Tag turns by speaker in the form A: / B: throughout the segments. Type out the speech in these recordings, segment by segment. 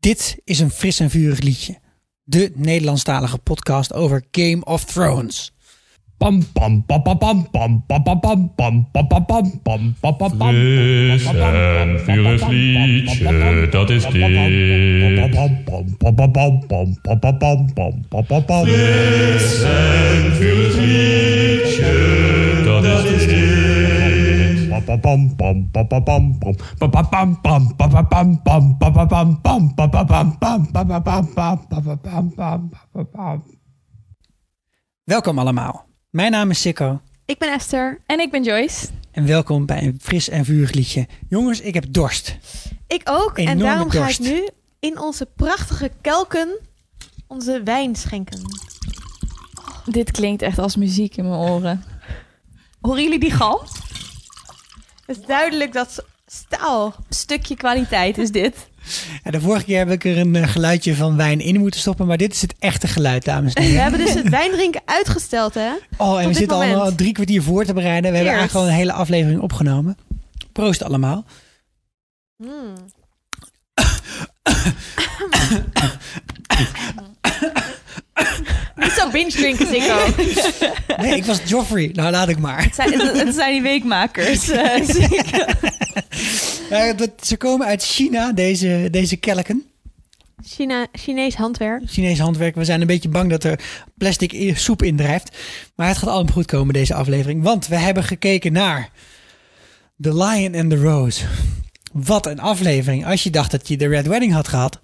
A: Dit is een fris en vurig liedje. De Nederlandstalige podcast over Game of Thrones.
B: Pam pam pam pam pam pam pam pam pam pam pam pam pam pam pam pam pam.
C: Fris en vurig liedje, dat is dit. Fris en vurig liedje, dat is dit.
A: Welkom allemaal. Mijn naam is Sikko
D: Ik ben Esther. En ik ben Joyce.
A: en welkom bij een fris en vurig liedje. Jongens, ik heb dorst.
D: Ik ook. en
A: Enorme
D: daarom ga ik
A: dorst.
D: nu in onze prachtige kelken onze wijn schenken.
E: Dit klinkt echt als muziek in mijn oren. Horen jullie die galm?
D: Het is duidelijk dat staal.
E: Stukje kwaliteit is dit.
A: Ja, de vorige keer heb ik er een eh, geluidje van wijn in moeten stoppen, maar dit is het echte geluid, dames en
D: We
A: heren.
D: hebben dus het wijndrinken uitgesteld, hè?
A: Oh, en we
D: dit
A: zitten
D: moment.
A: al drie kwartier voor te bereiden. We hebben
D: Cheers.
A: eigenlijk al een hele aflevering opgenomen. Proost allemaal.
D: Hmm.
E: Niet zo binge drinken, Sikko.
A: Nee, ik was Joffrey. Nou, laat ik maar.
E: Het zijn, het- het zijn die weekmakers. eh, Sikko.
A: Ja, Eh, dat- ze komen uit China, deze, deze kelken.
D: China, Chinees handwerk.
A: Chinees handwerk. We zijn een beetje bang dat er plastic i- soep indrijft. Maar het gaat allemaal goed komen, deze aflevering. Want we hebben gekeken naar The Lion and the Rose. Wat een aflevering. Als je dacht dat je de Red Wedding had gehad.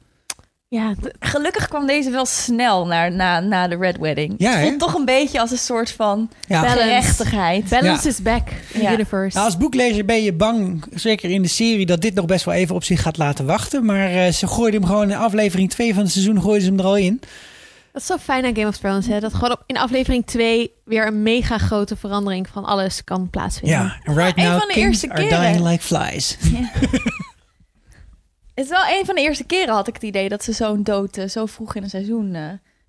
D: Ja, d-
E: Gelukkig kwam deze wel snel naar, na, na de Red Wedding.
A: Ja,
E: het
A: hè?
E: voelt toch een beetje als een soort van
A: Ja.
D: Balance.
E: gerechtigheid.
D: balance is back in
E: Ja.
D: the universe.
A: Nou, als boeklezer ben je bang, zeker in de serie, dat dit nog best wel even op zich gaat laten wachten. Maar eh, ze gooiden hem gewoon in aflevering 2 van het seizoen gooiden ze hem er al in.
D: Dat is zo fijn aan Game of Thrones, hè? Dat gewoon op, in aflevering 2 weer een mega grote verandering van alles kan plaatsvinden.
A: Ja, en right
E: een
A: now
E: van de
A: kings
E: eerste
A: are
E: keren.
A: dying like flies.
E: Het is wel een van de eerste keren had ik het idee dat ze zo'n dood eh, zo vroeg in een seizoen eh,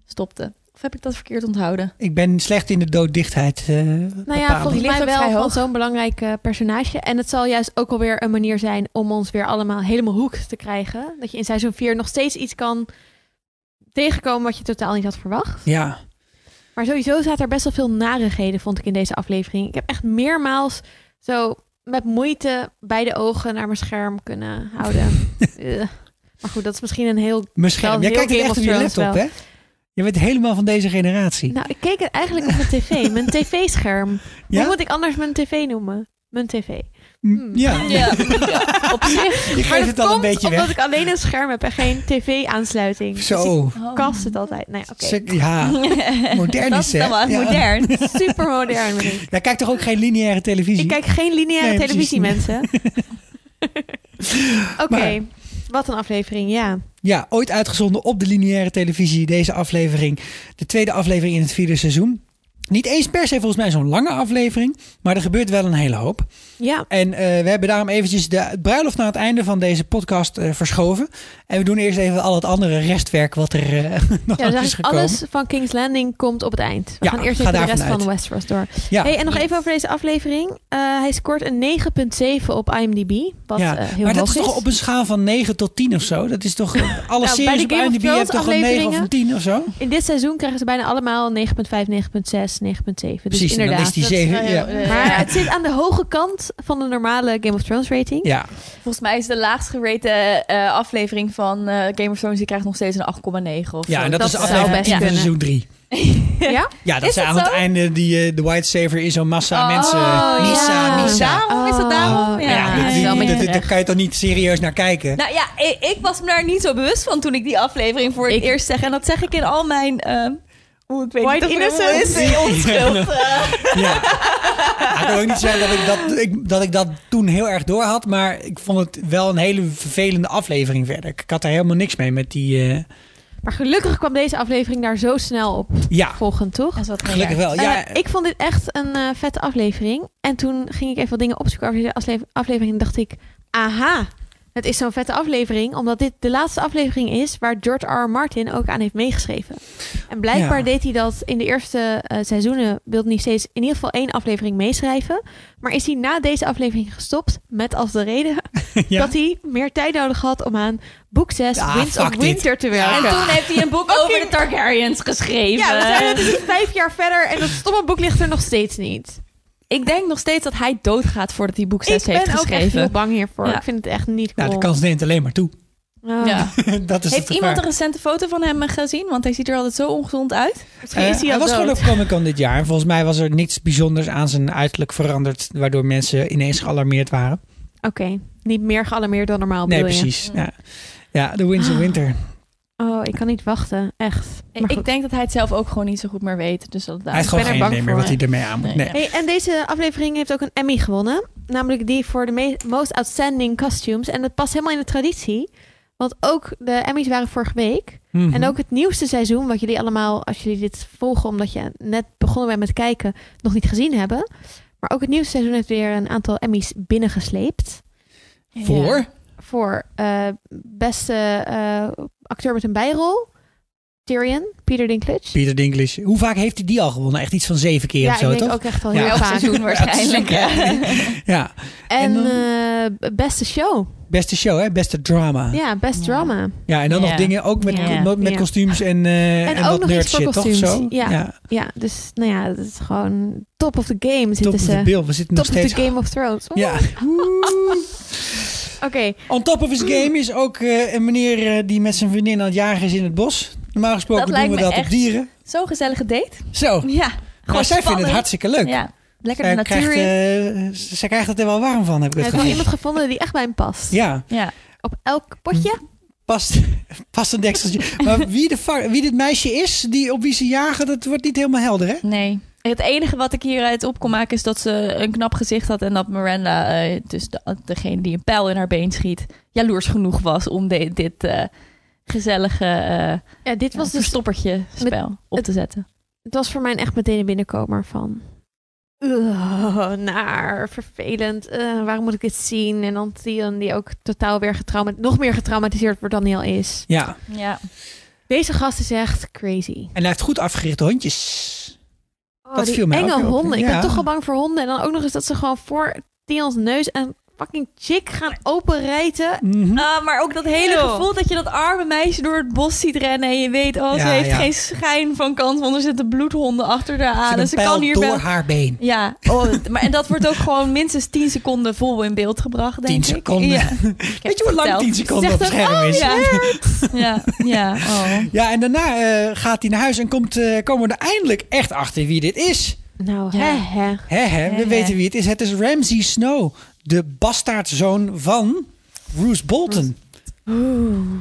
E: stopte. Of heb ik dat verkeerd onthouden?
A: Ik ben slecht in de dooddichtheid. eh
D: Nou
A: bepalen.
D: ja, volgens
E: Die ligt
D: mij
E: ook vrij
D: wel van
E: hoog.
D: zo'n belangrijk eh, personage. En het zal juist ook alweer een manier zijn om ons weer allemaal helemaal hoek te krijgen. Dat je in seizoen 4 nog steeds iets kan tegenkomen wat je totaal niet had verwacht.
A: Ja,
D: Maar sowieso zaten er best wel veel narigheden, vond ik, in deze aflevering. Ik heb echt meermaals zo met moeite beide ogen naar mijn scherm kunnen houden. Ugh. maar goed, dat is misschien een heel...
A: misschien.
D: Wel
A: Jij
D: heel
A: kijkt het
D: Game
A: echt
D: of
A: op je
D: Thrones
A: laptop, hè? Je bent helemaal van deze generatie.
D: Nou, ik keek het eigenlijk op mijn tv, mijn tv-scherm.
A: ja?
D: Hoe moet ik anders mijn tv noemen? Mijn tv.
A: M- ja.
D: mm. Op zich
A: Je
D: Maar
A: geeft
D: dat
A: het al een
D: komt
A: beetje
D: omdat
A: weg.
D: ik alleen een scherm heb en geen tv-aansluiting. Dus
A: Zo.
D: ik kast het altijd. Nou ja, oké.
A: Sek- Ja, modern
E: dat
A: is
E: is dan wel
A: hè? Ja.
E: modern.
D: Super modern ben ik.
A: Jij kijkt toch ook geen lineaire televisie?
D: Ik kijk geen lineaire
A: Nee, precies
D: televisie,
A: niet.
D: mensen. oké,
A: Maar-
D: wat een aflevering, ja.
A: Ja, ooit uitgezonden op de lineaire televisie. Deze aflevering, de tweede aflevering in het vierde seizoen. Niet eens per se volgens mij zo'n lange aflevering, maar er gebeurt wel een hele hoop.
D: Ja,
A: En eh, we hebben daarom eventjes de bruiloft naar het einde van deze podcast eh, verschoven. En we doen eerst even al het andere restwerk wat er eh, nog
D: ja dus
A: is
D: eigenlijk
A: gekomen.
D: alles van King's Landing komt op het eind. We
A: Ja,
D: gaan
A: ga
D: eerst even de
A: daarvan
D: rest
A: uit.
D: van Westeros door.
A: Ja.
D: Hey, en nog even over deze aflevering. Eh, hij scoort een 9.7 op IMDb, wat
A: ja,
D: eh, heel
A: maar
D: hoog
A: dat is toch op een schaal van 9 tot 10 of zo? Dat is toch eh, alle
D: Nou, bij
A: series
D: de
A: op
D: Game of
A: IMDb hebben
D: Thrones
A: toch een 9 of een
D: afleveringen?
A: 10 of zo?
D: In dit seizoen krijgen ze bijna allemaal 9.5, 9.6, 9.7. Dus
A: Precies, en dan
D: inderdaad.
A: is die 7. Eh, Ja.
E: eh,
D: Maar het zit aan de hoge kant van de normale Game of Thrones rating.
A: ja,
E: Volgens mij is de laagst gerate eh, aflevering van eh, Game of Thrones... die krijgt nog steeds een 8,9 of
A: ja,
E: zo.
A: en dat,
D: dat
A: is
D: zou
A: aflevering
D: best
A: 10 van
D: kunnen.
A: seizoen 3.
D: Ja?
A: Ja, dat
E: Is
A: zijn
E: dat
A: aan het
E: zo?
A: einde die, eh, de White Saver is zo'n massa
E: Oh,
A: mensen.
E: ja.
A: Missa, Missa.
E: Daarom is dat daarom?
D: Ah, Oh,
E: Ja,
A: nou? Ja, dat-
E: dat is
A: die-
E: wel een beetje
A: dat- dat- daar
E: terecht.
A: kan je toch niet serieus naar kijken?
E: Nou ja, ik, ik was me daar niet zo bewust van toen ik die aflevering voor het
D: Ik-
E: eerst zeg. En dat zeg ik in al mijn... ehm hoe ik weet
D: White
E: niet of er-
D: innocence.
E: is die onschuld. eh.
A: Ja. Ja, Ik kan ook niet zeggen dat ik dat, ik, dat ik dat toen heel erg door had. Maar ik vond het wel een hele vervelende aflevering verder. Ik had daar helemaal niks mee met die... eh,
D: Maar gelukkig kwam deze aflevering daar zo snel op
A: ja,
D: volgend, toch?
E: Dat is wat
A: gelukkig wel. Ja,
D: Eh, ik vond dit echt een eh, vette aflevering. En toen ging ik even wat dingen opzoeken over deze afle- aflevering. En dacht ik, aha, Het is zo'n vette aflevering, omdat dit de laatste aflevering is waar George R. R. Martin ook aan heeft meegeschreven. En blijkbaar
A: Ja.
D: deed hij dat in de eerste eh, seizoenen, wilde hij steeds in ieder geval één aflevering meeschrijven. Maar is hij na deze aflevering gestopt met als de reden
A: Ja.
D: dat hij meer tijd nodig had om aan boek 6
A: Ah,
D: Winds of
A: fuck dit.
D: Winter te
E: En
D: werken.
E: toen heeft hij een boek over de Targaryens geschreven.
D: Ja, we zijn natuurlijk vijf jaar verder en dat stomme boek ligt er nog steeds niet.
E: Ik denk nog steeds dat hij doodgaat voordat hij boek 6
D: ik ben
E: heeft
D: ook echt heel
E: geschreven.
D: bang hiervoor.
E: Ja.
D: Ik vind het echt niet cool.
A: Nou, de kans neemt alleen maar toe.
D: Oh.
E: Ja.
A: dat is
E: Heeft
A: Dus het
E: iemand een
A: gevaar.
E: recente foto van hem eh, gezien? Want hij ziet er altijd zo ongezond uit.
D: Misschien
A: Eh,
D: is hij al
A: was
D: dood.
A: gewoon op Comic Con dit jaar. En volgens mij was er niets bijzonders aan zijn uiterlijk veranderd. Waardoor mensen ineens gealarmeerd waren.
D: Oké, niet meer gealarmeerd dan normaal
A: Nee,
D: bedoel je? Ah,
A: precies. Ja. ja, The Winds of Winter.
D: Oh, ik kan niet wachten. Echt. Maar
E: ik
D: goed.
E: denk dat hij het zelf ook gewoon niet zo goed meer weet. Dus dat
A: Hij heeft
D: ben
A: gewoon
D: er
A: geen
D: bang
A: idee meer
D: voor,
A: wat hij ermee aan moet.
E: Nee,
A: Nee.
E: ja.
D: Hey, en deze aflevering heeft ook een Emmy gewonnen. Namelijk die voor de me- Most Outstanding Costumes. En dat past helemaal in de traditie. Want ook de Emmys waren vorige week.
A: Mhm.
D: En ook het nieuwste seizoen, wat jullie allemaal, als jullie dit volgen, omdat je net begonnen bent met kijken, nog niet gezien hebben. Maar ook het nieuwste seizoen heeft weer een aantal Emmys binnengesleept.
A: Voor?
D: Voor eh, beste eh, acteur met een bijrol, Tyrion, Peter Dinklage.
A: Peter Dinklage. Hoe vaak heeft hij die al gewonnen? Echt iets van zeven keer
D: ja,
A: of zo,
D: ik denk
A: toch?
D: ook echt wel
A: Ja.
D: heel
E: Elk
D: vaak.
E: seizoen waarschijnlijk.
A: Ja, Ja,
D: En
A: dan-
D: eh, beste show.
A: beste show, hè? Beste drama. Ja,
D: Ja, best
E: Ja.
D: drama.
A: en dan
E: Ja.
A: nog dingen ook met,
E: Ja.
A: met
D: Ja.
A: kostuums en, eh,
D: En
A: en,
D: ook
A: wat
D: nog
A: nerd
D: iets voor
A: shit, toch?
D: kostuums.
A: Zo?
D: Ja. Ja, dus nou ja, het is gewoon top of the game
A: Top
D: zitten
A: of the
D: ze.
A: bill. We zitten
D: eh, Top
A: nog
D: of the
A: steeds...
D: Game of Thrones. Oeh,
A: Ja.
D: Oké,
A: On top of his game is ook eh, een meneer eh, die met zijn vriendin aan het jagen is in het bos. Normaal gesproken
E: Dat
A: doen
E: lijkt
A: we
E: me
A: dat op
E: echt
A: dieren.
E: Zo'n gezellige date.
A: Zo, maar
E: Ja, gewoon
A: Oh. zij vinden het
E: spannend.
A: hartstikke leuk.
E: Ja, lekker de
A: Zij
E: natuur
A: krijgt,
E: in.
A: eh, z- zij krijgt het er wel warm van, heb ik het
D: hij heeft wel
A: gevoel.
D: Nou, iemand gevonden die echt bij hem past.
A: Ja,
E: Ja.
D: Op elk potje.
A: past, past een dekseltje. maar wie, de fuck- wie dit meisje is, die, op wie ze jagen, dat wordt niet helemaal helder, hè?
E: Nee. Het enige wat ik hieruit op kon maken is dat ze een knap gezicht had en dat Miranda, eh, dus de- degene die een pijl in haar been schiet, jaloers genoeg was om de- dit eh, gezellige eh
D: Ja, dit was dus,
E: verstoppertje spel op
D: het-
E: te zetten.
D: het was voor mij echt meteen een binnenkomer van... Ugh, naar, vervelend. eh, waarom moet ik dit zien? En dan Theon die ook totaal weer getrauma nog meer getraumatiseerd wordt dan hij al is.
A: Ja,
E: Ja.
D: Deze gast is echt crazy.
A: en hij heeft goed afgerichte hondjes.
D: Oh,
A: Dat
D: die
A: viel mij ook
D: enge
A: heel op.
D: honden. Ik
A: Ja.
D: ben toch al bang voor honden. En dan ook nog eens dat ze gewoon voor Theon's neus een fucking chick gaan openrijten.
A: Mhm.
E: Ah, maar ook dat
D: hele gevoel
E: dat je dat arme meisje door het bos ziet rennen en je weet, oh,
A: ze Ja, heeft ja. geen
E: schijn van kans, want er zitten bloedhonden achter haar
A: Zit
E: aan.
A: een pijl door haar been.
E: Ja, oh, maar en dat wordt ook gewoon minstens 10 seconden vol in beeld gebracht, denk
A: 10
E: ik.
A: seconden.
E: Ja.
A: Weet je hoe lang 10 seconden
D: Zegt
A: op het
D: dan,
A: scherm is? ja.
E: Ja, "Oh, ja, ja. Oh.
A: en daarna eh, gaat hij naar huis en komt, eh, komen we er eindelijk echt achter wie dit is.
D: Nou,
E: Ja.
D: hè, hè.
A: Hè, hè, we
E: Hè, hè.
A: weten wie het is. Het is Ramsey Snow, de bastaardzoon van Bruce Bolton.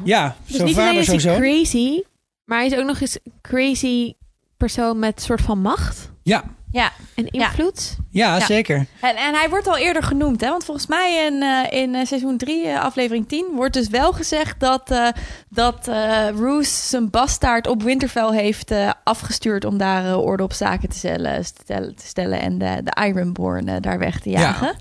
A: Ja,
D: Dus
A: zo
D: niet alleen
A: vader,
D: is
A: zo
D: hij
A: zoon.
D: crazy, maar hij is ook nog eens een crazy persoon met soort van macht
A: Ja,
E: Ja,
D: en
E: Ja.
D: invloed.
A: ja,
E: Ja.
A: zeker.
E: en, en hij wordt al eerder genoemd, hè? Want volgens mij in, eh, in eh, seizoen 3, aflevering 10, wordt dus wel gezegd dat, eh, dat eh Roos zijn bastaard op Winterfell heeft eh, afgestuurd om daar eh, orde op zaken te stellen, stel- te stellen en de, de Ironborn eh, daar weg te
A: Ja.
E: jagen. Ja.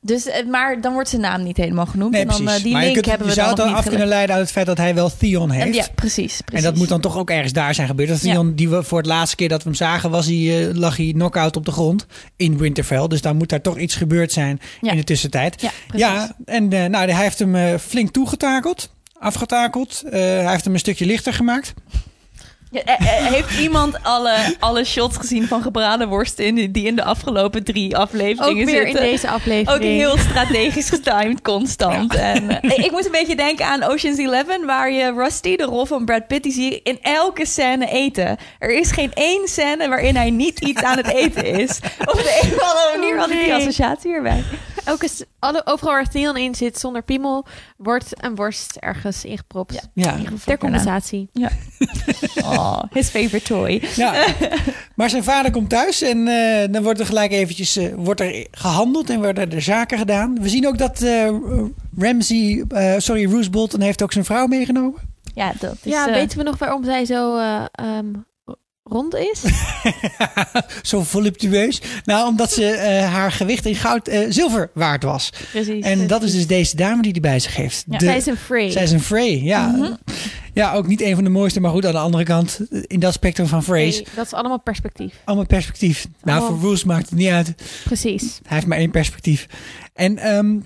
E: Dus, eh, maar dan wordt zijn naam niet helemaal genoemd.
A: Nee,
E: en dan, eh,
A: precies.
E: die
A: maar je,
E: link
A: kunt,
E: hebben
A: je
E: we
A: zou
E: dan
A: het dan
E: nog niet
A: af kunnen
E: gelegd.
A: leiden uit het feit dat hij wel Theon heeft.
E: En Ja, precies, precies.
A: En dat moet dan toch ook ergens daar zijn gebeurd. Dat is die,
E: Ja.
A: dan- die we voor het laatste keer dat we hem zagen, was hij, eh, lag hij knock-out op de grond in Winterfell. Dus daar moet daar toch iets gebeurd zijn
E: Ja.
A: in de tussentijd.
E: Ja, precies.
A: Ja, en eh, nou, hij heeft hem eh, flink toegetakeld, afgetakeld. Eh, hij heeft hem een stukje lichter gemaakt.
E: Ja, eh, eh, heeft iemand alle, alle shots gezien van gebraden worsten in, die- die in de afgelopen drie
D: Ook
E: afleveringen
D: weer in
E: zitten?
D: deze aflevering.
E: Ook heel strategisch getimed, constant. En, eh, ik moest een beetje denken aan Ocean's Eleven, waar je Rusty, de rol van Brad Pitt, die zie je in elke scène eten. Er is geen één scène waarin hij niet iets aan het eten is. Op de een of andere manier had ik die
D: Nee.
E: associatie hierbij.
D: Elke, s- alle, overal waar Theon in zit zonder piemel, wordt een worst ergens ingepropt.
E: Ja.
A: Ja,
D: Ter compensatie.
E: Oh, his favorite toy.
A: ja. maar zijn vader komt thuis en eh, dan wordt er gelijk eventjes eh, wordt er gehandeld en worden er zaken gedaan. We zien ook dat eh Ramsey, eh, sorry, Roose Bolton heeft ook zijn vrouw meegenomen.
D: Dus,
E: Ja, dat is...
D: ja,
E: eh,
D: weten we nog waarom zij zo eh, ehm, rond is.
A: Zo voluptueus. Nou, omdat ze eh, haar gewicht in goud eh, zilver waard was.
D: Precies.
A: En dat is dus deze dame die die bij zich heeft.
E: Ja,
A: De-
D: Zij is een Frey.
A: zij is een Frey, ja. Ja, ook niet een van de mooiste, maar goed, aan de andere kant, in dat spectrum van Freys.
D: Frey, Dat is allemaal perspectief.
A: Allemaal perspectief. Nou,
D: Oh.
A: voor Roos maakt het niet uit.
D: Precies.
A: Hij heeft maar één perspectief. En ehm,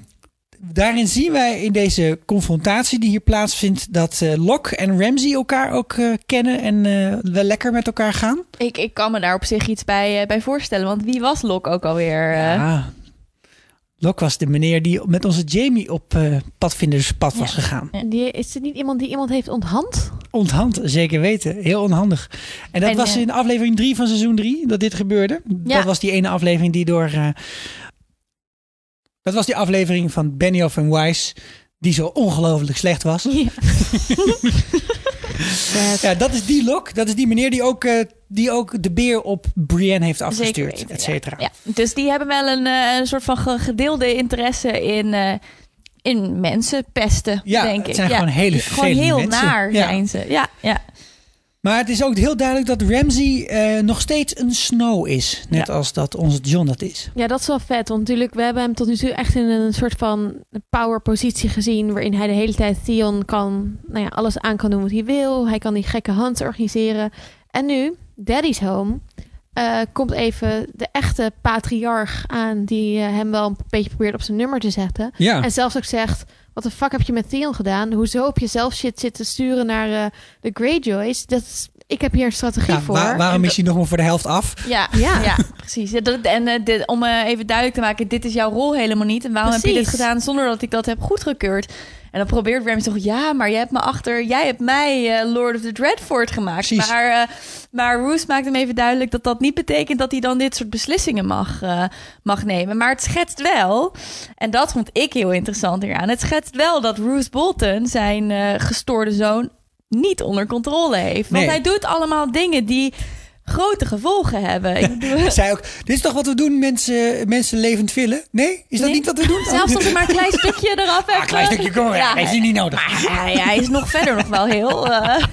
A: daarin zien wij in deze confrontatie die hier plaatsvindt... dat eh Locke en Ramsey elkaar ook eh, kennen en eh, wel lekker met elkaar gaan.
E: Ik, ik kan me daar op zich iets bij, eh, bij voorstellen. Want wie was Lok ook alweer? eh?
A: Ah. Locke was de meneer die met onze Jamie op eh padvinderspad was
E: Ja.
A: gegaan.
E: Ja.
D: Die, is het niet iemand die iemand heeft onthand?
A: Onthand, zeker weten. Heel onhandig. En dat
E: En,
A: was
E: eh,
A: in aflevering 3 van seizoen 3 dat dit gebeurde.
E: Ja.
A: Dat was die ene aflevering die door... eh, dat was die aflevering van Benioff en Weiss... die zo ongelooflijk slecht was. Ja, dat is die lok. Dat is die meneer die ook, eh, die ook de beer op Brienne heeft afgestuurd,
E: weten,
A: et cetera.
E: Ja, dus die hebben wel een, eh, een soort van ge- gedeelde interesse in, eh, in mensen pesten,
A: Ja,
E: denk ik.
A: het zijn gewoon hele
E: Gewoon
A: vervelende
E: heel
A: mensen.
E: naar
A: Ja.
E: zijn ze. Ja, ja.
A: Maar het is ook heel duidelijk dat Ramsey eh, nog steeds een snow is. Net als dat onze John dat is.
D: Ja, dat is wel vet. Want natuurlijk, we hebben hem tot nu toe echt in een soort van powerpositie gezien. Waarin hij de hele tijd Theon kan, nou ja, alles aan kan doen wat hij wil. Hij kan die gekke hands organiseren. En nu, Daddy's Home, eh, komt even de echte patriarch aan. Die eh, hem wel een beetje probeert op zijn nummer te zetten.
A: Ja.
D: En zelfs ook zegt, wat de fuck heb je met Theon gedaan? Hoezo heb je zelf shit zitten sturen naar eh, de Greyjoys? Dat is, ik heb hier een strategie voor.
A: waar- waarom
D: En
A: is hij nog maar voor de helft af?
E: Ja,
D: Ja.
E: ja. precies. Ja, dat, en eh, dit, om eh, even duidelijk te maken, dit is jouw rol helemaal niet. En waarom heb je dit
D: Precies.
E: gedaan zonder dat ik dat heb goedgekeurd? En dan probeert Remy toch, ja, maar jij hebt me achter, jij hebt mij eh, Lord of the Dreadfort gemaakt.
A: Precies.
E: Maar, eh, maar Roos maakt hem even duidelijk dat dat niet betekent dat hij dan dit soort beslissingen mag, eh, mag nemen. Maar het schetst wel, en dat vond ik heel interessant hieraan, het schetst wel dat Roos Bolton, zijn eh, gestoorde zoon, niet onder controle heeft. Want
A: Nee.
E: hij doet allemaal dingen die grote gevolgen hebben. Ik bedoel-
A: Zij ook, dit is toch wat we doen, mensen, mensen levend villen? Nee? Is dat
E: Nee.
A: niet wat we doen?
E: Zelfs als er maar een klein stukje eraf hebt.
A: Ah, klein stukje, kom maar.
E: Ja.
A: Hij is hier niet nodig.
E: Ja, ja, hij is nog verder nog wel heel. eh,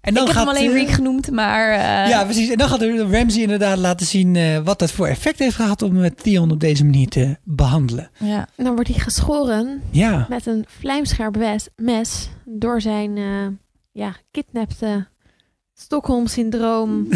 A: En
E: ik heb hem alleen
A: eh,
E: Rick genoemd, maar. eh,
A: Ja, precies. En dan gaat Ramsey inderdaad laten zien eh, wat dat voor effect heeft gehad om met Theon op deze manier te behandelen.
E: ja.
D: dan wordt hij geschoren
A: Ja.
D: met een vlijmscherp wes- mes door zijn eh ja, kidnapte Stockholm-syndroom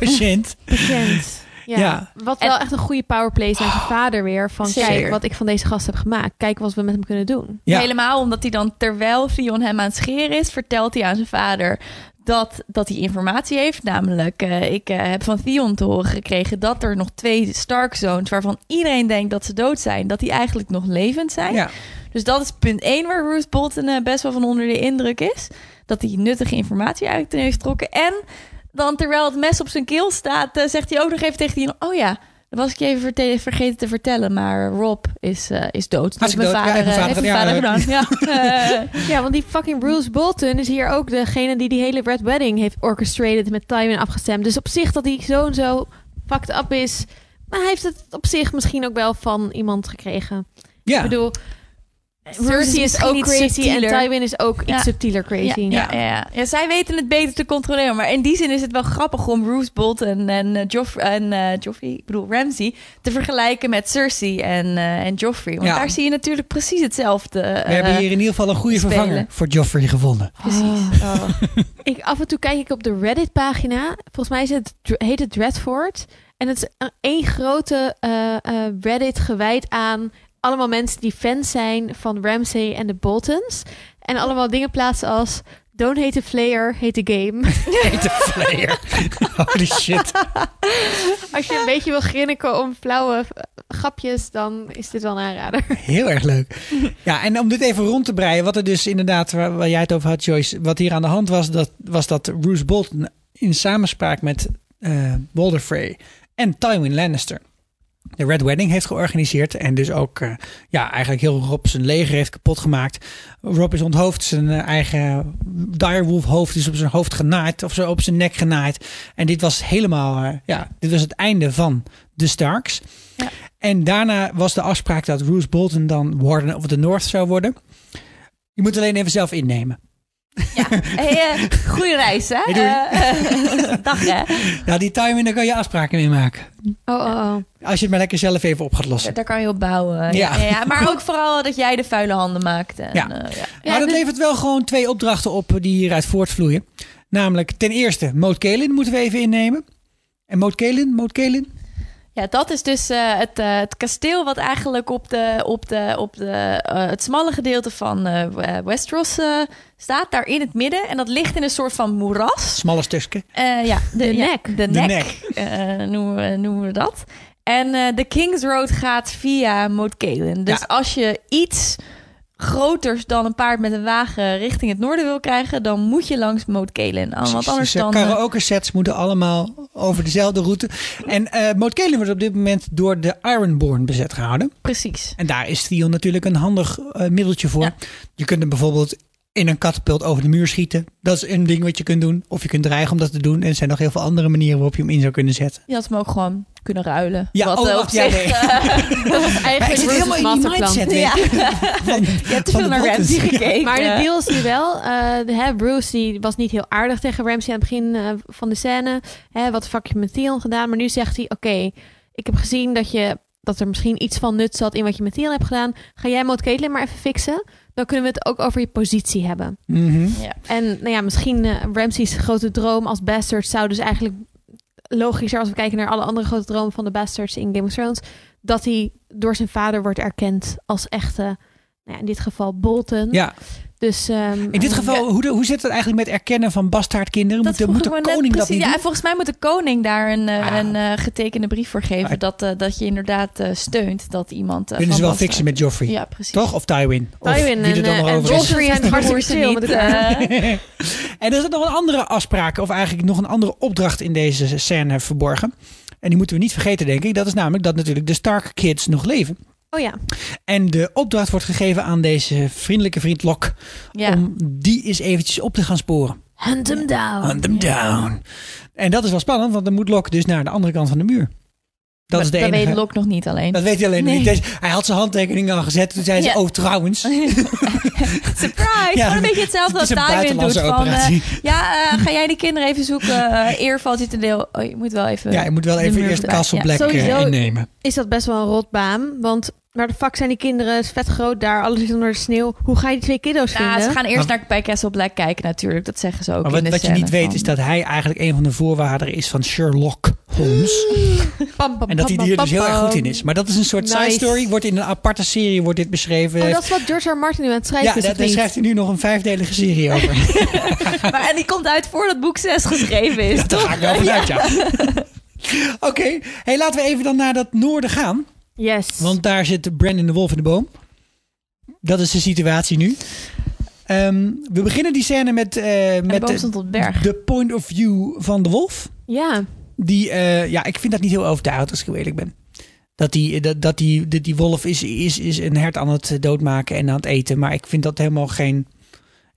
A: Patiënt.
D: patiënt. Ja,
A: Ja. Oh,
D: Wat wel echt een goede powerplay is naar zijn vader weer. Van
E: Zeker.
D: kijk wat ik van deze gast heb gemaakt. Kijk wat we met hem kunnen doen.
A: Ja.
E: Helemaal omdat hij dan, terwijl Fion hem aan het scheren is, vertelt hij aan zijn vader. Dat, dat hij informatie heeft. Namelijk, eh, ik eh, heb van Theon te horen gekregen dat er nog twee Stark zoons, waarvan iedereen denkt dat ze dood zijn, dat die eigenlijk nog levend zijn.
A: Ja.
E: Dus dat is punt 1 waar Ruth Bolton eh, best wel van onder de indruk is. Dat hij nuttige informatie uit heeft getrokken. En dan terwijl het mes op zijn keel staat, eh, zegt hij ook nog even tegen die... Oh ja, dat was ik je even verte- vergeten te vertellen, maar Rob is, eh, is dood. Dat is
A: Hartstikke dood. Ja,
E: eh,
A: heeft
E: heeft mijn
A: mijn
E: vader gedaan. Ja, eh,
D: Ja, want die fucking Bruce Bolton is hier ook degene die die hele Red Wedding heeft orchestrated met Tywin afgestemd. Dus op zich dat hij zo en zo fucked up is. Maar hij heeft het op zich misschien ook wel van iemand gekregen.
A: ja.
D: Ik bedoel, Cersei is
E: misschien
D: ook
E: iets
D: crazy
E: subtieler.
D: en Tywin is ook
E: Ja.
D: iets subtieler
E: ja,
D: crazy.
E: ja, ja, ja. Ja, zij weten het beter te controleren. Maar in die zin is het wel grappig om Ruth Bolton en, eh, Joff- en eh, Joffrey, ik bedoel Ramsey, te vergelijken met Cersei en, eh, en Joffrey. Want
A: Ja.
E: daar zie je natuurlijk precies hetzelfde.
A: We hebben
E: eh,
A: hier in ieder geval een goede
E: spelen.
A: vervanger voor Joffrey gevonden.
E: Precies. Oh.
D: Ik, af en toe kijk ik op de Reddit-pagina. Volgens mij is het, heet het Dreadfort. En het is een- één grote eh, eh, Reddit gewijd aan allemaal mensen die fans zijn van Ramsay en de Boltons. En allemaal dingen plaatsen als... Don't hate the player, hate the game.
A: Peter Flair. Holy shit.
D: Als je een beetje wil grinniken om flauwe eh, grapjes, dan is dit wel een aanrader.
A: Heel erg leuk. Ja, en om dit even rond te breien, wat er dus inderdaad, waar, waar jij het over had, Joyce, wat hier aan de hand was, dat, was dat Roose Bolton in samenspraak met eh Walder Frey en Tywin Lannister de Red Wedding heeft georganiseerd en dus ook eh, ja, eigenlijk heel Rob zijn leger heeft kapot gemaakt. Rob is onthoofd, zijn eh, eigen direwolf hoofd is op zijn hoofd genaaid of zo op zijn nek genaaid. En dit was helemaal, eh, ja, dit was het einde van de Starks.
E: Ja.
A: En daarna was de afspraak dat Roose Bolton dan Warden of the North zou worden. Je moet alleen even zelf innemen.
E: Ja. Hey, eh, goeie reis, hè?
A: Hey, doei.
E: Eh, eh, dag, hè?
A: Ja, die timing, daar kan je afspraken mee maken.
D: Oh, oh, oh.
A: Als je het maar lekker zelf even op gaat lossen.
E: Daar- Daar kan je op bouwen.
A: Ja.
E: maar ook vooral dat jij de vuile handen maakt. En,
A: Ja.
E: eh, ja.
D: Ja,
A: maar dat
D: dus-
A: levert wel gewoon twee opdrachten op die hieruit voortvloeien. Namelijk ten eerste, Moot Kalin moeten we even innemen. En Moot Kalin, Moot Kalin.
E: Ja, dat is dus eh, het, eh, het kasteel wat eigenlijk op, de, op, de, op de, eh, het smalle gedeelte van eh, Westeros eh, staat. Daar in het midden. En dat ligt in een soort van moeras.
A: Smalle stukje.
E: Eh, ja, de,
D: De
E: ja,
D: nek.
E: De
A: De
E: nek, eh, noemen, we, noemen we dat. En eh, de King's Road gaat via Moat Kalen. Dus
A: Ja.
E: als je iets groters dan een paard met een wagen richting het noorden wil krijgen, dan moet je langs Moat Kalen. Ah, Want anders
A: Dus, eh,
E: dan... eh,
A: Karaoke sets moeten allemaal over dezelfde route. En eh Moot Kalin wordt op dit moment door de Ironborn bezet gehouden.
E: precies.
A: En daar is Theon natuurlijk een handig eh, middeltje voor.
E: Ja.
A: Je kunt hem bijvoorbeeld in een katapult over de muur schieten. Dat is een ding wat je kunt doen. Of je kunt dreigen om dat te doen. En er zijn nog heel veel andere manieren waarop je hem in zou kunnen zetten.
E: Je had hem ook gewoon kunnen ruilen.
A: Ja,
E: wat
A: oh,
E: eh, op
A: wacht, ja,
E: zich...
A: nee.
E: eh,
A: Maar hij
D: Eigenlijk
A: zit
D: Roos'
A: helemaal in die
D: masterplan.
A: mindset. weet
E: Ja.
A: je. Van-
E: Je hebt te
A: van
E: veel
A: de
E: naar
A: bottles.
E: Ramsey gekeken.
D: Maar de deal is hier wel. eh, de- hè, Bruce die was niet heel aardig tegen Ramsey aan het begin eh, van de scène. Hè, wat fuck je met Theon gedaan? Maar nu zegt hij: Oké, ik heb gezien dat, je, dat er misschien iets van nut zat in wat je met Theon hebt gedaan. Ga jij Maud Caitlin maar even fixen? Dan kunnen we het ook over je positie hebben.
A: Mhm.
D: En nou ja, misschien eh Ramsey's grote droom als bastard zou dus eigenlijk logischer als we kijken naar alle andere grote dromen van de bastards in Game of Thrones, dat hij door zijn vader wordt erkend als echte, nou ja, in dit geval Bolton.
A: Ja,
D: Dus ehm,
A: in dit
D: eh,
A: geval, hoe, de- hoe zit het eigenlijk met erkennen van bastaardkinderen? Moet, de-
E: vroeg
A: moet
E: ik
A: de
E: me net
A: koning dat
E: precies.
A: niet
E: ja,
A: doen?
E: en volgens mij moet de koning daar een, eh,
A: Ah.
E: een eh, getekende brief voor geven.
A: Ah.
E: Dat, eh, dat je inderdaad eh, steunt dat iemand. eh,
A: Kunnen
E: van
A: ze wel
E: Bastard-
A: fixen met Joffrey,
E: Ja, precies.
A: toch? Of Tywin? Of
D: Tywin
A: wie er
D: en,
A: dan
D: eh,
A: nog
D: en
A: over is.
D: Joffrey. zijn
E: de
D: hartstikke
E: broers
D: chill
E: niet,
D: met elkaar.
E: eh,
A: en er zit nog een andere afspraak, of eigenlijk nog een andere opdracht in deze scène verborgen. En die moeten we niet vergeten, denk ik. Dat is namelijk dat natuurlijk de Stark Kids nog leven.
D: Oh ja,
A: En de opdracht wordt gegeven aan deze vriendelijke vriend Lok.
E: ja.
A: Om die eens eventjes op te gaan sporen.
D: hunt him
E: Oh,
D: down.
A: Hunt them down. En dat is wel spannend, want dan moet Lok dus naar de andere kant van de muur. Dat is de
E: dat
A: enige...
E: weet Lok nog niet alleen.
A: Dat weet hij alleen nog
E: Nee.
A: niet. Deze- Hij had zijn handtekening al gezet. Toen zei ze,
E: Ja.
A: oh trouwens.
E: Surprise!
A: Ja,
E: Gewoon een beetje hetzelfde
A: het
E: als
A: is een
E: Tywin doet.
A: buitenlandse
E: Van, eh,
A: operatie.
E: ja, eh, ga jij die kinderen even zoeken? eh eerval zit een deel. Oh, je moet wel even.
A: ja, je moet wel
E: de
A: even
E: muur
A: eerst
E: erbij.
A: Castle
E: Ja.
A: Black eh,
D: Sowieso-
A: innemen.
D: Is dat best wel een rotbaan? Want waar de fuck zijn die kinderen? Het is vet groot daar, alles is onder de sneeuw. Hoe ga je die twee kiddo's
E: Ja,
D: vinden?
E: ze gaan eerst
A: Maar-
E: naar bij Castle Black kijken natuurlijk. Dat zeggen ze ook
A: Maar
E: in
A: wat,
E: de
A: wat je niet
E: scène
A: weet
E: van-
A: is dat hij eigenlijk een van de voorwaarderen is van Sherlock Holmes.
D: Pam, pam,
A: En dat hij
D: pam,
A: hier
D: pam,
A: dus heel erg
D: pam.
A: goed in is. Maar dat is een soort
D: Nice.
A: side story. Wordt in een aparte serie wordt dit beschreven.
D: Oh, dat is wat George R. R. Martin nu aan het schrijven
A: ja,
D: is.
A: daar,
D: of
A: daar
D: niet?
A: schrijft hij nu nog een vijfdelige serie over.
E: Maar en die komt uit voordat boek 6 geschreven is,
A: Daar
E: toch?
A: ga ik wel vanuit, ja. Oké, hey, laten we even dan naar dat noorden gaan.
D: Yes.
A: Want daar zit Brandon de Wolf in de boom. Dat is de situatie nu. Ehm, we beginnen die scène met, eh,
E: Met
A: met
E: boom
A: de,
E: stond op berg.
A: de point of view van de wolf.
D: ja.
A: Die, eh, ja, ik vind dat niet heel overtuigend als ik heel eerlijk ben. Dat die, dat, dat die, dat die wolf is, is, is een hert aan het doodmaken en aan het eten. Maar ik vind dat helemaal geen...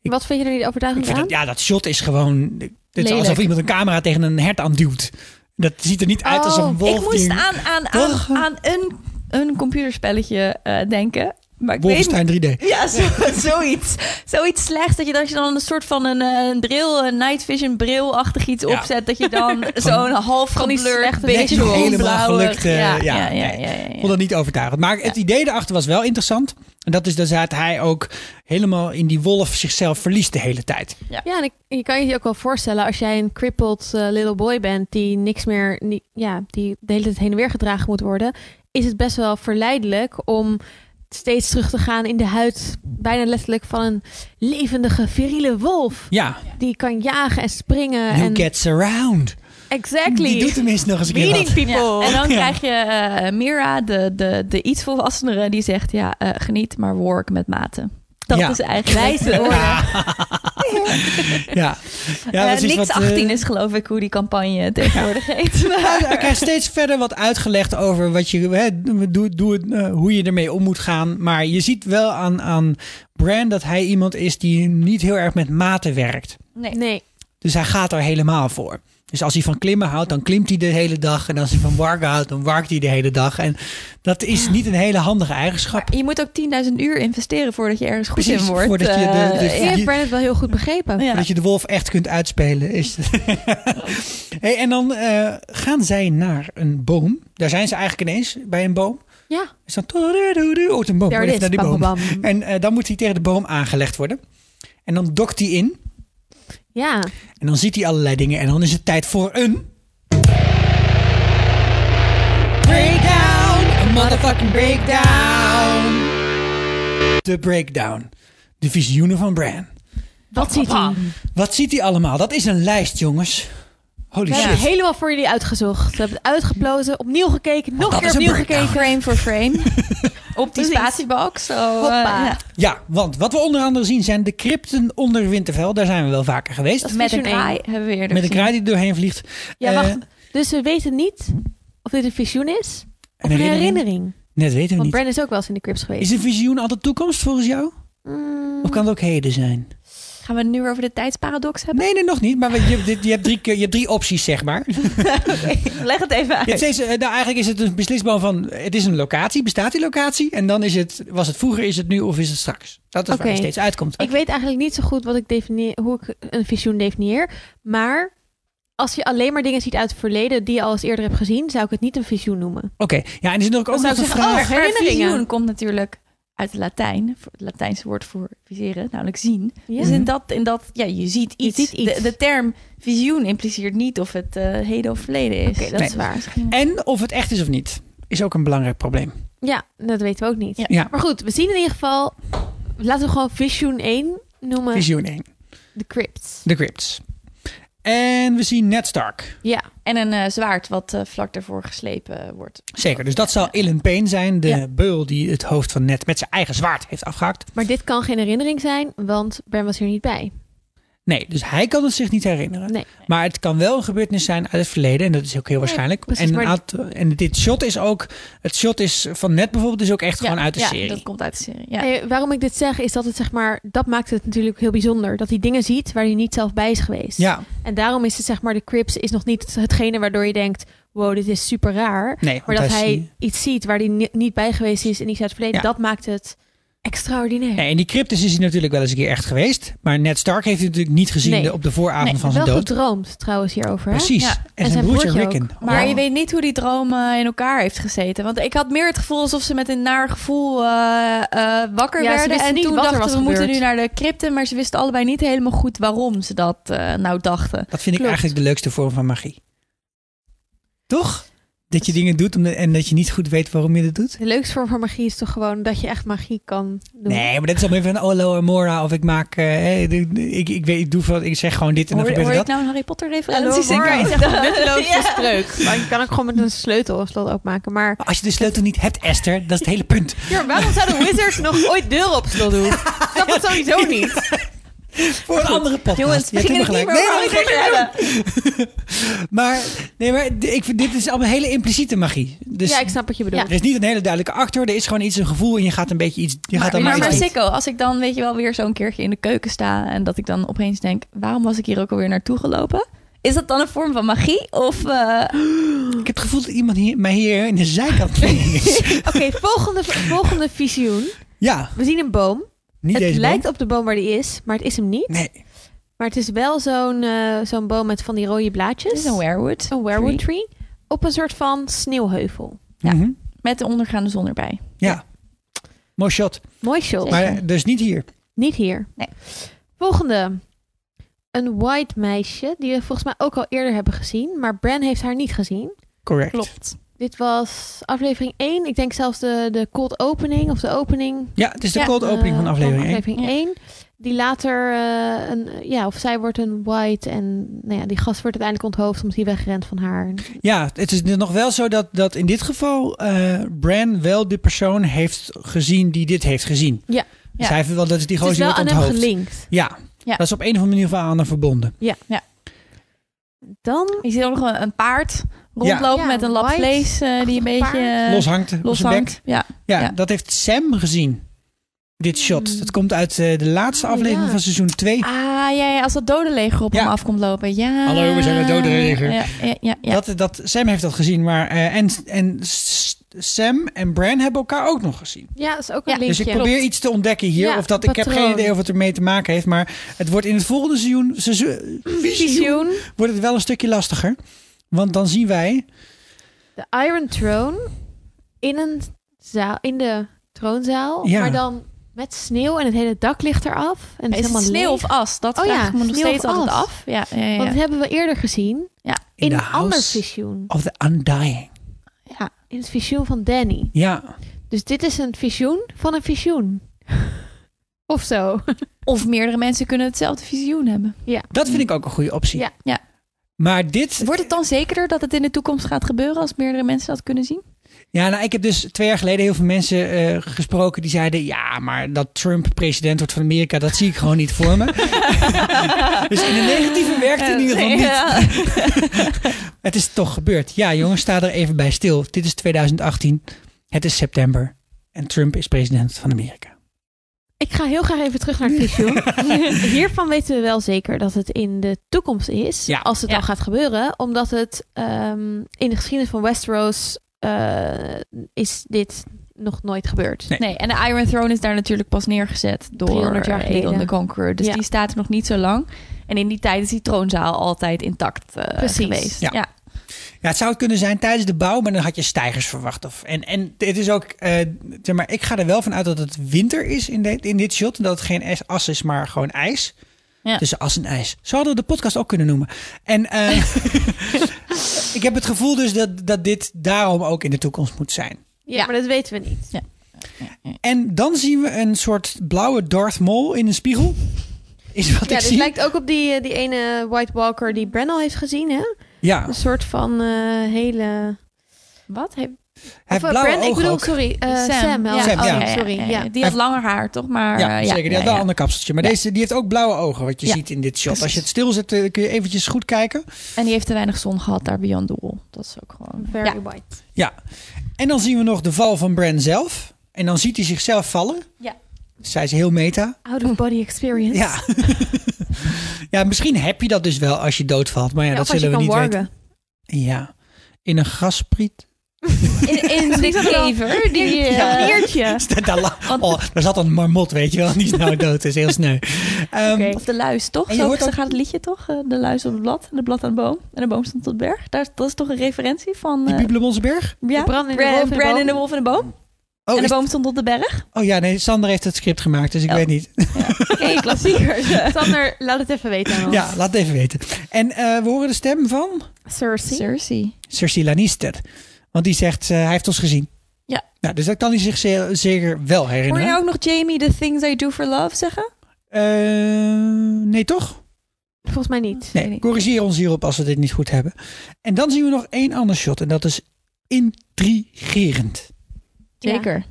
A: Ik-
D: Wat vind je er niet
A: Ik
D: overtuigend
A: vind
D: aan?
A: dat, ja, dat shot is gewoon... Het is
E: Oh, Lelijk.
A: alsof iemand een camera tegen een hert aanduwt. Dat ziet er niet uit als een
D: Oh,
A: wolf.
E: Ik moest
A: die-
E: aan, aan, aan,
A: Toch?
E: aan een, een computerspelletje eh, denken. Maar ik weet niet.
A: Wolfenstein 3D.
E: Ja, zo- zoiets. Zoiets slechts. Dat je, dat je dan een soort van een, eh, een bril, een night vision bril-achtig iets
A: Ja.
E: opzet. Dat je dan zo'n half
D: van die
E: geblurred
D: slechte
A: Net
E: beetje
A: niet helemaal
E: blauwig-
A: gelukt. eh, ja,
E: ja, ja,
A: nee.
E: ja, ja,
A: Ik
E: ja.
A: vond dat niet overtuigend. Maar het idee daarachter was wel interessant. En dat is dus dat hij ook helemaal in die wolf zichzelf verliest de hele tijd.
D: Ja, en ik, je kan je je ook wel voorstellen als jij een crippled eh, little boy bent die niks meer, ni- ja, die de hele tijd heen en weer gedragen moet worden, is het best wel verleidelijk om steeds terug te gaan in de huid, bijna letterlijk van een levendige, viriele wolf
A: Ja,
D: die kan jagen en springen
A: you
D: en
A: gets around. Die doet
D: exactly
A: tenminste nog eens een keer
D: meeting
A: wat.
D: people.
E: Ja, En dan
A: Oh. Ja.
E: krijg je eh, Mira, de, de, de iets volwassenere, die zegt: Ja, eh, geniet, maar work met mate. Dat
A: Ja.
E: is eigenlijk.
D: Wijze woorden.
A: Ja. ja. ja,
E: Eh,
A: dat is
E: niks
A: wat, eh,
E: 18 is geloof ik hoe die campagne tegenwoordig heet.
A: Ja, nou, Hij krijgt steeds verder wat uitgelegd over wat je, hè, doe, doe het, eh, hoe je ermee om moet gaan. Maar je ziet wel aan, aan Brand dat hij iemand is die niet heel erg met maten werkt.
E: Nee.
D: Nee,
A: Dus hij gaat er helemaal voor. Dus als hij van klimmen houdt, dan klimt hij de hele dag. En als hij van warken houdt, dan warkt hij de hele dag. En dat is niet een hele handige eigenschap.
E: Je moet ook 10.000 uur investeren voordat je ergens goed
A: Precies,
E: in wordt.
A: voordat je de-
E: Eh,
A: de-
D: Ik heb Brennet wel heel goed begrepen.
E: ja.
A: Dat je de wolf echt kunt uitspelen. Is... hey, en dan eh, gaan zij naar een boom. Daar zijn ze eigenlijk ineens bij een boom.
D: Ja,
A: Is dan toededoedoe, oh, een boom.
D: daar
A: Even
D: is.
A: naar die
D: Bam,
A: boom.
D: bam, bam.
A: En eh, dan moet hij tegen de boom aangelegd worden. En dan dokt hij in.
D: Ja,
A: En dan ziet hij allerlei dingen. En dan is het tijd voor een. Breakdown! A motherfucking breakdown! De breakdown. De visioenen van Bran.
D: wat ziet hij?
A: Wat ziet hij allemaal? Dat is een lijst, jongens. Holy
D: We hebben
A: shit.
D: het helemaal voor jullie uitgezocht. We hebben het uitgeplozen, opnieuw gekeken, nog
A: dat
D: een keer
A: is een
D: opnieuw
A: breakdown.
D: gekeken.
E: Frame voor frame. Op die
D: Precies.
E: spatiebalk. Zo, eh,
D: Hoppa.
E: ja.
A: Ja, want wat we onder andere zien zijn de crypten onder Winterfell. Daar zijn we wel vaker geweest.
D: Dat is
E: Met een
D: visioen één.
E: kraai hebben we eerder
A: Met een
E: gezien.
A: kraai die er doorheen vliegt.
D: Ja,
A: Eh,
D: wacht. Dus we weten niet of dit een visioen is of
A: Een
D: een
A: herinnering?
D: herinnering.
A: Nee, dat weten we
D: Want
A: niet.
D: Bran is ook wel eens in de crypts geweest.
A: Is een visioen altijd toekomst volgens jou?
D: Mm,
A: Of kan het ook heden zijn?
E: Gaan we het nu weer over de tijdsparadox hebben?
A: Nee, nee, nog niet. Maar we- je, dit- je, hebt drie, keer- je hebt drie opties, zeg maar.
E: Leg het even
A: Je hebt
E: uit.
A: steeds, eh, nou, eigenlijk is het een beslisboom van... Het is een locatie, bestaat die locatie? En dan is het, was het vroeger, is het nu of is het straks? Dat is
D: Oké.
A: waar je steeds uitkomt.
D: Ik weet eigenlijk niet zo goed wat ik definieer, hoe ik een visioen definieer. Maar als je alleen maar dingen ziet uit het verleden die je al eens eerder hebt gezien, zou ik het niet een visioen noemen.
A: Oké, ja, en er zit ook, ook nog een vraag.
E: oh,
D: herinneringen.
E: herinneringen. komt natuurlijk uit het Latijn. voor- Het Latijnse woord voor viseren, namelijk zien.
D: Ja.
E: Dus in dat, in dat, ja, je ziet iets.
D: ziet iets.
E: De, de term visioen impliceert niet of het eh, heden of verleden is.
D: Oké, dat
A: Nee.
D: is waar.
A: En of het echt is of niet, is ook een belangrijk probleem.
D: Ja, dat weten we ook niet.
E: Ja.
A: Ja,
D: Maar goed, we zien in ieder geval... Laten we gewoon visioen 1 noemen.
A: visioen 1,
D: De crypts.
A: de crypts. En we zien Ned Stark.
D: Ja,
E: En een eh, zwaard wat eh, vlak daarvoor geslepen wordt.
A: Zeker, dus dat zal Illen Payne zijn, de
E: Ja.
A: beul die het hoofd van Ned met zijn eigen zwaard heeft afgehakt.
D: maar dit kan geen herinnering zijn, want Bran was hier niet bij.
A: Nee, dus hij kan het zich niet herinneren.
D: Nee.
A: Maar het kan wel een gebeurtenis zijn uit het verleden. En dat is ook heel waarschijnlijk.
D: precies,
A: en, een
D: maar-
A: aantal- en dit shot is ook... Het shot is van net bijvoorbeeld is ook echt gewoon
E: Ja,
A: uit de
E: ja,
A: serie.
E: dat komt uit de serie. Ja.
D: Eh, waarom ik dit zeg, is dat het zeg maar... Dat maakt het natuurlijk heel bijzonder. Dat hij dingen ziet waar hij niet zelf bij is geweest.
A: Ja,
D: En daarom is het zeg maar... De crypts is nog niet hetgene waardoor je denkt... Wow, dit is super raar.
A: nee.
D: Maar
A: want
D: dat
A: is-
D: hij iets ziet waar hij ni- niet bij geweest is... en iets uit het verleden,
A: Ja.
D: dat maakt het extraordinair.
A: Nee, in die cryptis is hij natuurlijk wel eens een keer echt geweest. Maar Ned Stark heeft hij natuurlijk niet gezien
D: Nee.
A: de- op de vooravond
E: Nee,
A: van
D: wel
A: zijn dood.
D: gedroomd trouwens hierover. Hè?
A: Precies.
E: Ja,
A: En, zijn broertje Rickon.
D: ook.
E: Maar
D: Ja.
E: je weet niet hoe die droom eh, in elkaar heeft gezeten. Want ik had meer het gevoel alsof ze met een naar gevoel eh, eh, wakker
D: Ja, ze
E: werden.
D: wisten
E: En
D: niet
E: toen
D: wat er
E: dachten
D: was
E: we moeten nu
D: gebeurd.
E: naar de crypten. Maar ze wisten allebei niet helemaal goed waarom ze dat eh, nou dachten.
A: Dat vind ik
E: Klopt.
A: eigenlijk de leukste vorm van magie. Toch? Dat je dingen doet om de- en dat je niet goed weet waarom je dat doet.
D: De leukste vorm van magie is toch gewoon dat je echt magie kan doen.
A: Nee, maar dit is dan even een Olo Amora of ik maak... eh, hey, ik, ik, ik, weet, ik, doe wat, ik zeg gewoon dit en dan
E: Hoor,
A: gebeurt
E: hoor
A: er
E: ik
A: dat.
E: nou een Harry Potter
D: Hallo,
E: referentie?
D: Mara is
E: Zeker.
D: echt een nutteloze
E: Ja.
D: spreuk. Maar je kan ook gewoon met een sleutel of slot opmaken. Maar
A: Maar als je de sleutel niet hebt, Esther, dat is het hele punt.
D: waarom zouden wizards nog ooit deuren op slot doen? Dat het sowieso niet.
A: Voor een andere podcast. Je
E: Jongens, we
A: hebt
E: gingen het
A: helemaal
E: niet meer over
A: gelijk.
E: Harry Potter hebben.
A: Nee, maar, maar- nee, maar d- ik vind, dit is allemaal hele impliciete magie. Dus
D: ja, ik snap wat je bedoelt.
A: er is niet een hele duidelijke actor. Er is gewoon iets, een gevoel en je gaat een beetje iets... Je gaat dan
E: Maar,
A: maar
E: maar
A: iets doen.
E: sicko, als ik dan weet je wel weer zo'n keertje in de keuken sta en dat ik dan opeens denk, waarom was ik hier ook alweer naartoe gelopen? Is dat dan een vorm van magie? Of eh,
A: Ik heb het gevoel dat iemand hier, mij hier in de zijkant kleding is.
D: Oké, volgende, volgende visioen.
A: Ja,
D: We zien een boom.
A: niet
D: het
A: deze
D: lijkt op de boom waar die is, maar het is hem niet.
A: boom. Nee,
D: Maar het is wel zo'n eh, zo'n boom met van die rode blaadjes.
E: dit is een werewood.
D: Een werewood tree. Op een soort van sneeuwheuvel.
E: Ja.
A: Mhm.
E: Met de ondergaande zon erbij.
A: ja. Mooi shot.
D: Mooi show.
E: Zeker.
A: Maar dus niet hier.
D: Niet hier.
E: Nee.
D: Volgende. Een white meisje, die we volgens mij ook al eerder hebben gezien. Maar Bran heeft haar niet gezien.
A: Correct.
E: Klopt.
D: Dit was aflevering 1. Ik denk zelfs de, de cold opening of de opening.
A: Ja, het is de
E: Ja,
A: cold opening
D: eh,
A: van aflevering 1.
D: aflevering 1. Die later, eh, een, ja, of zij wordt een white en nou ja, die gast wordt uiteindelijk onthoofd omdat hij wegrent van haar.
A: Ja, het is nog wel zo dat, dat in dit geval eh Bran wel de persoon heeft gezien die dit heeft gezien.
D: Ja.
A: Dus
E: Ja.
A: hij heeft wel dat is die
D: Het is
A: gozer die
D: wel aan
A: wordt
D: hem
A: onthoofd.
D: gelinkt.
A: Ja.
E: Ja.
A: dat is op een of andere manier wel aan hem verbonden.
D: Dan,
E: Je ziet ook nog een, een paard rondlopen
D: Ja.
E: met een lap
D: White.
E: vlees eh, die een
D: Achtig
E: beetje
D: paard.
E: eh,
A: Loshangt op zijn
E: loshangt.
A: bek.
E: Ja.
A: Ja,
E: Ja.
A: dat heeft Sam gezien. Dit shot. Dat komt uit eh, de laatste
D: Oh,
A: aflevering
D: Hmm. ja.
A: van seizoen 2.
E: Ah, ja, ja, als dat dode leger op
A: Ja.
E: hem af komt lopen. Ja.
A: Hallo, we zijn het dode leger.
E: Ja, ja, ja, ja.
A: Dat, dat, Sam heeft dat gezien, maar eh, en, en S- Sam en Bran hebben elkaar ook nog gezien.
D: Ja, dat is ook
E: Ja.
D: een
E: Dus
D: linkje.
A: Dus ik probeer iets te ontdekken hier.
D: Ja,
A: of dat, ik heb
D: patroon.
A: geen idee of het ermee te maken heeft. Maar het wordt in het volgende seizoen, seizoen
D: Visioen.
A: wordt het wel een stukje lastiger. Want dan zien wij.
D: De Iron Throne in, een zaal, in de troonzaal,
A: Ja.
D: maar dan met sneeuw en het hele dak ligt eraf. En het is
E: Is het
D: helemaal
E: sneeuw
D: leeg.
E: of as? Dat
D: Oh
E: vraag
D: ja,
E: ik me nog
D: sneeuw
E: steeds
D: of
E: altijd
D: as.
E: af. Ja, ja, ja.
D: Want dat hebben we eerder gezien in,
A: de
D: een ander
A: House
D: visioen.
A: of the Undying.
E: ja.
D: In het visioen van Danny.
A: Ja,
D: Dus dit is een visioen van een visioen. of zo.
E: Of meerdere mensen kunnen hetzelfde visioen hebben.
A: dat vind ik ook een goede optie.
D: Ja.
E: Ja.
A: Maar dit.
E: Wordt het dan zekerder dat het in de toekomst gaat gebeuren als meerdere mensen dat kunnen zien?
A: Ja, nou, ik heb dus twee jaar geleden heel veel mensen eh, gesproken die zeiden: Ja, maar dat Trump president wordt van Amerika, dat zie ik gewoon niet voor me. dus in de negatieve werkt het in ieder geval niet. Het is toch gebeurd. Ja, jongens, sta er even bij stil. Dit is 2018. Het is september. En Trump is president van Amerika.
D: Ik ga heel graag even terug naar het visioen. Hiervan weten we wel zeker dat het in de toekomst is.
A: Ja.
D: Als het
E: Ja.
D: dan gaat gebeuren. Omdat het ehm, in de geschiedenis van Westeros eh, is dit nog nooit gebeurd.
A: Nee.
E: Nee, en de Iron Throne is daar natuurlijk pas neergezet door
D: 300 jaar
E: Aegon
D: geleden.
E: de Conqueror. Dus
D: Ja.
E: die staat er nog niet zo lang. En in die tijd is die troonzaal altijd intact eh,
D: Precies.
E: geweest.
A: Ja. Ja, het zou het kunnen zijn tijdens de bouw, maar dan had je stijgers verwacht. Of, en, en het is ook, eh, zeg maar, ik ga er wel van uit dat het winter is in, dit in dit shot. En dat het geen as- as is, maar gewoon ijs.
E: Ja.
A: Tussen as en ijs. Zo hadden we de podcast ook kunnen noemen. En eh, ik heb het gevoel dus dat, dat dit daarom ook in de toekomst moet zijn.
D: Ja, maar dat weten we niet.
A: En dan zien we een soort blauwe Darth Maul in een spiegel. Is wat
D: ja,
A: ik
D: dit
A: zie.
D: lijkt ook op die, eh, die ene White Walker die Bran al heeft gezien.
A: Oh.
D: Hè?
A: Ja,
D: Een soort van eh, hele...
E: Wat?
D: Hij-
A: hij
D: of, eh,
A: heeft blauwe
D: Bran, ik
A: ogen
D: bedoel,
A: ook.
D: sorry. eh, Sam.
E: ja.
D: wel.
A: Sam,
D: Oh,
A: ja.
D: Sorry, ja.
E: Die had langer haar, toch? Maar,
A: Ja,
E: eh,
A: zeker. Die had wel een ander kapseltje. Maar
E: Ja.
A: deze die heeft ook blauwe ogen, wat je
E: Ja,
A: ziet in dit shot.
E: precies.
A: Als je het stilzet, eh, kun je eventjes goed kijken.
E: En die heeft te weinig zon gehad daar bij Jan Doel. Dat is ook gewoon... eh,
D: Very
E: ja.
D: white.
A: Ja. En dan zien we nog de val van Bran zelf. En dan ziet hij zichzelf vallen.
E: Ja.
A: Zij is heel meta.
D: Out of body experience.
A: Ja. ja, misschien heb je dat dus wel als je doodvalt. Maar ja,
D: Ja,
A: dat
D: of als je
A: zullen we
D: kan
A: niet
D: wargen.
A: weten. Ja. In een gaspriet.
E: In, in
D: Misschien zat er wel-
E: kever. Die, eh,
D: Ja. Een eertje.
A: daar, la- oh, daar zat een marmot, weet je wel. Die is nou dood. Dat is heel sneu. Ehm,
D: Oké.
E: Of de luis, toch?
A: En je
E: Zo,
A: hoort
E: zo
A: ook-
E: gaat het liedje, toch? Eh, De luis op het blad en de blad aan de boom. En de boom stond tot berg. Daar, dat is toch een referentie van...
A: Die
E: eh,
A: Pieblemonsberg?
E: ja?
D: De brand in de
E: Bran-
D: wolf en de
E: Bran
D: boom.
E: en de wolf en de boom.
A: Oh,
E: en de
A: is-
E: boom stond op de berg.
A: oh ja, nee, Sander heeft het script gemaakt, dus ik
E: Oh.
A: weet niet.
E: Oké, klassiekers.
D: Sander, laat het even weten
E: Oh.
D: aan ons.
A: Ja, laat het even weten. En eh, we horen de stem van
D: Cersei.
E: Cersei.
A: Cersei Lannister. Want die zegt, eh, hij heeft ons gezien.
E: Ja.
A: Nou, dus dat kan hij zich ze- zeker wel
E: Hoor je
A: herinneren.
E: nou ook nog Jamie The Things I Do For Love zeggen?
A: Eh, nee, toch?
D: Volgens mij niet.
E: Weet
A: Nee,
E: ik.
A: corrigeer ons hierop als we dit niet goed hebben. En dan zien we nog één ander shot. En dat is intrigerend.
E: Zeker.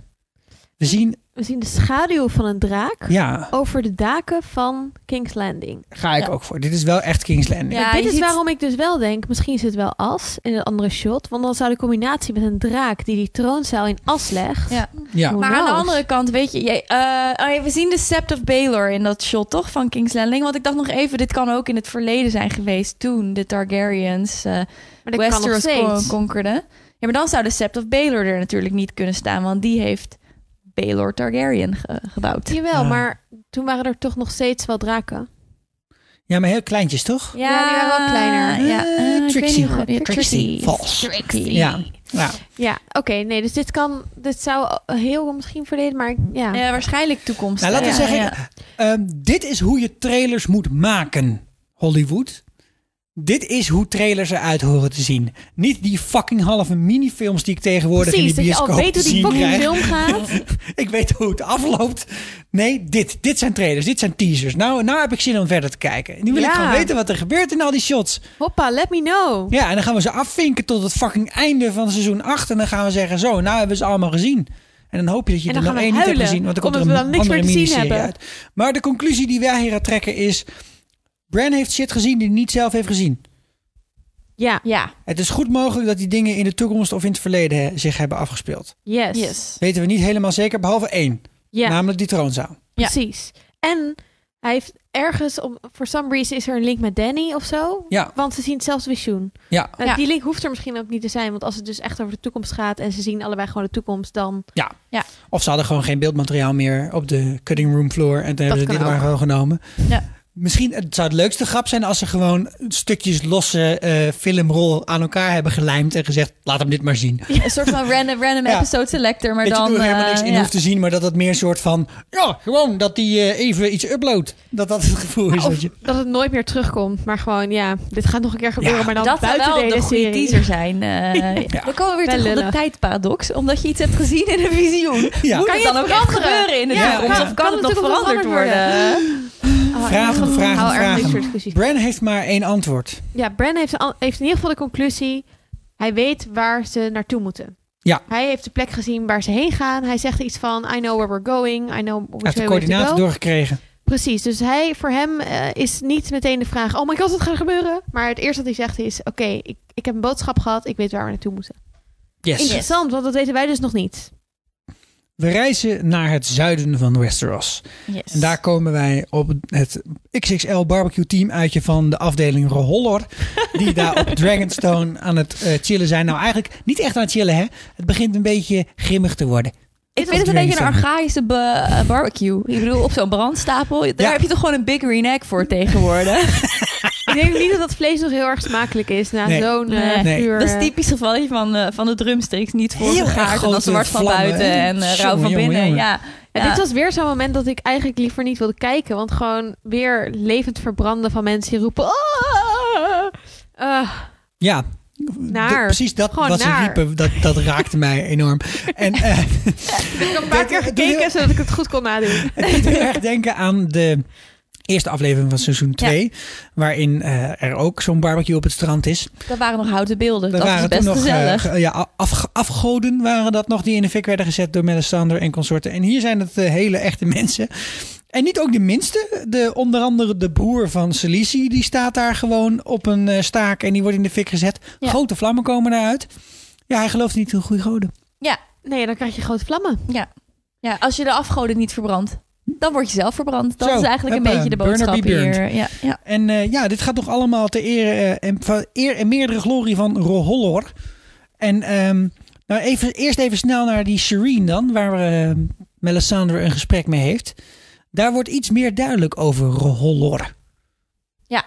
A: We zien,
D: We zien de schaduw van een draak
A: ja,
D: over de daken van King's Landing.
A: ga ik
E: Ja.
A: ook voor. Dit is wel echt King's Landing.
E: Ja,
D: Maar dit
E: je
D: is
E: ziet-
D: waarom ik dus wel denk, misschien is het wel as in een andere shot. Want dan zou de combinatie met een draak die die troonzaal in as legt...
E: Ja.
A: Ja.
E: Maar aan de
D: knows?
E: andere kant, weet je... jij- eh, oh ja, we zien de Sept of Baelor in dat shot, toch? Van King's Landing. Want ik dacht nog even, dit kan ook in het verleden zijn geweest... toen de Targaryens eh,
D: Maar dat kan nog
E: Westeros
D: steeds.
E: kon- conquerde. Ja, maar dan zou de Sept of Baelor er natuurlijk niet kunnen staan... want die heeft Baelor Targaryen ge- gebouwd.
D: Jawel,
A: Ja.
D: maar toen waren er toch nog steeds wel draken.
A: ja, maar heel kleintjes, toch?
D: Ja, die waren wel kleiner.
E: Ja,
A: Eh,
E: eh, ik
A: Trixie.
E: weet niet goed.
A: Ja, Trixie. Vals.
E: Trixie.
A: Ja. Ja.
D: Ja, oké. nee, dus dit kan... Dit zou heel misschien verleden, maar ik- ja.
E: Ja, waarschijnlijk toekomst.
A: Nou, laten we
E: Ja,
A: zeggen,
E: ja.
A: ehm, dit is hoe je trailers moet maken, Hollywood. Dit is hoe trailers eruit horen te zien. Niet die fucking halve minifilms die ik tegenwoordig
D: Precies,
A: in de
D: dat je
A: bioscoop
D: al weet hoe
A: te
D: die
A: zien
D: fucking
A: krijg.
D: film gaat.
A: Ik weet hoe het afloopt. Nee, dit. Dit zijn trailers. Dit zijn teasers. Nou, nou heb ik zin om verder te kijken. Nu wil ik
D: Ja.
A: gewoon weten wat er gebeurt in al die shots.
D: Hoppa, let me know.
A: Ja, en dan gaan we ze afvinken tot het fucking einde van seizoen 8. En dan gaan we zeggen, zo, nou hebben we ze allemaal gezien. En dan hoop je dat je
D: En
A: er
D: dan
A: nog
D: gaan we
A: één niet hebt
D: huilen,
A: gezien. Want dan komt er
D: omdat
A: een
D: we dan niks
A: andere
D: meer te zien
A: miniserie
D: hebben.
A: uit. Maar de conclusie die wij hier aan trekken is... Bran heeft shit gezien die hij niet zelf heeft gezien.
D: Ja,
E: Ja,
A: Het is goed mogelijk dat die dingen in de toekomst of in het verleden eh, zich hebben afgespeeld.
D: yes.
E: yes.
A: Weten we niet helemaal zeker, behalve één.
D: Ja,
A: Namelijk die troonzaal.
D: precies. En hij heeft ergens, om, for some reason is er een link met Danny of zo.
A: Ja.
D: Want ze zien hetzelfde visioen.
A: Ja.
D: Nou,
E: Ja.
D: Die link hoeft er misschien ook niet te zijn. Want als het dus echt over de toekomst gaat en ze zien allebei gewoon de toekomst, dan...
A: Of ze hadden gewoon geen beeldmateriaal meer op de cutting room floor. En toen hebben ze
D: kan
A: dit maar
D: ook.
A: gewoon genomen.
E: Ja.
A: Misschien het zou het leukste grap zijn als ze gewoon stukjes losse eh, filmrol aan elkaar hebben gelijmd. En gezegd, laat hem dit maar zien.
E: Een soort van random, random
A: Ja.
E: episode selector, maar
A: dat
E: dan...
A: je er helemaal
E: eh,
A: niks in
E: ja.
A: hoeft te zien. Maar dat het meer een soort van, ja, gewoon dat hij eh, even iets uploadt. Dat dat het gevoel
E: Oh,
A: is.
D: Of
A: dat je,
D: dat het nooit meer terugkomt. Maar gewoon, ja, dit gaat nog een keer gebeuren.
A: Ja.
D: maar dan
E: Dat zou
D: buiten
E: wel
D: de
E: de
D: hele
E: goede
D: serie.
E: teaser zijn. eh. We komen weer
D: Wel
E: terug op de
D: lullig.
E: tijdparadox. Omdat je iets hebt gezien in een visioen.
A: Ja.
E: Moet
D: Kan
E: het
D: je
E: dan ook
D: het
E: echt
D: veranderen?
E: gebeuren in de
A: Ja,
E: toekomst?
A: kan-
E: Of kan
D: kan
E: het nog
D: natuurlijk nog
E: veranderd
D: veranderd
E: worden?
D: Oh,
A: Vragen,
D: ik
A: vragen,
D: hou erg van
A: vragen.
D: dit soort discussies.
A: Bran heeft maar één antwoord.
D: Ja, Bran heeft, al- heeft in ieder geval de conclusie. Hij weet waar ze naartoe moeten.
A: Ja.
D: Hij heeft de plek gezien waar ze heen gaan. Hij zegt iets van, I know where we're going. I know
A: Hij heeft de
D: which way we have to
A: coördinaten
D: go.
A: doorgekregen.
D: Precies, dus hij, voor hem eh, is niet meteen de vraag... Oh my god, wat gaat er gebeuren? Maar het eerste wat hij zegt is... Oké, ik, ik heb een boodschap gehad. Ik weet waar we naartoe moeten.
A: Yes.
D: Interessant, want dat weten wij dus nog niet.
A: We reizen naar het zuiden van Westeros.
E: Yes.
A: En daar komen wij op het XXL barbecue team uitje van de afdeling Rohollor. Die daar op Dragonstone aan het eh, chillen zijn. Nou, eigenlijk niet echt aan het chillen, hè? Het begint een beetje grimmig te worden.
E: Ik vind het een beetje een archaïsche be- eh, barbecue. Ik bedoel, op zo'n brandstapel, daar
A: Ja.
E: heb je toch gewoon een big reenact voor tegenwoordig.
D: Ik denk niet dat dat vlees nog heel erg smakelijk is na
A: Nee.
D: zo'n
E: Nee.
D: eh
A: Nee.
D: uur.
E: Dat is
D: eh,
E: typisch gevalletje van, eh, van de drumsticks. Niet voor gegaard en dan
A: grote
E: zwart van
A: vlammen,
E: buiten
A: hè?
E: en eh, rauw
A: Jongen,
E: van
A: jongen,
E: binnen.
A: jongen.
E: Ja.
D: En
E: Ja.
D: dit was weer zo'n moment dat ik eigenlijk liever niet wilde kijken. Want gewoon weer levend verbranden van mensen die roepen... "Ah!" Eh,
A: Ja,
D: Naar.
A: de- precies dat
D: Gewoon
A: wat ze
D: naar.
A: riepen, dat, dat raakte mij enorm. En eh,
D: ik heb een paar keer
A: doe je-
D: gekeken zodat ik het goed kon nadoen.
A: het doet heel erg denken aan de eerste aflevering van seizoen 2. Waarin eh, er ook zo'n barbecue op het strand is.
E: Dat waren nog houten beelden.
A: Dat
E: Dat, is
A: waren
E: best
A: toen nog eh,
E: gezellig.
A: ge- ja, af, afgoden waren dat nog die in de fik werden gezet door Melisandre en consorten. En hier zijn het eh, hele echte mensen. En niet ook de minste. De, onder andere de broer van Celici, die staat daar gewoon op een eh, staak en die wordt in de fik gezet.
E: Ja.
A: Grote vlammen komen daaruit. Ja, hij gelooft niet in goede goden.
D: Nee, dan krijg je grote vlammen.
E: ja, als je de afgoden niet verbrandt, dan word je zelf verbrand. Dat
A: Zo,
E: is eigenlijk een
A: huppa,
E: beetje de
A: burner be
E: boodschap
A: burned.
E: hier. Ja, ja.
A: En eh, ja, dit gaat toch allemaal ter ere eh, en, van eer en meerdere glorie van Rohollor. En ehm, nou even, eerst even snel naar die Shireen dan, waar eh, Melisandre een gesprek mee heeft. Daar wordt iets meer duidelijk over Rohollor.
E: Ja.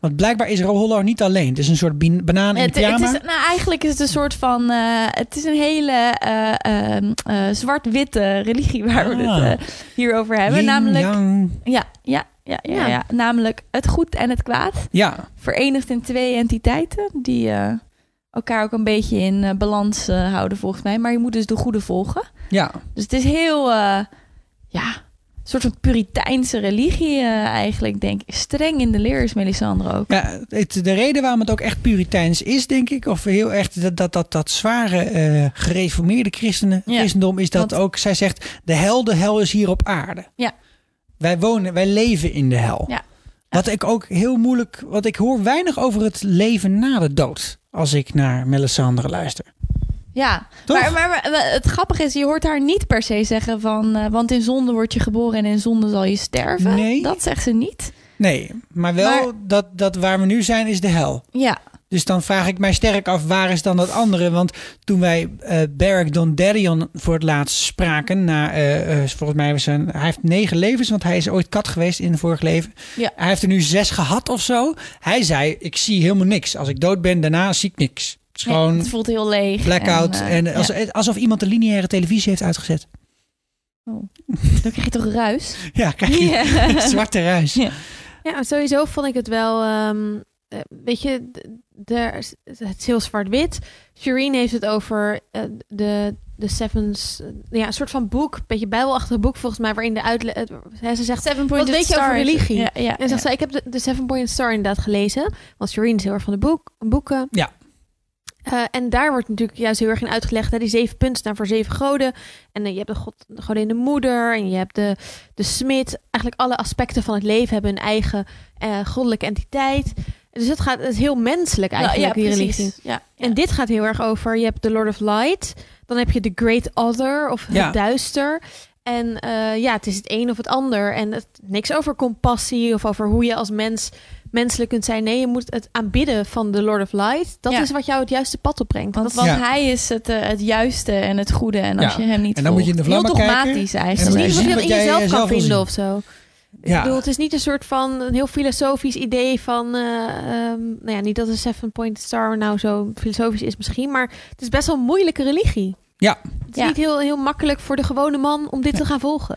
A: Want blijkbaar is Rohollor niet alleen. Het is een soort bin- banaan in
E: Het, het
A: pyjama.
E: is, nou, eigenlijk is het een soort van. eh, het is een hele eh, ehm, eh, zwart-witte religie waar we
A: Ah.
E: het eh, hier over hebben.
A: Yin,
E: namelijk.
A: yang.
E: Ja, ja, ja, ja, ja,
D: Ja.
E: Namelijk het goed en het kwaad.
A: Ja,
E: Verenigd in twee entiteiten die eh, elkaar ook een beetje in eh, balans eh, houden, volgens mij. Maar je moet dus de goede volgen.
A: ja.
E: Dus het is heel. eh, ja, een soort van puriteinse religie eh, eigenlijk, denk ik. Streng in de leer is Melisandre ook.
A: Ja, het, de reden waarom het ook echt puriteins is, denk ik, of heel echt dat, dat, dat, dat zware eh, gereformeerde christenen,
E: Ja,
A: christendom, is dat
E: want-
A: ook, zij zegt, de hel, de hel is hier op aarde.
E: Ja.
A: Wij wonen, wij leven in de hel.
E: Ja.
A: Wat ik ook heel moeilijk, want ik hoor weinig over het leven na de dood, als ik naar Melisandre luister.
E: Ja,
A: Toch?
E: maar, maar, maar het grappige is, je hoort haar niet per se zeggen van... eh, want in zonde word je geboren en in zonde zal je sterven.
A: Nee.
E: Dat zegt ze niet.
A: Nee, maar wel Dat, dat waar we nu zijn is de hel.
E: Ja,
A: Dus dan vraag ik mij sterk af, waar is dan dat andere? Want toen wij eh Beric Dondarrion voor het laatst spraken, na, eh, eh, volgens mij was zijn, hij heeft negen levens, want hij is ooit kat geweest in een vorig leven.
E: Ja.
A: Hij heeft er nu zes gehad of zo. Hij zei, ik zie helemaal niks. Als ik dood ben, daarna zie ik niks. Het is
E: Ja,
A: gewoon
E: het voelt heel leeg.
A: blackout. En,
E: eh,
A: als,
E: ja.
A: alsof iemand de lineaire televisie heeft uitgezet.
E: Oh. Dan krijg je toch ruis?
A: Ja, kijk, je
E: Ja.
A: zwarte ruis.
E: Ja.
D: Ja, maar sowieso vond ik het wel... ehm, eh, weet je, d- daar is- het is heel zwart-wit. Shireen heeft het over eh, de, de Sevens... eh, ja, een soort van boek, een beetje bijbelachtig boek volgens mij... waarin de uitleg... ze zegt
E: Seven
D: Wat weet je over
E: Stars.
D: religie?
E: Ja, ja,
D: En zegt
E: ja.
D: zij, ik heb de, de Seven Point Star inderdaad gelezen. Want Shireen is heel erg van de boek, boeken.
A: Ja.
D: Eh, en daar wordt natuurlijk juist heel erg in uitgelegd. Hè? Die zeven punten staan voor zeven goden. En eh, je hebt de, god, de godin de moeder. En je hebt de, de smid. Eigenlijk alle aspecten van het leven hebben hun eigen eh, goddelijke entiteit. Dus het, gaat, het is heel menselijk eigenlijk,
E: Nou, ja,
D: die
E: precies.
D: religie.
E: Ja, ja.
D: En dit gaat heel erg over, je hebt de Lord of Light. Dan heb je de Great Other of het
A: Ja.
D: duister. En eh, ja, het is het een of het ander. En het, niks over compassie of over hoe je als mens menselijk kunt zijn. Nee, je moet het aanbidden van de Lord of Light. Dat
E: Ja.
D: is wat jou het juiste pad opbrengt.
E: Want,
D: dat
E: want
A: Ja.
E: hij is het, eh, het juiste en het goede. En als
A: Ja.
E: je hem niet
A: En dan moet je
E: volgt.
A: in de vlammen
E: Heel
A: kijken.
E: dogmatisch
D: is
A: dan
E: eigenlijk. Dus
D: niet
A: zien
D: wat je dat
A: wat
D: in
A: jij
D: jezelf
A: jezelf
D: kan
A: wil zien.
D: vinden of zo.
A: Ja.
D: Ik bedoel, het is niet een soort van een heel filosofisch idee van... eh, ehm, nou ja, niet dat een Seven Point Star nou zo filosofisch is misschien... maar het is best wel een moeilijke religie.
A: Ja.
D: Het is
E: Ja.
D: niet heel, heel makkelijk voor de gewone man om dit te gaan volgen.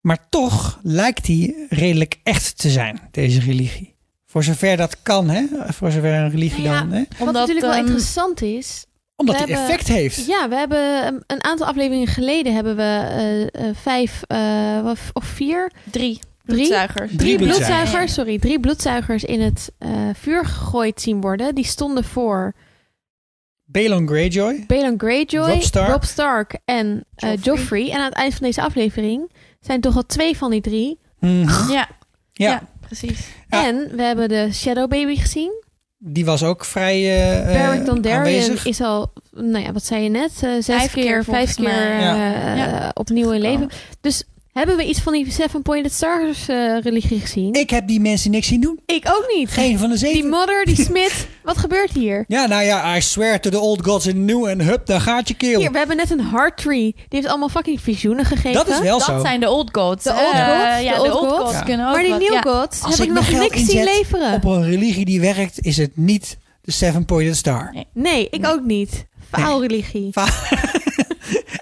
A: Maar toch lijkt die redelijk echt te zijn, deze religie. Voor zover dat kan, hè? Voor zover een religie
D: Nou ja.
A: dan. Hè?
D: Wat natuurlijk wel
E: ehm,
D: interessant is...
A: Omdat
D: We
A: die
D: hebben-
A: effect heeft.
D: Ja, we hebben een- een aantal afleveringen geleden... hebben we eh, eh, vijf eh, of- of vier
E: Drie.
D: Drie?
E: bloedzuigers.
A: Drie
D: drie
A: bloedzuigers.
D: bloedzuigers, sorry, drie bloedzuigers in het eh, vuur gegooid zien worden. Die stonden voor
A: Balon Greyjoy.
D: Balon Greyjoy,
A: Robb Stark.
D: Stark en eh,
E: Joffrey.
D: Joffrey. En aan het eind van deze aflevering zijn toch al twee van die drie.
A: Mhm.
E: Ja,
A: Ja.
E: ja. precies.
A: Ja.
D: En we hebben de Shadow Baby gezien.
A: die was ook vrij eh eh,
D: Beric Dondarrion
A: aanwezig.
D: is al, nou ja, wat zei je net? eh, zes
E: Vijf
D: keer, vijf
E: keer volgens
D: keer
E: mij.
D: eh,
E: Ja.
D: eh, opnieuw in leven. Dus hebben we iets van die Seven Pointed Stars eh, religie gezien?
A: Ik heb die mensen niks zien doen.
D: Ik ook niet.
A: Geen van de
D: Die
A: zeven.
D: modder, die smid. wat gebeurt hier?
A: ja, nou ja, I swear to the old gods and new en hup, daar gaat je keel.
D: Hier, we hebben net een hard tree. Die heeft allemaal fucking visioenen gegeven.
A: dat is wel
E: dat
A: zo.
E: zijn de old gods.
D: De old
E: Eh,
D: gods,
E: ja,
D: de
E: de
D: old
E: old gods,
D: gods.
A: Ja.
E: kunnen ook
D: maar die
E: wat.
D: New
E: Ja.
D: Gods
A: Als
D: heb
A: ik
D: ik
A: mijn
D: nog
A: geld
D: niks zien
A: inzet
D: leveren.
A: Op een religie die werkt is het niet de Seven Pointed Star.
D: Nee, ik ook niet. Faalreligie.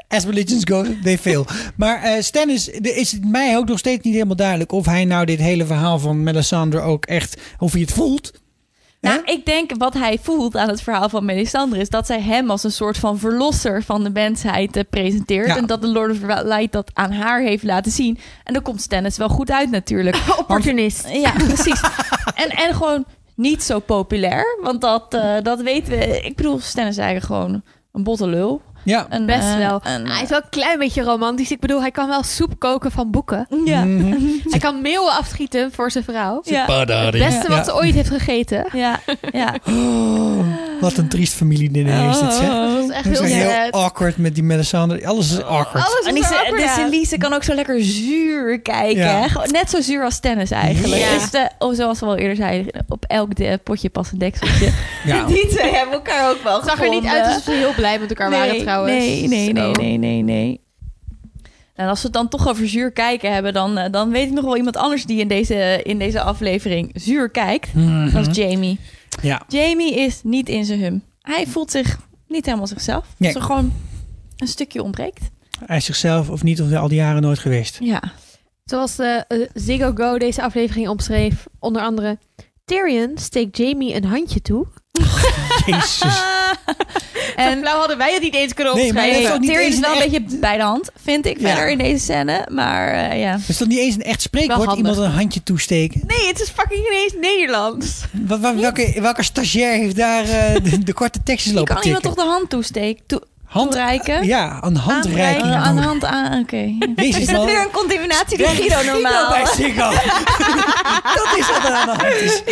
A: As religions go, they fail. maar eh Stannis, de- is het mij ook nog steeds niet helemaal duidelijk... of hij nou dit hele verhaal van Melisandre ook echt... of hij het voelt.
E: Nou, ik denk wat hij voelt aan het verhaal van Melisandre... is dat zij hem als een soort van verlosser van de mensheid eh, presenteert.
A: Ja.
E: En dat de Lord of Light dat aan haar heeft laten zien. En dan komt Stannis wel goed uit natuurlijk.
D: Opportunist.
E: Ja, precies. en, en gewoon niet zo populair. Want dat, eh, dat weten we. Ik bedoel, Stennis is eigenlijk gewoon een botte lul.
A: Ja.
E: Een,
D: Best
E: eh,
D: wel.
E: een-
D: hij is wel een klein beetje romantisch. Ik bedoel, hij kan wel soep koken van boeken.
E: ja.
A: Mhm.
D: Hij kan meeuwen afschieten voor zijn vrouw.
E: Ja,
D: Het beste
A: Ja.
D: wat ze ooit heeft gegeten.
E: ja, ja.
A: Oh, wat een triest
E: Oh,
A: familiediner is dit, zeg.
D: Dat is echt
A: Ze
D: heel
A: zijn heel
D: vet.
A: awkward met die Melisandre. Alles
E: Oh,
A: is awkward.
D: Alles
E: En
D: is
E: die,
D: er awkward
E: de
D: aan.
E: Celise kan ook zo lekker zuur kijken.
A: Ja.
E: hè. Gewoon Net zo zuur als Stennis eigenlijk.
D: Ja.
E: Dus de, oh, zoals we al eerder zeiden, op elk de- potje past een dekseltje.
A: Ja.
E: Die twee hebben elkaar ook wel
D: Het zag er niet uit alsof ze heel blij met elkaar waren trouwens.
E: Nee, nee, nee,
D: Zo.
E: nee, nee, nee. Nou, En als we het dan toch over zuur kijken hebben, dan, eh, dan weet ik nog wel iemand anders die in deze, in deze aflevering zuur kijkt.
A: Mhm.
E: Dat is Jamie.
A: Ja.
E: Jamie is niet in zijn hum. Hij voelt zich niet helemaal zichzelf.
A: Nee.
E: Dat er gewoon een stukje ontbreekt.
A: Hij is zichzelf of niet of al die jaren nooit geweest.
E: Ja.
D: Zoals eh, eh, Ziggo Go deze aflevering omschreef, onder andere... Tyrion steekt Jamie een handje toe.
A: Jezus.
D: En flauw hadden wij het niet eens kunnen
A: Dus- Nee, maar
D: opschrijven.
A: dat is
E: Nee,
A: ook niet
E: Tyrion
A: eens
E: is wel
A: een
E: een beetje bij de hand, vind ik
A: Ja.
E: verder in deze scène. Maar eh, ja.
A: Is dat niet eens een echt
D: Wel
A: spreekwoord?
D: handig.
A: Iemand een handje toesteken?
D: Nee, het is fucking ineens Nederlands.
A: Wat, wat- welke, welke stagiair heeft daar eh, de, de korte tekstjes
E: Je
A: lopen
E: kan iemand
A: tikken?
E: toch de hand toesteken? toe-
A: Hand-
E: toereiken?
A: Ja, een handreiking.
E: Aanreiken, Aan de
A: doen.
E: hand aan, oké.
A: Jezus,
E: Is dat
A: man.
E: weer een contaminatie die
A: Weg is
E: Guido normaal? Oh
A: bij Ziggo. dat is wat er aan de hand is.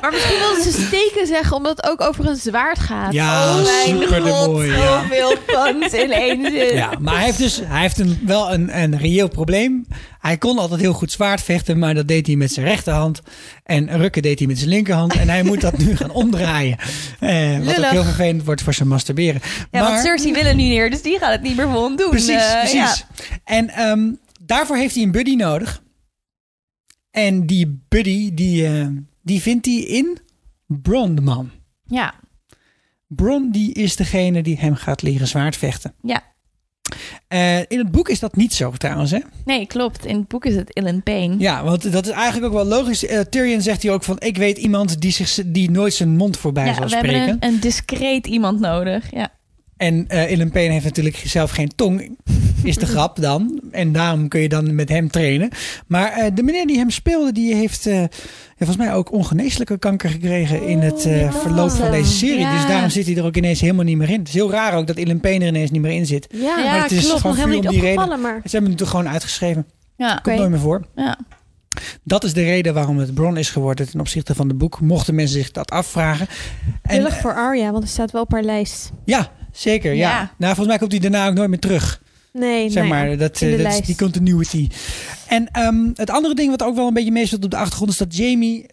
D: Maar misschien wilden ze steken zeggen, omdat het ook over een zwaard gaat.
A: Ja,
E: oh
A: super de mooi. Ah, Ja.
E: Zoveel puns in één zin.
A: Ja, maar hij heeft dus hij heeft een, wel een, een reëel probleem. Hij kon altijd heel goed zwaard vechten, maar dat deed hij met zijn rechterhand. En rukken deed hij met zijn linkerhand. En hij moet dat nu gaan omdraaien. Eh, wat ook
D: Lullig.
A: heel vervelend wordt voor zijn masturberen.
E: Ja, want Cersei wil er niet neer, dus die gaat het niet meer voor hem doen.
A: Precies,
E: Eh, ja.
A: precies. En ehm, daarvoor heeft hij een buddy nodig. En die buddy, die, eh, die vindt hij in Bronman.
E: Ja.
A: Bron, die is degene die hem gaat leren zwaardvechten.
E: Ja.
A: Eh, in het boek is dat niet zo trouwens, hè?
E: Nee, klopt. In het boek is het Ellen Payne.
A: Ja, want dat is eigenlijk ook wel logisch. Eh, Tyrion zegt hier ook van, ik weet iemand die, zich, die nooit zijn mond voorbij
E: Ja,
A: zal
E: we
A: spreken.
E: hebben een, een discreet iemand nodig. Ja.
A: En eh Ellen Payne heeft natuurlijk zelf geen tong, is de grap dan. En daarom kun je dan met hem trainen. Maar eh, de meneer die hem speelde, die heeft eh, ja, volgens mij ook ongeneeslijke kanker gekregen in het eh, verloop van deze serie.
E: Oh, Ja.
A: Dus daarom zit hij er ook ineens helemaal niet meer in. Het is heel raar ook dat Ellen Payne er ineens niet meer in zit.
D: ja,
E: Ja,
D: maar het is
A: klopt.
D: nog
A: Gewoon
D: helemaal
A: puur
D: niet
A: om die reden.
D: opgevallen, maar...
A: Ze hebben het er gewoon uitgeschreven.
E: Ja.
A: Komt nooit meer voor.
E: ja.
A: Dat is de reden waarom het Bron is geworden ten opzichte van de boek. Mochten mensen zich dat afvragen. En eh,
D: Lullig voor Arya, want er staat wel op haar lijst.
A: ja, zeker. Ja.
E: Ja.
A: Nou, volgens mij komt hij daarna ook nooit meer terug.
D: Nee,
A: Zeg
D: nou ja.
A: maar, dat,
D: in
A: eh,
D: de
A: dat is
D: lijst.
A: die continuity. En ehm, het andere ding wat ook wel een beetje meespeelt op de achtergrond is dat Jamie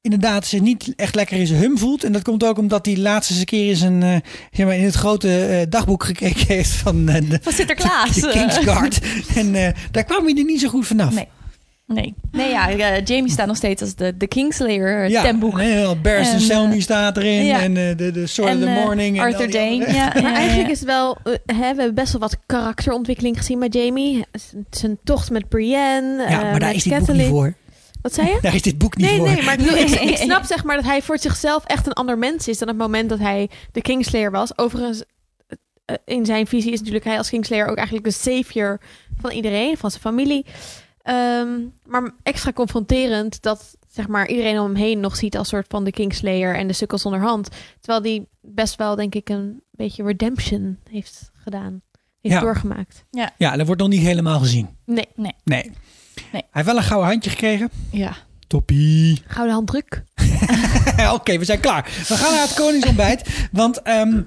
A: inderdaad zich niet echt lekker in zijn hum voelt. En dat komt ook omdat hij laatste eens een keer in, zijn, eh, zeg maar, in het grote eh, dagboek gekeken heeft van eh, de,
E: Van Sinterklaas.
A: de Kingsguard. en eh, daar kwam hij er niet zo goed vanaf.
E: Nee. Nee. nee, ja, eh, Jamie staat nog steeds als de, de Kingslayer eh,
A: Ja,
E: stemboek.
A: en heel Bears
E: En,
A: en
E: eh,
A: Selmy staat erin.
E: ja.
A: En eh, de, de Sword of
E: En,
A: the
E: eh,
A: Morning. en al
E: Arthur
A: die
E: Dane.
A: andere-
E: Ja, ja,
D: Maar
E: ja,
D: eigenlijk
E: ja.
D: is het wel, eh, hè, we hebben best wel wat karakterontwikkeling gezien bij Jamie. Z- Zijn tocht met Brienne, eh,
A: Ja, maar daar
D: met
A: is dit boek niet
D: Catelyn.
A: voor.
D: Wat zei je?
A: Daar is dit boek niet
D: Nee,
A: voor.
D: nee, maar ik, bedoel, ik, ik snap zeg maar dat hij voor zichzelf echt een ander mens is dan het moment dat hij de Kingslayer was. Overigens, eh, in zijn visie is natuurlijk hij als Kingslayer ook eigenlijk de savior van iedereen, van zijn familie. Ehm, maar extra confronterend dat zeg maar iedereen om hem heen nog ziet als soort van de Kingslayer en de sukkel zonder hand. Terwijl die best wel denk ik een beetje redemption heeft gedaan, heeft
A: Ja.
D: doorgemaakt.
A: Ja, dat wordt nog niet helemaal gezien.
D: Nee,
A: Nee. Hij heeft wel een gouden handje gekregen.
D: ja.
A: Toppie.
D: Gouden handdruk.
A: Oké, we zijn klaar. We gaan naar het koningsontbijt. Want ehm,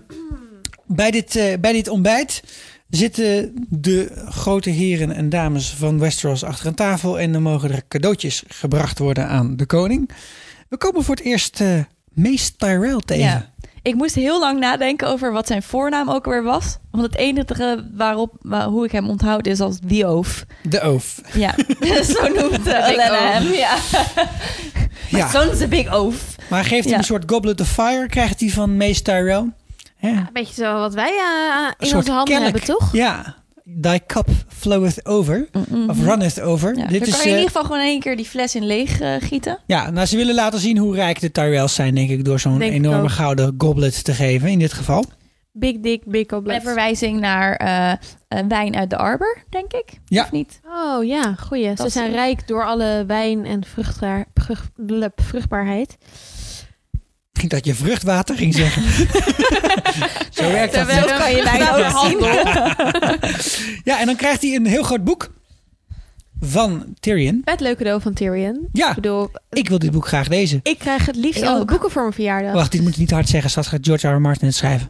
A: bij, dit, eh, bij dit ontbijt zitten de grote heren en dames van Westeros achter een tafel. En dan mogen er cadeautjes gebracht worden aan de koning. We komen voor het eerst eh Mace Tyrell tegen.
E: Ja. Ik moest heel lang nadenken over wat zijn voornaam ook weer was. Want het enige waarop, waar- hoe ik hem onthoud is als The Oof.
A: De oof.
E: Ja, zo noemt de
D: Big
E: Elena
D: Oaf.
E: hem. Ja.
A: Ja.
E: Zo'n is de Big Oof.
A: Maar geeft hij
E: Ja.
A: een soort goblet of fire? Krijgt hij van Mace Tyrell? Ja.
D: Een beetje zo wat wij eh,
A: Een
D: in
A: soort
D: onze handen
A: kelk.
D: hebben, toch?
A: Ja. Thy cup floweth over. Of runneth over.
E: Mhm. Ja. Mm, Dan
A: Dit
E: kan
A: is,
E: je in
A: eh,
E: ieder geval gewoon in één keer die fles in leeg eh, gieten.
A: Ja, nou, ze willen laten zien hoe rijk de Tyrells zijn, denk ik, door zo'n
D: Denk ik
A: enorme
D: ook.
A: gouden goblet te geven, in dit geval.
D: Big dick, big
E: Met
D: oblet.
E: verwijzing naar eh, eh, wijn uit de arbor, denk ik.
A: Ja.
E: Of niet?
D: Oh ja, goeie. Ze
E: Dat-
D: zijn rijk door alle wijn en vruchtbaar, vrucht- blup, vruchtbaarheid.
A: Ik dat je vruchtwater ging zeggen. Zo werkt dat.
D: Terwijl-
A: niet.
E: Zo kan je wijn
D: Nou,
E: ook zien.
A: Ja, en dan krijgt hij een heel groot boek van Tyrion.
D: Vet leuk cadeau van Tyrion. Ik
A: Ja,
D: bedoel,
A: ik wil dit boek graag lezen.
D: ik krijg het liefst
E: Ik
D: alle
E: ook.
D: boeken voor mijn verjaardag.
A: Wacht, dit moet je niet hard zeggen, straks gaat George R. R. Martin het schrijven.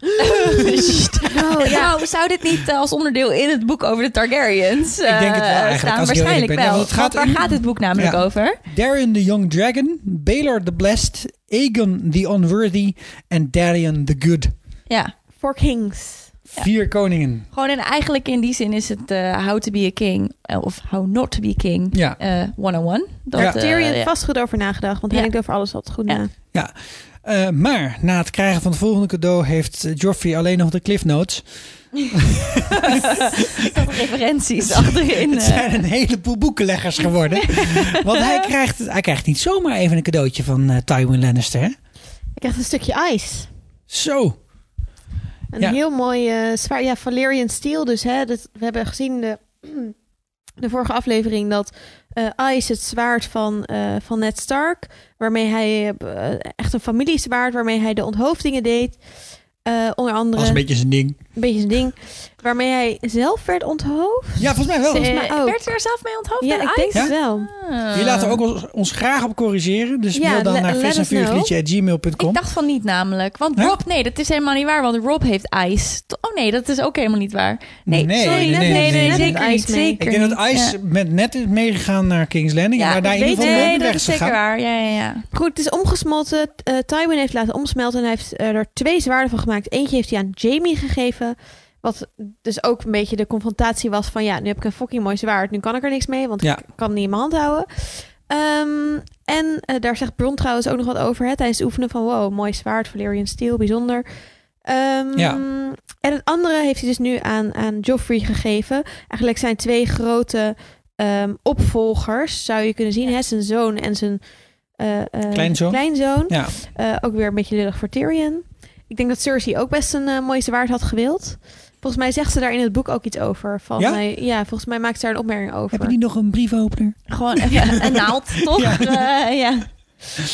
D: Oh, ja.
E: Nou, zou dit niet eh, als onderdeel in het boek over de Targaryens eh,
A: Ik denk het wel eigenlijk,
E: staan?
A: als ik heel eerlijk
E: Waarschijnlijk
A: ben. Ja,
E: wel.
A: want het gaat
E: Want
A: in-
E: waar gaat dit boek namelijk
A: Ja.
E: over?
A: Darren the Young Dragon, Baelor the Blessed, Aegon the Unworthy en Darian the Good.
E: Ja.
D: Voor kings.
A: Vier koningen.
E: Gewoon en eigenlijk in die zin is het eh, How to be a king eh, of How not to be a king
A: Ja.
E: eh 101. Dat,
A: Ja.
E: eh,
D: Tyrion
E: ja.
D: vast goed over nagedacht, want hij
E: Ja.
D: denkt over alles wat goed
E: Ja.
D: na.
A: Ja, eh, maar na het krijgen van het volgende cadeau heeft eh, Joffrey alleen nog de cliff notes.
E: referenties achterin.
A: Het
E: eh.
A: zijn een heleboel boekenleggers geworden. Want hij krijgt, hij krijgt niet zomaar even een cadeautje van eh, Tywin Lannister. Hè?
D: Ik krijg een stukje ijs.
A: Zo.
D: Een
A: Ja.
D: heel mooi eh, zwaar. Ja, Valerian Steel dus. Hè, dat, we hebben gezien de, de vorige aflevering dat eh Ice het zwaard van, eh, van Ned Stark, waarmee hij eh, echt een familiezwaard, waarmee hij de onthoofdingen deed. Eh, onder andere
A: Was een beetje zijn ding.
D: een beetje zijn ding. Waarmee hij zelf werd onthoofd.
A: Ja, volgens mij wel.
D: Ze-
E: Eh,
D: maar ook.
E: werd er zelf mee onthoofd?
D: Ja,
E: door
D: ik
E: ICE?
D: denk
A: Ja?
D: het wel.
E: Ah.
A: Je laat er ook ons, ons graag op corrigeren. Dus
D: Ja,
A: mail dan
D: le-
A: naar
D: let us
E: Ik
A: vissenvuurliedje.gmail.com.
E: dacht van niet namelijk. Want
A: Hè?
E: Rob, nee, dat is helemaal niet waar. Want Rob heeft ijs. T- Oh nee, dat is ook helemaal niet waar. Nee,
A: Nee,
E: sorry,
A: nee,
E: net-
A: nee, nee, nee.
E: zeker
D: Ijs
E: niet.
D: mee.
E: Zeker
A: Ik denk dat
E: niet.
A: IJs
E: Ja.
A: met net is meegegaan naar King's Landing. en
E: Ja,
A: waar daar in
D: dat
A: ieder geval
D: weet-
A: mee
E: Nee,
A: op de weg
E: dat
A: is
E: is zeker
A: gegaan.
E: waar. Ja, ja, ja.
D: Goed, het is omgesmolten. T- eh, Tywin heeft laten omsmelten en hij heeft eh, er twee zwaarden van gemaakt. Eentje heeft hij aan Jamie gegeven. Wat dus ook een beetje de confrontatie was van... ja, nu heb ik een fucking mooi zwaard. Nu kan ik er niks mee, want
A: Ja.
D: ik kan het niet in mijn hand houden. Ehm, en eh, daar zegt Bron trouwens ook nog wat over. Hè, tijdens het oefenen van... wow, mooi zwaard, Valerian Steel, bijzonder. Ehm,
A: Ja.
D: En het andere heeft hij dus nu aan, aan Joffrey gegeven. Eigenlijk zijn twee grote ehm, opvolgers, zou je kunnen zien. Hè? Zijn zoon en zijn... eh, eh,
A: Kleinzoon.
D: kleinzoon.
A: Ja.
D: Eh, ook weer een beetje lullig voor Tyrion. Ik denk dat Cersei ook best een eh, mooi zwaard had gewild. Volgens mij zegt ze daar in het boek ook iets over. Van,
A: Ja?
D: eh, ja, volgens mij maakt ze daar een opmerking over.
A: Heb je niet nog een briefopener?
E: Gewoon even een naald, toch?
A: Ja.
E: Ja. ja.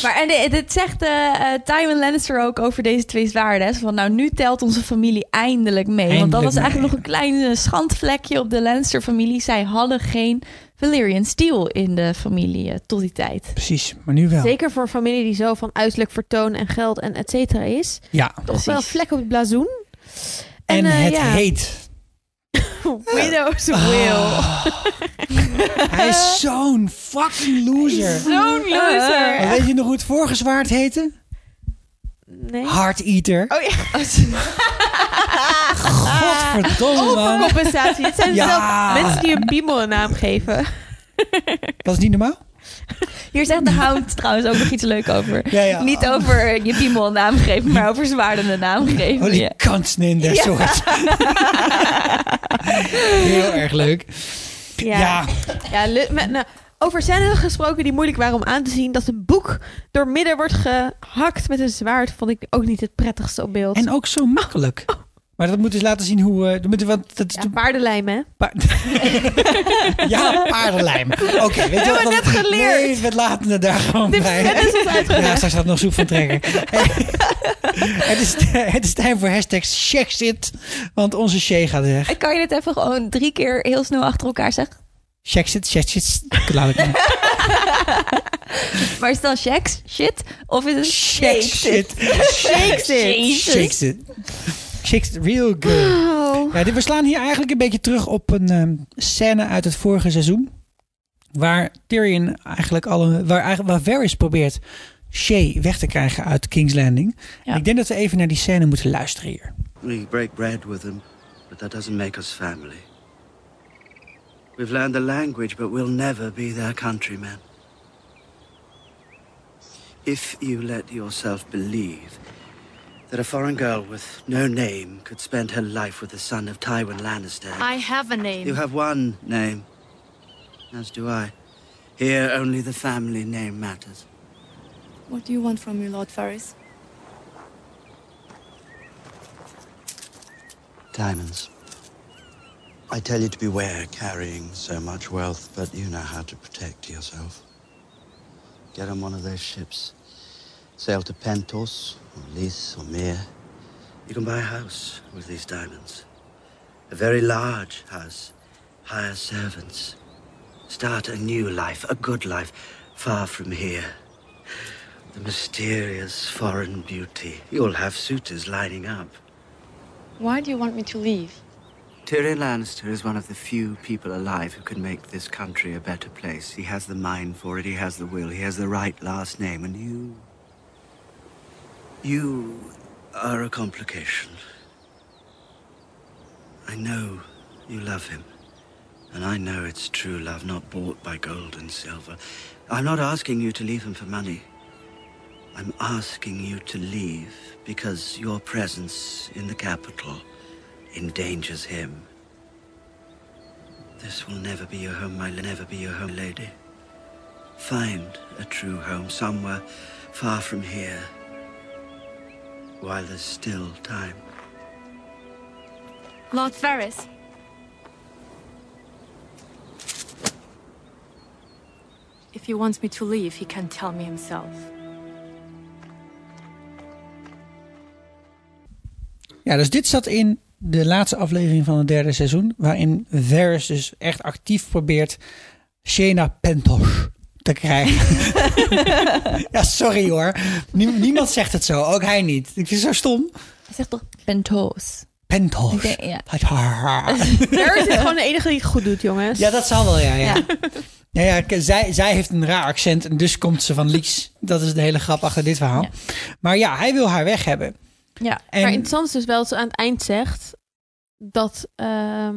E: Maar en dit- dit zegt eh, eh, Tywin Lannister ook over deze twee zwaarden. hè. Zo Van, nou, nu telt onze familie eindelijk mee. Want dat
A: Eindelijk
E: was eigenlijk
A: mee.
E: nog een klein eh, schandvlekje op de Lannister-familie. Zij hadden geen Valyrian Steel in de familie eh, tot die tijd.
A: Precies, maar nu wel.
D: Zeker voor een familie die zo van uiterlijk vertoon en geld en et cetera is.
A: Ja.
D: Toch wel een
E: Precies.
D: vlek op het blazoen.
A: En,
D: eh,
A: het Ah.
D: ja,
A: heet
D: Widow's Will.
A: Hij is zo'n fucking loser.
D: Zo'n
E: loser.
A: Maar weet je nog hoe het vorige zwaard heette?
D: Nee.
A: Heart Eater.
D: Oh ja,
E: Ah,
A: Godverdomme man.
D: compensatie. Het zijn
A: Ja.
D: zelf mensen die een piemel een naam geven.
A: Dat is niet normaal?
E: Hier zegt de hound trouwens ook nog iets leuk over.
A: Ja, ja.
E: Niet over eh, je piemel een naam geven, maar over zwaardende naam geven.
A: Holy
E: Ja.
A: kansen in dat soort. Heel erg leuk. Ja.
D: Ja, lu- met- nou, over scènes gesproken die moeilijk waren om aan te zien. Dat een boek door midden wordt gehakt met een zwaard. Vond ik ook niet het prettigste op beeld.
A: En ook zo makkelijk. Maar dat moet dus laten zien hoe... eh, dat moet, want dat is
D: Oh.
A: de
D: ja, paardenlijm, hè?
A: Pa- ja, paardenlijm. Oké, weet je
D: We
A: wat?
D: hebben
A: dat-
D: net geleerd.
A: Nee, we laten het daar gewoon
D: Dit
A: bij.
D: dit is ons
A: Ja,
D: uitgedaagd.
A: straks gaat nog zoek van trekken. het, is, het is tijd voor hashtag Shexit. Want onze Shay gaat weg.
E: En kan je dit even gewoon drie keer heel snel achter elkaar zeggen?
A: Shexit, Shexit. Laat ik niet.
E: Maar is het dan shakes, shit? Of is het
A: Shexit.
D: Shakes it.
A: Shakes it. Shakes it real good.
D: Oh.
A: Ja, dit, we slaan hier eigenlijk een beetje terug op een ehm, scène uit het vorige seizoen. Waar Tyrion eigenlijk alle. Waar, eigenlijk- waar Varys probeert Shay weg te krijgen uit King's Landing.
E: Ja.
A: Ik denk dat we even naar die scène moeten luisteren hier.
F: We break bread with them, but that doesn't make us family. We've learned the language, but we'll never be their countrymen. If you let yourself believe that a foreign girl with no name could spend her life with the son of Tywin Lannister,
G: I have a name.
F: you have one name, as do I. Here, only the family name matters.
G: What do you want from me, Lord Ferris?
F: Diamonds. I tell you to beware carrying so much wealth, but you know how to protect yourself. Get on one of those ships. Sail to Pentos, or Lys, or Mir. You can buy a house with these diamonds. A very large house. Hire servants. Start a new life, a good life, far from here. The mysterious foreign beauty. You'll have suitors lining up.
G: Why do you want me to leave?
F: Tyrion Lannister is one of the few people alive who can make this country a better place. He has the mind for it, he has the will, he has the right last name, and you. You are a complication. I know you love him, and I know it's true love, not bought by gold and silver. I'm not asking you to leave him for money. I'm asking you to leave because your presence in the capital endangers him. This will never be your home, my never be your home, lady. Find a true home somewhere far from here, while there's still time.
G: Lord Ferris. If he wants me to leave, he can tell me himself.
A: Ja, dus dit zat in de laatste aflevering van het derde seizoen. Waarin Varys dus echt actief probeert Shayna Pentos te krijgen. ja, sorry hoor. Nie- niemand zegt het zo. Ook hij niet. Ik vind het zo stom.
E: Hij zegt toch pentoos?
A: Pentos.
E: Ik denk, ja.
D: Ferris is gewoon de enige die het goed doet, jongens.
A: Ja, dat zal wel, ja. ja. ja. ja, k- zij, zij heeft een raar accent en dus komt ze van Lies. Dat is de hele grap achter dit verhaal.
E: Ja.
A: Maar ja, hij wil haar weg hebben.
E: Ja.
A: En,
D: Maar interessant is dus wel dat ze aan het eind zegt dat, ehm,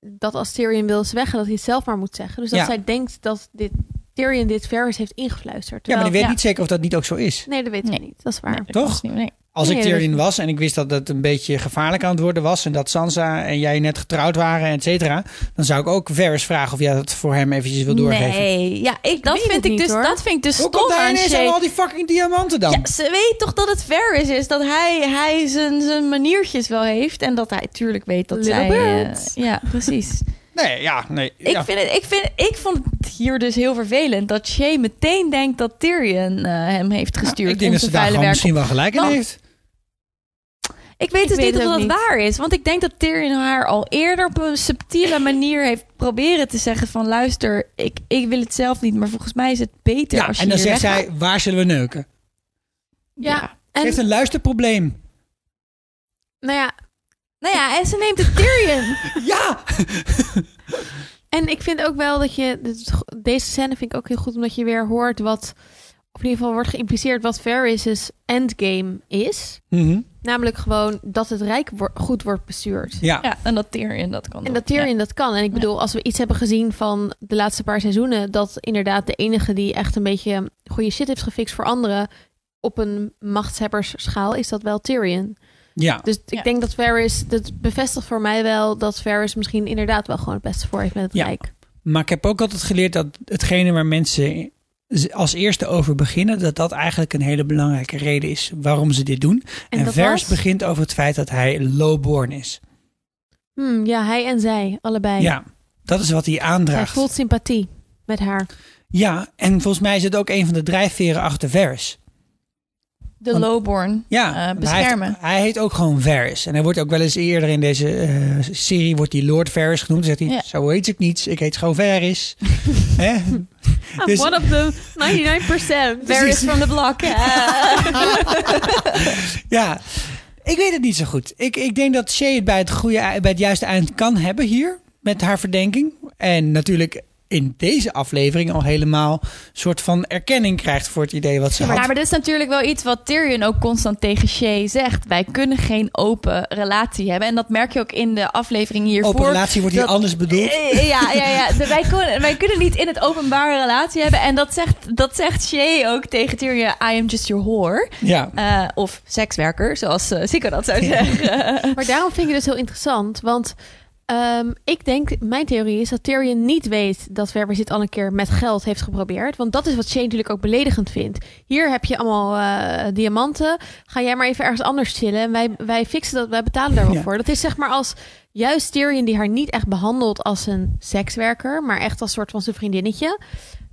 D: dat als Tyrion wil is weg en dat hij het zelf maar moet zeggen. Dus dat
A: Ja.
D: zij denkt dat dit, Tyrion dit Ferris heeft ingefluisterd.
A: ja, maar ik
D: Terwijl-
A: weet
E: ja.
A: niet zeker of dat niet ook zo is.
D: Nee, dat weten
E: Nee.
D: we niet. Dat is waar.
A: Toch?
E: Niet, nee.
A: Als ik
D: Nee, dat
A: Tyrion
D: is-
A: was en ik wist dat het een beetje gevaarlijk aan het worden was... en dat Sansa en jij net getrouwd waren, et cetera... dan zou ik ook Varys vragen of jij dat voor hem eventjes wil doorgeven.
E: Nee, ja, ik, dat,
D: weet
E: vind
D: het
E: ik
D: niet,
E: dus,
D: hoor.
E: dat vind ik dus
A: Hoe
E: stom
A: komt hij
E: aan
A: ineens
E: Shay.
A: aan al die fucking diamanten dan?
E: Ja, ze weet toch dat het Ferris is. Dat hij, hij zijn, zijn maniertjes wel heeft. En dat hij natuurlijk weet dat
D: Little
E: zij...
D: bit.
E: eh, ja, precies.
A: Nee, ja, nee. ja.
E: Ik, vind het, ik, vind, ik vond het hier dus heel vervelend dat Shay meteen denkt dat Tyrion eh, hem heeft gestuurd.
A: ik denk
E: om
A: dat ze
E: zijn
A: daar
E: vuile
A: gewoon
E: werk
A: misschien wel gelijk in
E: Want-
A: heeft.
E: Ik weet
D: Ik
E: dus
D: weet
E: niet of
D: het
E: dat
D: ook niet.
E: waar is. Want ik denk dat Tyrion haar al eerder op een subtiele manier heeft proberen te zeggen van... luister, ik, ik wil het zelf niet, maar volgens mij is het beter
A: Ja,
E: als je
A: en dan
E: hier
A: zegt
E: weggaat.
A: zij, waar zullen we neuken?
D: Ja,
A: Ze heeft
D: en
A: een luisterprobleem.
D: nou ja,
E: Nou ja, en ze neemt het Tyrion.
A: Ja!
D: En ik vind ook wel dat je... dit is go- Deze scène vind ik ook heel goed, omdat je weer hoort wat... Of in ieder geval wordt geïmpliceerd wat Varys' endgame is.
A: Mhm.
D: Namelijk gewoon dat het Rijk wo- goed wordt bestuurd.
A: Ja.
E: ja, en dat Tyrion dat kan
D: En
E: doen.
D: dat Tyrion
E: Ja.
D: dat kan. En ik bedoel, als we iets hebben gezien van de laatste paar seizoenen... dat inderdaad de enige die echt een beetje goede shit heeft gefixt voor anderen... op een machtshebbersschaal is dat wel Tyrion.
A: ja.
D: Dus ik
E: Ja.
D: denk dat Varys... Dat bevestigt voor mij wel dat Varys misschien inderdaad wel gewoon het beste voor heeft met het
A: Ja.
D: Rijk.
A: Maar ik heb ook altijd geleerd dat hetgene waar mensen als eerste over beginnen, dat dat eigenlijk een hele belangrijke reden is waarom ze dit doen.
D: En
A: En,
D: dat
A: Vers
D: was?
A: begint over het feit dat hij lowborn is.
D: Hmm, ja, hij en zij, allebei.
A: Ja, dat is wat hij
D: Hij
A: aandraagt.
D: voelt sympathie met haar.
A: Ja, en volgens mij is het ook een van de drijfveren achter Vers.
E: De
A: Want-
E: lowborn.
A: Ja,
E: eh,
A: maar Hij
E: beschermen.
A: heet, hij heet ook gewoon Varys. En hij wordt ook wel eens eerder in deze eh, serie wordt hij Lord Varys genoemd. Dan zegt hij,
E: Ja.
A: zo heet ik niet, ik heet gewoon Varys. Hè? Dus- one
D: of the 99%.
E: Varys from the block.
A: Ja, ik weet het niet zo goed. Ik, ik denk dat Shay het bij het, goede, bij het juiste eind kan hebben hier. Met haar verdenking. En natuurlijk in deze aflevering al helemaal soort van erkenning krijgt voor het idee wat ze
E: Ja,
A: had.
E: maar dit is natuurlijk wel iets wat Tyrion ook constant tegen Shay zegt. Wij kunnen geen open relatie hebben. En dat merk je ook in de aflevering hiervoor.
A: Open relatie wordt hier
E: dat-
A: anders bedoeld.
E: Eh, Ja, ja, ja. De- Wij, kunnen, wij kunnen niet in het openbaar een relatie hebben. En dat zegt, dat zegt Shay ook tegen Tyrion. I am just your whore.
A: Ja.
E: Eh, of sekswerker, zoals eh Sico dat zou zeggen.
D: Maar daarom vind ik het dus heel interessant. Want ehm, ik denk, mijn theorie is dat Tyrion niet weet dat Verber dit al een keer met geld heeft geprobeerd. Want dat is wat Shane natuurlijk ook beledigend vindt. Hier heb je allemaal eh, diamanten. Ga jij maar even ergens anders chillen. En wij, wij fixen dat, wij betalen daar wel
A: Ja.
D: voor. Dat is zeg maar als juist Tyrion die haar niet echt behandelt als een sekswerker. Maar echt als soort van zijn vriendinnetje.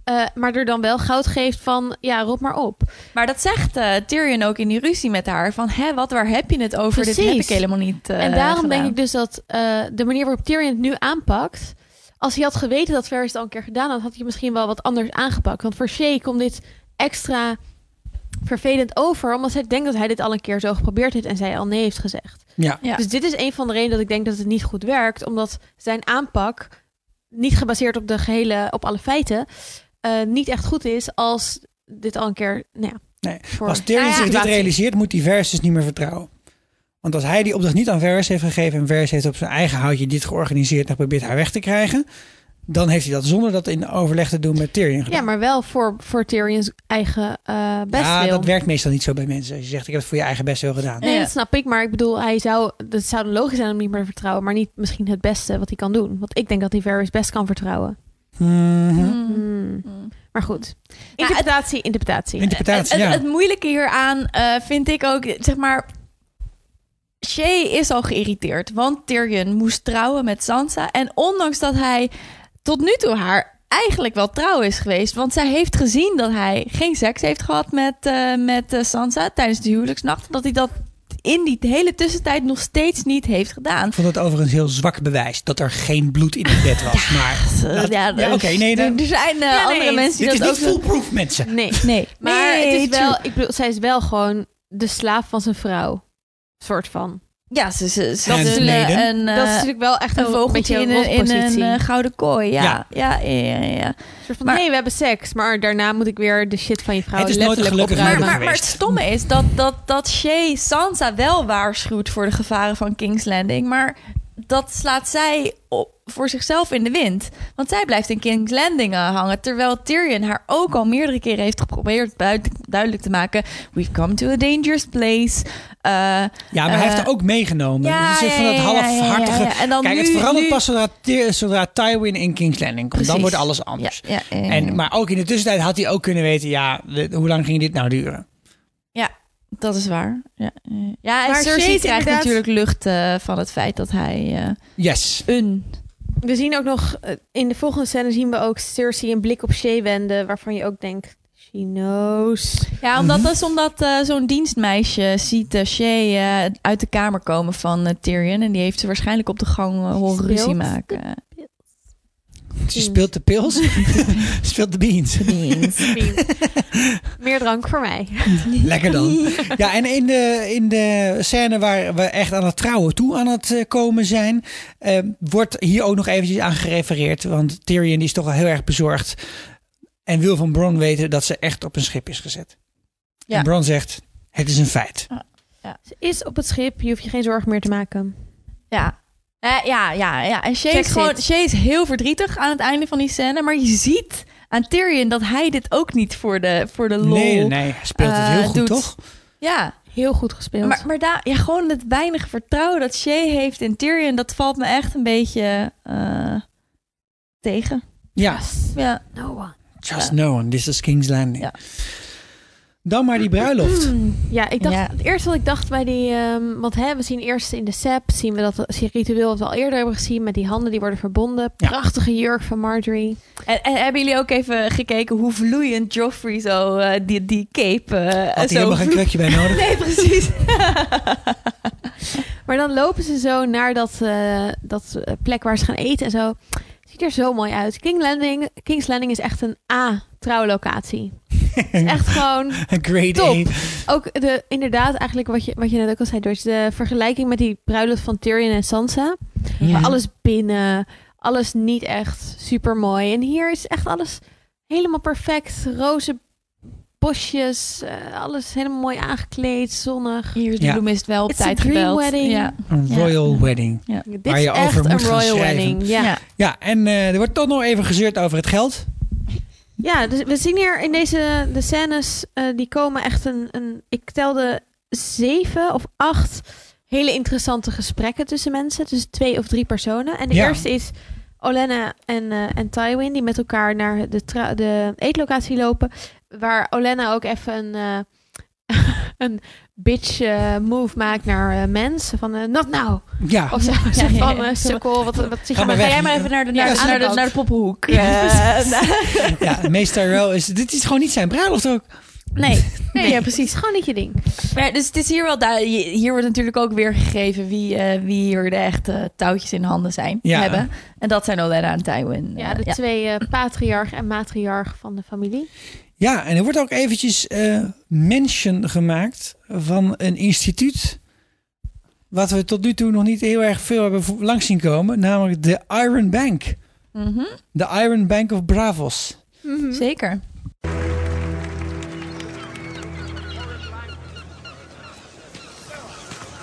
D: eh, maar er dan wel goud geeft van, ja, rot maar op.
E: maar dat zegt eh, Tyrion ook in die ruzie met haar. Van, hè, wat, waar heb je het over? Dit heb
D: Precies.
E: ik helemaal niet eh,
D: En daarom
E: gedaan.
D: denk ik dus dat eh, de manier waarop Tyrion het nu aanpakt... als hij had geweten dat Varys het al een keer gedaan had... had hij misschien wel wat anders aangepakt. Want voor Shay komt dit extra vervelend over... omdat zij denkt dat hij dit al een keer zo geprobeerd heeft... en zij al nee heeft gezegd.
A: Ja.
E: Ja.
D: Dus dit is een van de redenen dat ik denk dat het niet goed werkt... omdat zijn aanpak, niet gebaseerd op, de gehele, op alle feiten... eh, niet echt goed is als dit al een keer... Nou ja,
A: Nee,
D: voor-
A: Als
E: Ah,
A: Tyrion
D: Nou ja,
A: zich dit
D: situatie.
A: realiseert, moet hij Varys dus niet meer vertrouwen. Want als hij die opdracht niet aan Varys heeft gegeven... en Varys heeft op zijn eigen houtje dit georganiseerd... en probeert haar weg te krijgen... dan heeft hij dat zonder dat in overleg te doen met Tyrion gedaan.
D: Ja, maar wel voor, voor Tyrion's eigen eh best
A: ja, dat werkt meestal niet zo bij mensen. Als je zegt, ik heb het voor je eigen best wel gedaan.
D: Nee,
E: Ja.
D: dat snap ik. Maar ik bedoel, hij zou, dat zou dan logisch zijn om niet meer te vertrouwen. Maar niet misschien het beste wat hij kan doen. Want ik denk dat hij Varys best kan vertrouwen.
A: Mhm.
E: Hmm.
D: Hmm.
E: Hmm.
D: Maar goed.
E: Nou, het-
D: Interpretatie, interpretatie.
E: Het,
A: Interpretatie,
E: het,
A: ja.
E: het moeilijke hieraan eh, vind ik ook, zeg maar... Shay is al geïrriteerd, want Tyrion moest trouwen met Sansa. En ondanks dat hij tot nu toe haar eigenlijk wel trouw is geweest... want zij heeft gezien dat hij geen seks heeft gehad met, eh, met eh, Sansa tijdens de huwelijksnacht... dat hij dat in die hele tussentijd nog steeds niet heeft gedaan.
A: Ik vond het overigens heel zwak bewijs dat er geen bloed in het bed was. Maar
E: Eh, ja,
A: ja, oké, nee,
E: er,
A: dan-
E: er zijn eh,
D: nee,
E: andere mensen
A: dit is
E: die dat
A: niet
E: ook doen.
A: foolproof, mensen.
D: Nee.
E: Nee,
D: Maar
E: Nee,
D: het is wel,
E: tuurlijk.
D: ik bedoel, zij is wel gewoon de slaaf van zijn vrouw. Soort van.
E: Ja, ze, ze, ze
A: En
E: zullen
A: maiden.
E: een,
D: dat is
E: eh,
D: natuurlijk wel echt
E: een
D: een,
E: vogeltje
D: beetje
E: in
D: een
E: een, in een
D: rotpositie.
E: eh, gouden kooi. Ja, ja, ja, ja. ja.
D: Een soort van,
E: maar-
D: nee, we hebben seks. Maar daarna moet ik weer de shit van je vrouw
A: Het is nooit een
D: letterlijk
A: gelukkig
E: Maar,
D: opruimen.
A: moeder
E: maar, maar het
A: geweest.
E: stomme is dat, dat, dat Shay Sansa wel waarschuwt voor de gevaren van King's Landing. Maar dat slaat zij op voor zichzelf in de wind. Want zij blijft in King's Landing eh, hangen. Terwijl Tyrion haar ook al meerdere keren heeft geprobeerd buiten- duidelijk te maken. We've come to a dangerous place. Eh,
A: Ja, maar hij heeft er ook meegenomen.
E: ja,
A: dus het is van
E: ja,
A: dat
E: ja, ja, ja,
A: halfhartige...
E: ja, ja. En dan
A: Kijk, het
E: nu-
A: verandert
E: nu-
A: pas zodra, Ty- zodra Tywin in King's Landing komt. Dan
E: Precies.
A: wordt alles
E: ja,
A: anders.
E: ja, ja, ja.
A: En, maar ook in de tussentijd had hij ook kunnen weten... ja, de- hoe lang ging dit nou duren?
E: Dat is waar. Ja, ja. ja en
D: Maar
E: Cersei
D: Shay is
E: krijgt
D: inderdaad-
E: natuurlijk lucht eh, van het feit dat hij eh,
A: Yes.
E: een...
D: We zien ook nog, eh, in de volgende scène zien we ook Cersei een blik op Shay wenden. Waarvan je ook denkt, she knows.
E: Ja,
A: Mhm.
E: omdat dat is omdat eh, zo'n dienstmeisje ziet eh, Shay eh, uit de kamer komen van eh, Tyrion. En die heeft ze waarschijnlijk op de gang eh, horen
D: Stilt.
E: ruzie maken.
A: Ze speelt de pils, ze speelt de beans.
D: Meer drank voor mij.
A: Lekker dan. Ja, en in de, in de scène waar we echt aan het trouwen toe aan het eh, komen zijn, eh, wordt hier ook nog eventjes aan gerefereerd. Want Tyrion is toch wel heel erg bezorgd. En wil van Bron weten dat ze echt op een schip is gezet.
E: Ja.
A: En Bron zegt, het is een feit.
D: Ze is op het schip, je hoeft je geen zorgen meer te maken.
E: Ja. Eh, ja, ja, ja. En Shay
D: Check
E: is, gewoon,
D: it.
E: Shay is heel verdrietig aan het einde van die scène. Maar je ziet aan Tyrion dat hij dit ook niet voor de, voor de lol...
A: Nee, nee, nee, hij speelt het heel
E: Eh,
A: goed,
E: doet.
A: toch?
E: Ja,
D: Heel goed gespeeld.
E: maar, maar daar, ja, gewoon het weinig vertrouwen dat Shay heeft in Tyrion... dat valt me echt een beetje eh, tegen.
A: Ja,
E: Ja.
D: No one.
A: just
E: Ja.
A: no one, this is King's Landing.
E: Ja. Eh,
A: Dan maar die bruiloft.
D: Hmm. Ja, ik dacht,
E: Ja.
D: het eerste wat ik dacht bij die... ehm, want hè, we zien eerst in de sep, zien we dat zie- ritueel wat we al eerder hebben gezien... met die handen die worden verbonden.
A: Ja.
D: Prachtige jurk van Marjorie.
E: En, en hebben jullie ook even gekeken hoe vloeiend Joffrey zo eh, die, die cape... eh,
A: Had hij
E: zo
A: helemaal geen
E: vloe-
A: krukje bij nodig.
E: Nee, precies.
D: Maar dan lopen ze zo naar dat, eh, dat eh, plek waar ze gaan eten en zo. Ziet er zo mooi uit. King Landing, King's Landing is echt een A-trouwlocatie. Echt gewoon...
A: Grade
D: Top.
A: 1.
D: Ook de, inderdaad, eigenlijk wat je, wat je net ook al zei, Doortje. De vergelijking met die bruiloft van Tyrion en Sansa. Maar alles binnen, alles niet echt super mooi. En hier is echt alles helemaal perfect. Roze bosjes, eh, alles helemaal mooi aangekleed, zonnig.
E: Hier is de
A: Ja.
E: bloemist wel op
D: It's a
E: tijd
D: dream
E: gebeld.
D: wedding.
E: Ja.
A: Een
E: Ja.
A: royal wedding.
D: Dit
A: Waar
D: is
A: je over
D: echt
A: moet
D: een
A: gaan
D: royal
A: schrijven.
D: wedding. Ja. ja.
E: Ja.
A: Ja, en eh, er wordt toch nog even gezeurd over het geld.
D: dus we zien hier in deze de scènes, eh, die komen echt een, een, ik telde zeven of acht hele interessante gesprekken tussen mensen. Tussen twee of drie personen. En de
A: Ja.
D: eerste is Olenna en, eh, en Tywin, die met elkaar naar de, tra- de eetlocatie lopen. Waar Olenna ook even een, eh, een bitch eh, move maakt naar eh, mensen. Van, eh, not now.
A: Ja,
D: Of zo. Zo
E: ja,
D: van,
E: ja.
D: eh, sukkel, wat, wat zeg
A: Ga maar
D: je maar.
A: weg.
E: Ga jij maar even naar de,
D: Ja,
E: naar,
D: aan de
E: naar de,
D: kant.
E: naar de poppenhoek. Eh,
A: ja meester Rowe is... Dit is gewoon niet zijn bruiloft ook.
E: nee.
D: Nee, ja, precies. Gewoon niet je ding.
E: Maar dus het is hier wel duidelijk. Hier wordt natuurlijk ook weer gegeven wie, eh, wie hier de echte touwtjes in handen zijn.
A: Ja.
E: Hebben. En dat zijn Olenna en Tywin.
D: Ja,
E: Eh,
D: de twee eh, patriarch en matriarch van de familie.
A: Ja, en er wordt ook eventjes eh mention gemaakt van een instituut... wat we tot nu toe nog niet heel erg veel hebben vo- langs zien komen. Namelijk de Iron Bank.
E: Mhm.
A: De Iron Bank of Bravos.
E: Zeker.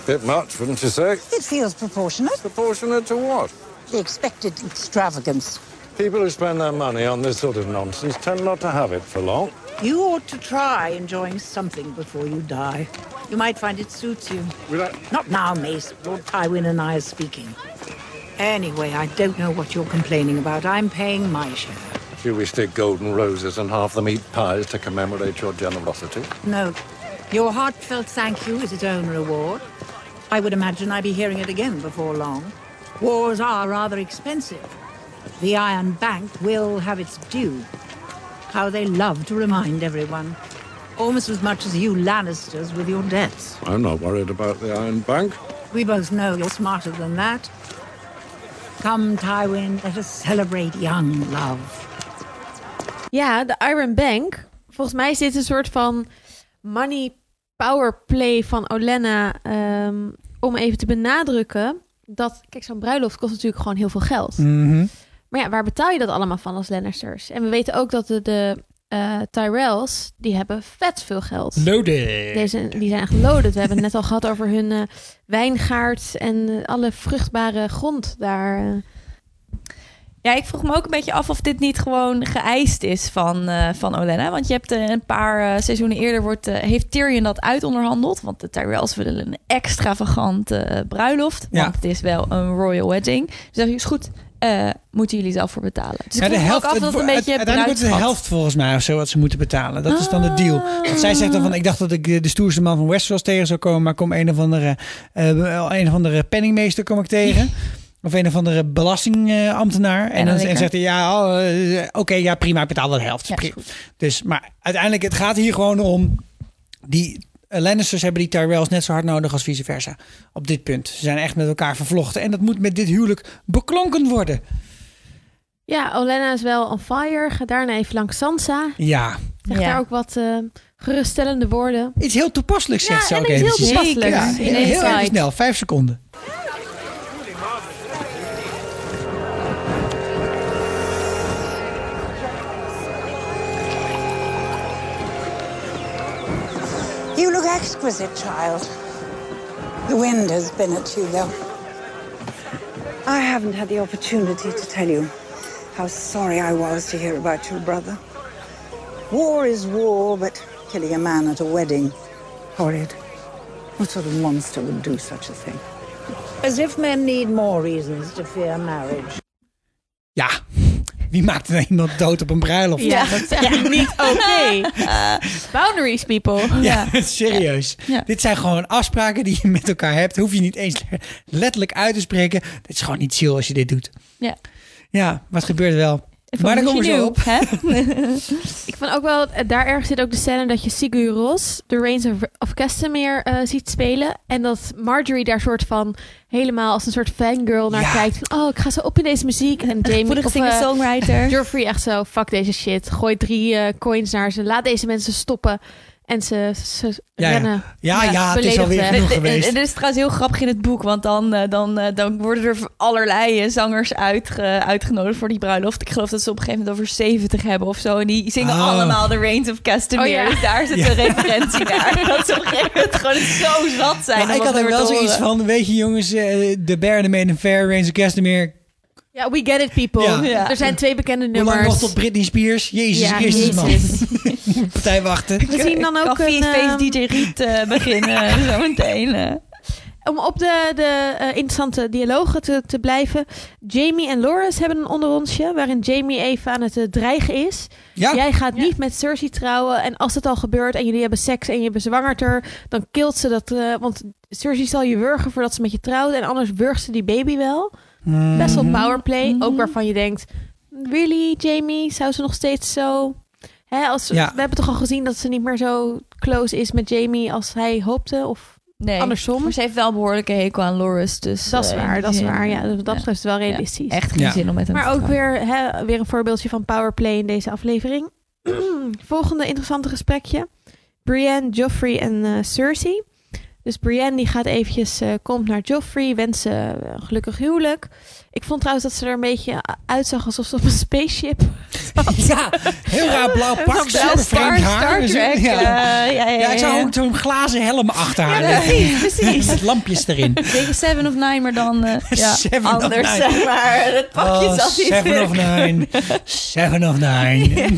H: Bit much, wouldn't you say?
I: It feels proportionate.
H: Proportionate to what?
I: The expected extravagance.
H: People who spend their money on this sort of nonsense tend not to have it for long.
I: You ought to try enjoying something before you die. You might find it suits you. Not now, Mace. Lord Tywin and I are speaking. Anyway, I don't know what you're complaining about. I'm paying my share.
H: Do we stick golden roses and half them eat pies to commemorate your generosity?
I: No. Your heartfelt thank you is its own reward. I would imagine I'd be hearing it again before long. Wars are rather expensive. The Iron Bank will have its due. How they love to remind everyone. Almost as much as you Lannisters with your debts.
H: I'm not worried about the Iron Bank.
I: We both know you're smarter than that. Come, Tywin, let us celebrate young love.
D: Ja, de Iron Bank. Volgens mij is dit een soort van money power play van Olenna. ehm, om even te benadrukken dat... Kijk, zo'n bruiloft kost natuurlijk gewoon heel veel geld. Maar ja, waar betaal je dat allemaal van als Lannisters? En we weten ook dat de, de eh, Tyrells, die hebben vet veel geld.
A: Loaded.
D: Deze, die zijn echt loaded. We hebben het net al gehad over hun eh, wijngaard en eh, alle vruchtbare grond daar. eh.
E: Ja, ik vroeg me ook een beetje af of dit niet gewoon geëist is van, eh van Olenna. Want je hebt eh, een paar eh, seizoenen eerder wordt, eh, heeft Tyrion dat uitonderhandeld. Want de Tyrells willen een extravagante eh, bruiloft.
A: Ja.
E: Want het is wel een royal wedding. Dus dacht ik, is goed, eh, moeten jullie zelf voor betalen. Dus ik
A: Ja,
E: vroeg me ook af dat
A: het
E: het een
A: wo-
E: beetje Ah.
A: uiteindelijk wordt het de
E: bruidsgat-
A: helft volgens mij of zo wat ze moeten betalen. Dat is dan de deal. Want zij zegt dan van, ik dacht dat ik eh, de de stoerste man van Westeros tegen zou komen, maar kom een of andere, eh, een of andere penningmeester kom ik tegen. Of een of andere belastingambtenaar. En,
E: dan
A: dan en
E: lekker.
A: zegt hij, ja, oh, eh, oké, ja, prima, ik betaal wel de helft.
E: Ja, is
A: Pri-
E: goed.
A: dus, maar uiteindelijk, het gaat hier gewoon om... Die eh, Lannisters hebben die Tyrells net zo hard nodig als vice versa. Op dit punt. Ze zijn echt met elkaar vervlochten. En dat moet met dit huwelijk beklonken worden.
D: Ja, Olena is wel on fire. Ga daarna even langs Sansa.
A: Ja.
D: Zegt
E: Ja.
D: daar ook wat eh, geruststellende woorden.
A: Iets heel toepasselijks zegt ze
D: en
A: ook
D: iets heel
A: eventjes.
D: toepasselijks.
A: Ja, heel
D: in deze
A: even
D: tijd.
A: snel. Vijf seconden.
J: You look exquisite, child. The wind has been at you, though. I haven't had the opportunity to tell you how sorry I was to hear about your brother. War is war, but killing a man at a wedding, horrid. What sort of monster would do such a thing?
I: As if men need more reasons to fear marriage.
A: Ja. Wie maakt er nou iemand dood op een bruiloft?
D: Ja, dat is eigenlijk niet oké. Eh, boundaries, people.
A: Ja, serieus.
E: Ja.
A: Dit zijn gewoon afspraken die je met elkaar hebt. Hoef je niet eens letterlijk uit te spreken. Dit is gewoon niet chill als je dit doet.
E: Ja.
A: Ja, maar het gebeurt wel. maar daar komen we zo op.
E: Hè?
D: Ik vond ook wel, eh, daar ergens zit ook de scène dat je Sigur Ros, de Reigns of, of Castamere, eh, ziet spelen. En dat Marjorie daar soort van helemaal als een soort fangirl naar
A: Ja.
D: kijkt. Van, oh, ik ga zo op in deze muziek. En Jamie
E: Moedig
D: of, eh,
E: singer-songwriter.
D: Joffrey echt zo, fuck deze shit. Gooi drie eh, coins naar ze. Laat deze mensen stoppen. En ze, ze
A: Ja, ja.
D: rennen.
A: Ja, ja,
D: Ja,
A: het is
D: beledigd
A: alweer
D: weg.
A: genoeg
E: Dit- dit-
A: geweest.
E: Dit is trouwens heel grappig in het boek, want dan, eh, dan, eh, dan worden er allerlei eh, zangers uitge- uitgenodigd voor die bruiloft. Ik geloof dat ze op een gegeven moment over 70 hebben of zo. En die zingen
A: Oh.
E: allemaal de Reigns of Castamere.
D: Oh ja.
E: Dus daar zit de referentie naar. Dat ze op een gegeven moment gewoon zo zat zijn.
A: Maar
E: om
A: ik
E: wat
A: had er
E: weer
A: wel
E: te
A: zoiets
E: horen.
A: van, weet je jongens, eh, de Bear, de Maiden Fair, Reigns of Castamere.
D: Ja, we get it, people.
A: Ja.
E: Ja.
D: Er zijn twee bekende
A: Hoe lang
D: nummers.
A: nog tot Britney Spears? Jezus
D: Ja,
A: Christus, man.
D: Jezus.
A: Partij wachten.
D: We zien dan
E: Ik
D: ook
E: kan
D: een...
E: feest
D: ehm,
E: DJ Riet eh, beginnen zo meteen. eh.
D: om op de, de eh, interessante dialogen te, te blijven. Jamie en Loras hebben een onderonsje waarin Jamie even aan het eh, dreigen is.
A: Ja,
D: Jij gaat niet met Cersei trouwen en als het al gebeurt en jullie hebben seks en je bezwangert er, dan kilt ze dat, eh, want Cersei zal je wurgen voordat ze met je trouwt en anders wurgt ze die baby wel.
A: Hmm. Mhm.
D: Best wel powerplay, ook waarvan je denkt, really Jamie, zou ze nog steeds zo... Hè, als,
A: Ja.
D: We hebben toch al gezien dat ze niet meer zo close is met Jamie als hij hoopte of
E: Nee.
D: Andersom.
E: Maar ze heeft wel een behoorlijke hekel aan Loris. Dus,
D: Dat is
E: eh, in
D: waar,
E: die
D: dat is
E: zin,
D: waar. Ja, dus
E: eh,
D: dat dat
E: ja.
D: betreft is wel realistisch.
E: Echt geen
A: Ja.
E: zin om met hem te
D: Maar ook
E: trouwen.
D: weer, hè, weer een voorbeeldje van powerplay in deze aflevering. Volgende interessante gesprekje. Brienne, Joffrey en eh, Cersei. Dus Brienne die gaat eventjes, eh, komt naar Joffrey, wensen eh, een gelukkig huwelijk. Ik vond trouwens dat ze er een beetje eh, uitzag alsof ze op een spaceship
A: ja. heel raar blauw pak,
E: Zo'n blauw
A: super vreemd
E: Star,
A: haar.
E: Star
A: Dus,
E: Trek. eh,
A: ja.
E: Ja, ja, ja.
A: Ja, ik zou ook zo'n glazen helm achter haar leggen.
E: precies, precies.
A: Met lampjes erin.
E: Tegen Seven of Nine, maar dan eh, ja,
A: Seven of
E: anders
A: Nine.
E: zeg maar. Dat pakje
A: Oh,
E: zat niet
A: seven of nine. Seven of nine.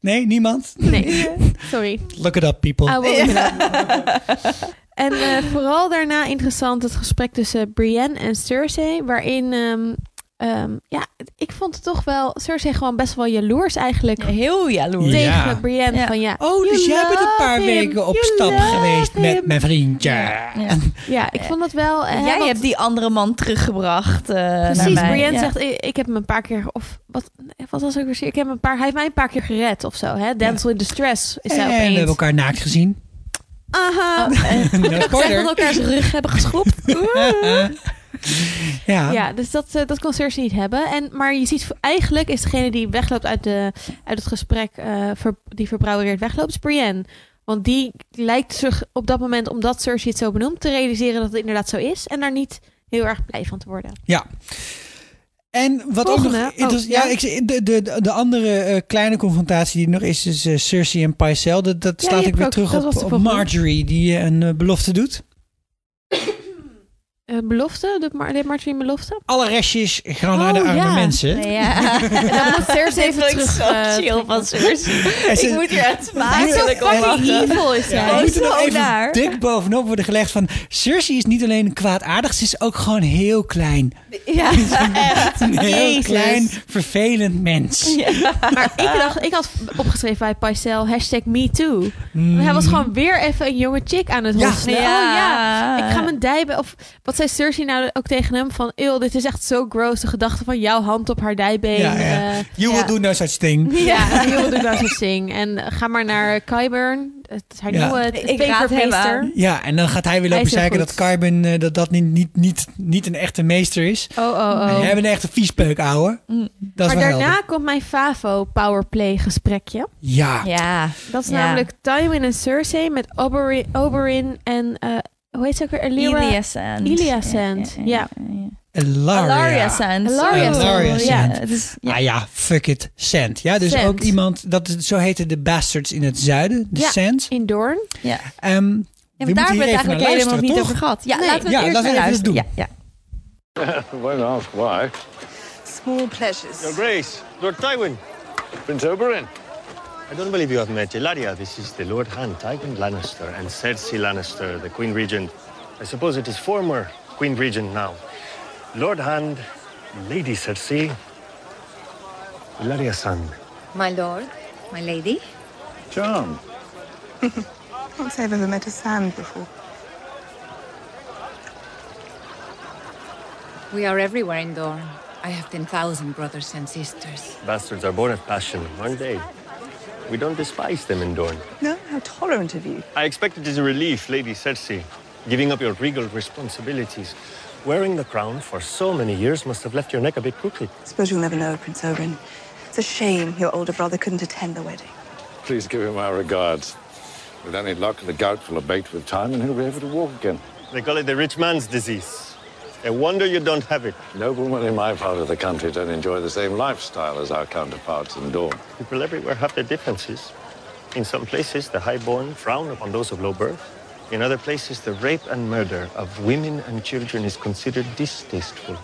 A: Nee, niemand?
D: Nee, sorry.
A: Look it up, people.
D: I will look it up. En eh, vooral daarna interessant het gesprek tussen Brienne en Cersei, waarin ehm, ehm, ja, ik vond het toch wel Cersei gewoon best wel jaloers eigenlijk
E: Heel jaloers.
A: Ja.
D: tegen Brienne
E: Ja.
D: van ja.
A: Oh, dus
D: You
A: jij bent een
D: love
A: paar
D: him.
A: weken op
D: You
A: stap
D: love
A: geweest met
D: him.
A: mijn vriendje.
E: Ja.
D: Ja, ik vond dat wel. eh,
E: Jij
D: want-
E: hebt die andere man teruggebracht eh naar
D: Precies,
E: mij.
D: Brienne
E: Ja.
D: zegt, ik, ik heb hem een paar keer, of wat, wat was ook weer, ik heb hem een paar, hij heeft mij een paar keer gered of zo, hè? Damsel in distress is hij
A: En we
D: opeens.
A: hebben elkaar Oh. naakt gezien.
D: Aha.
A: No
E: Zij van
A: spoiler.
E: elkaars rug hebben geschropt.
A: Ja.
D: Ja, dus dat, eh, dat kon Cersei niet hebben. En, maar je ziet, eigenlijk is degene die wegloopt uit, de, uit het gesprek, eh, ver- die verbrouwereerd wegloopt, is Brienne. Want die lijkt zich op dat moment, omdat Cersei het zo benoemt, te realiseren dat het inderdaad zo is. En daar niet heel erg blij van te worden.
A: En wat
D: Volgende.
A: ook nog... inter-
D: Oh,
A: ja,
D: ja.
A: ik, zie- de, de, de andere eh, kleine confrontatie die er nog is, is eh, Cersei en Pycelle. Dat, dat
D: Ja,
A: slaat
D: die
A: ik
D: heb
A: weer
D: ik
A: terug
D: ook. Dat was
A: op,
D: de
A: op
D: volgende.
A: Marjorie, die eh, een eh, belofte doet.
D: Eh, belofte? Doet Mar deed Marjorie een belofte?
A: Alle restjes gaan naar de
D: Oh,
A: arme
D: ja.
A: mensen.
E: Ja.
D: Dan moet Cersei
E: Dit
D: even
E: vond ik
D: terug,
E: zo
D: eh,
E: chill van Cersei.
A: En ze-
E: Ik moet hier echt
D: Hij is zo
E: smakelijk om
D: fucking
E: lachen.
D: evil is hij.
A: Ja, we
E: Oh,
A: moeten
E: zo
A: nog even
E: naar.
A: dik bovenop worden gelegd van... Cersei is niet alleen kwaadaardig, ze is ook gewoon heel klein.
E: Ja, echt.
A: Een heel
E: Jezus.
A: klein, vervelend mens.
D: Maar ik, dacht, ik had opgeschreven bij Pycelle, hashtag MeToo. Hij was gewoon weer even een jonge chick aan het
A: Ja.
E: Eh.
D: hosselen. Oh ja, ik ga mijn dijben... Of, wat Wat zei Cersei nou ook tegen hem? Van, eeuw, dit is echt zo gross. De gedachte van jouw hand op haar dijbeen.
A: Ja, ja.
D: eh,
A: you will
D: ja.
A: do no such thing.
D: Ja, die wilde nou zo zing. En eh, ga maar naar Kyburn. Het is haar
A: Ja.
D: nieuwe
E: Ik raad hem
D: papermeester.
E: aan.
A: Ja, en dan gaat hij weer lopen
D: Hij is heel
A: zeiken dat
D: goed.
A: Carbon eh, dat, dat niet, niet, niet, niet een echte meester is.
D: Oh, oh,
A: En
D: oh.
A: jij bent een echte viespeuk, ouwe.
E: Mm.
A: Dat is
D: maar
A: wel
D: daarna
A: helder.
D: komt mijn favo powerplay gesprekje.
A: Ja.
E: Ja.
D: Dat is
E: Ja.
D: namelijk Tywin en Cersei met Oberyn, Oberyn en eh, hoe heet ze ook weer? Elira.
E: Ilia Sand.
D: Ilia Sand, ja.
A: Elaria.
E: Alaria Sand.
D: Alaria
E: Sorry.
A: Alaria
E: Ja,
A: Sand.
E: het is- ja.
A: Ah ja, fuck it. Sand. Ja, dus
D: Sand.
A: ook iemand, dat, is- zo heten de bastards in het zuiden, de
D: Ja.
A: Sands.
D: In Doorn.
E: ja.
A: Ehm, we
E: Ja, maar daar
A: moeten
E: hebben we
A: hier even naar
E: het eigenlijk helemaal
A: luisteren,
E: niet
A: toch?
E: over gehad. Ja,
D: Nee.
E: laten we
A: Ja,
E: het eerst
A: laten we
E: naar
A: even
E: luisteren.
A: doen.
E: Ja, ja.
H: Won't ask why.
J: Small pleasures.
K: Grace, Lord Tywin.
H: Prince Oberyn.
K: I don't believe you have met Ilaria. This is the Lord Han, Tywin Lannister, and Cersei Lannister, the Queen Regent. I suppose it is former Queen Regent now. Lord Han, Lady Cersei, Ilaria Sand.
L: My lord, my lady.
H: Charmed.
L: Can't say I've ever met a sand before. We are everywhere in Dorne. I have 10,000 brothers and sisters.
K: Bastards are born of passion, aren't they? We don't despise them in Dorne.
L: No, how tolerant of you.
K: I expect it is a relief, Lady Cersei, giving up your regal responsibilities. Wearing the crown for so many years must have left your neck a bit crooked.
L: Suppose you'll never know, Prince Oberyn. It's a shame your older brother couldn't attend the wedding.
H: Please give him our regards. With any luck, the gout will abate with time and he'll be able to walk again.
K: They call it the rich man's disease. A wonder you don't have it.
H: Noblemen in my part of the country don't enjoy the same lifestyle as our counterparts in Dawn.
K: People everywhere have their differences. In some places, the highborn frown upon those of low birth. In other places, the rape and murder of women and children is considered distasteful.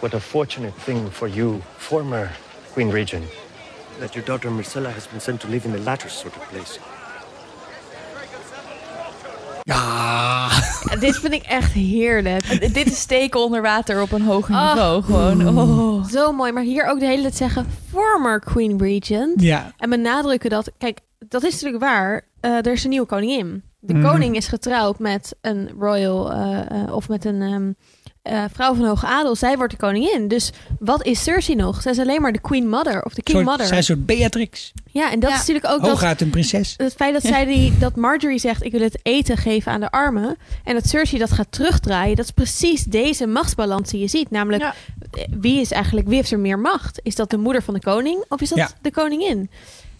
K: What a fortunate thing for you, former Queen Regent, that your daughter Marcella has been sent to live in the latter sort of place.
A: Ja.
D: Dit vind ik echt heerlijk.
E: Dit is steken onder water op een hoger
D: Ach.
E: niveau. Gewoon. Oh.
D: Zo mooi. Maar hier ook de hele tijd zeggen former Queen Regent.
A: Ja.
D: En benadrukken dat, kijk, dat is natuurlijk waar. Eh, er is een nieuwe koningin. De
A: Mhm.
D: koning is getrouwd met een royal eh, eh, of met een ehm, eh, vrouw van hoge adel. Zij wordt de koningin. Dus wat is Cersei nog? Zij is alleen maar de Queen Mother of de King
A: Soort-
D: Mother.
A: Zijn een soort Beatrix.
D: Ja, en dat
E: Ja.
D: is natuurlijk ook dat,
A: Hooguit een prinses.
D: het feit dat zij die, dat Marjorie zegt: ik wil het eten geven aan de armen. En dat Cersei dat gaat terugdraaien. Dat is precies deze machtsbalans die je ziet. Namelijk,
E: Ja.
D: eh, wie is eigenlijk, wie heeft er meer macht? Is dat de moeder van de koning of is dat
A: Ja.
D: de koningin?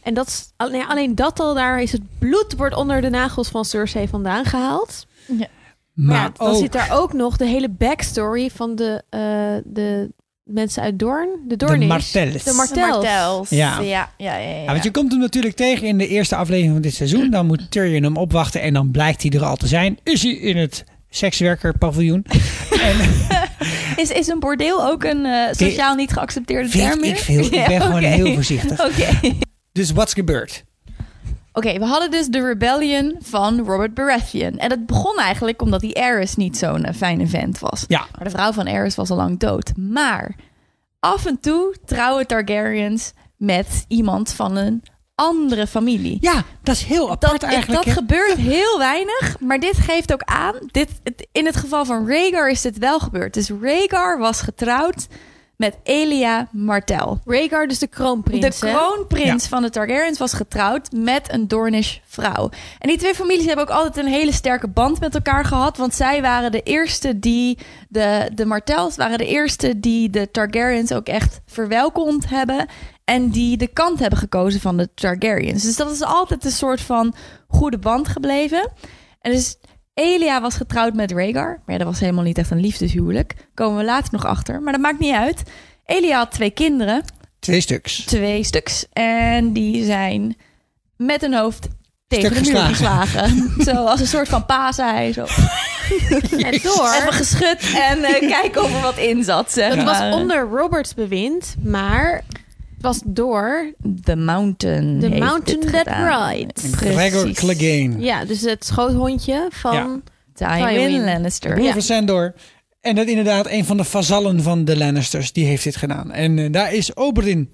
D: En dat is, al- nee, alleen dat al daar is het bloed wordt onder de nagels van Cersei vandaan gehaald. Maar
A: Maar
D: ja, dan
A: ook-
D: zit daar ook nog de hele backstory van de, eh, de mensen uit Doorn. De Doornish.
A: Martels.
D: De
E: De
D: Martels.
E: Martels.
A: Ja.
E: Ja, ja, ja,
A: Ja,
E: ja.
A: want je komt hem natuurlijk tegen in de eerste aflevering van dit seizoen. Dan moet Tyrion hem opwachten en dan blijkt hij er al te zijn. Is hij in het sekswerkerpaviljoen?
E: Is, is een bordeel ook een eh, sociaal niet geaccepteerde
A: Weet
E: term meer?
A: ik veel. Ik ben
E: Ja,
A: gewoon
E: oké.
A: heel voorzichtig.
E: Oké.
A: Dus wat is gebeurd?
E: Oké, we hadden dus de Rebellion van Robert Baratheon. En dat begon eigenlijk omdat die Aerys niet zo'n eh, fijne vent was.
A: Ja.
E: Maar de vrouw van Aerys was al lang dood. Maar af en toe trouwen Targaryens met iemand van een andere familie.
A: Ja, dat is heel apart
E: dat,
A: eigenlijk.
E: dat
A: hè?
E: gebeurt heel weinig, maar dit geeft ook aan. Dit, het- in het geval van Rhaegar is dit wel gebeurd. Dus Rhaegar was getrouwd met Elia Martell.
D: Rhaegar, dus de kroonprins.
E: De
D: hè?
E: kroonprins van de Targaryens was getrouwd met een Dornish vrouw. En die twee families hebben ook altijd een hele sterke band met elkaar gehad. Want zij waren de eerste die, de, de Martells waren de eerste die de Targaryens ook echt verwelkomd hebben. En die de kant hebben gekozen van de Targaryens. Dus dat is altijd een soort van goede band gebleven. En dus Elia was getrouwd met Rhaegar. Maar ja, dat was helemaal niet echt een liefdeshuwelijk. Komen we later nog achter. Maar dat maakt niet uit. Elia had twee kinderen
A: Twee stuks.
E: twee stuks. En die zijn met hun hoofd tegen
A: Stuk
E: de muur
A: geslagen.
E: geslagen. zo als een soort van paasei. Zo.
D: En door.
E: Even geschud en eh, kijken of er wat in zat. Zeg
D: Dat
E: maar.
D: was onder Roberts bewind, maar het was door.
E: The Mountain.
D: The
E: heeft
D: mountain
E: dit
D: that
E: gedaan.
D: rides.
A: Gregor
E: Precies.
A: Clegane.
D: Ja, dus het schoothondje van.
A: Ja.
E: Tywin
D: Tywin.
A: De
E: Lannister.
A: broer
E: Ja.
A: van Sandor. En dat inderdaad een van de vazallen van de Lannisters. Die heeft dit gedaan. En eh, daar is Oberyn,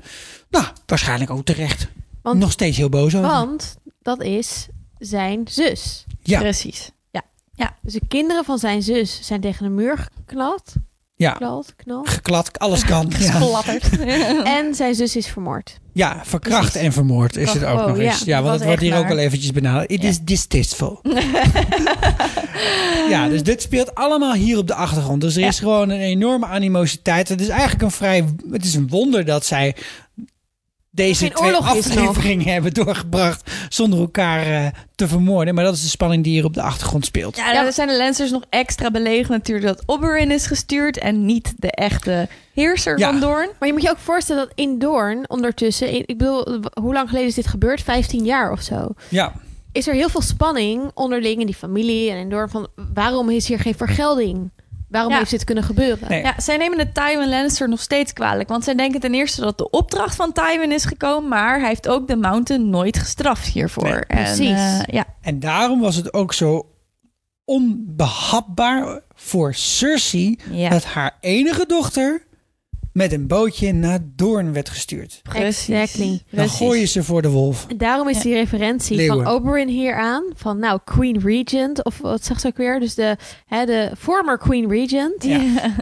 A: nou, waarschijnlijk ook terecht.
D: Want-
A: Nog steeds heel boos over.
D: Want dat is zijn zus.
A: Ja.
E: Precies. Ja. Ja.
D: Dus de kinderen van zijn zus zijn tegen de muur geknald.
A: Ja.
D: Knald, knal.
A: Geklad, alles kan. ja.
D: Gesplatterd. en zijn zus is vermoord.
A: ja, verkracht en vermoord is het ook
D: Oh,
A: nog
D: ja.
A: eens. Ja,
D: Dat
A: want
D: was
A: het wordt
D: echt
A: hier ook
D: naar.
A: al eventjes benaderd. It is distasteful. ja, dus dit speelt allemaal hier op de achtergrond. Dus er is gewoon een enorme animositeit. Het is eigenlijk een vrij... Het is een wonder dat zij deze
D: Geen
A: twee
D: oorlog is nog.
A: afleveringen hebben doorgebracht... zonder elkaar eh, te vermoorden. Maar dat is de spanning die hier op de achtergrond speelt.
E: Ja, dan zijn de Lancers nog extra beledigd natuurlijk dat Oberyn is gestuurd en niet de echte heerser
A: Ja.
E: van Doorn.
D: Maar je moet je ook voorstellen dat in Doorn ondertussen... in- ik bedoel, w- hoe lang geleden is dit gebeurd? 15 jaar of zo.
A: Ja.
D: Is er heel veel spanning onderling in die familie en in Doorn van... waarom is hier geen vergelding? Waarom
E: Ja.
D: heeft dit kunnen gebeuren?
E: Ja, zij nemen de Tywin Lannister nog steeds kwalijk. Want zij denken ten eerste dat de opdracht van Tywin is gekomen. Maar hij heeft ook de Mountain nooit gestraft hiervoor. En,
A: precies.
E: eh, ja.
A: En daarom was het ook zo onbehapbaar voor Cersei
E: Ja.
A: dat haar enige dochter met een bootje naar Doorn werd gestuurd.
D: Precies. Exactly.
A: Dan gooi je ze voor de wolf.
D: En daarom is die referentie
A: Leeuwen.
D: van Oberyn hier aan. Van nou, Queen Regent. Of wat zegt ze ook weer? Dus de, hè, de former Queen Regent.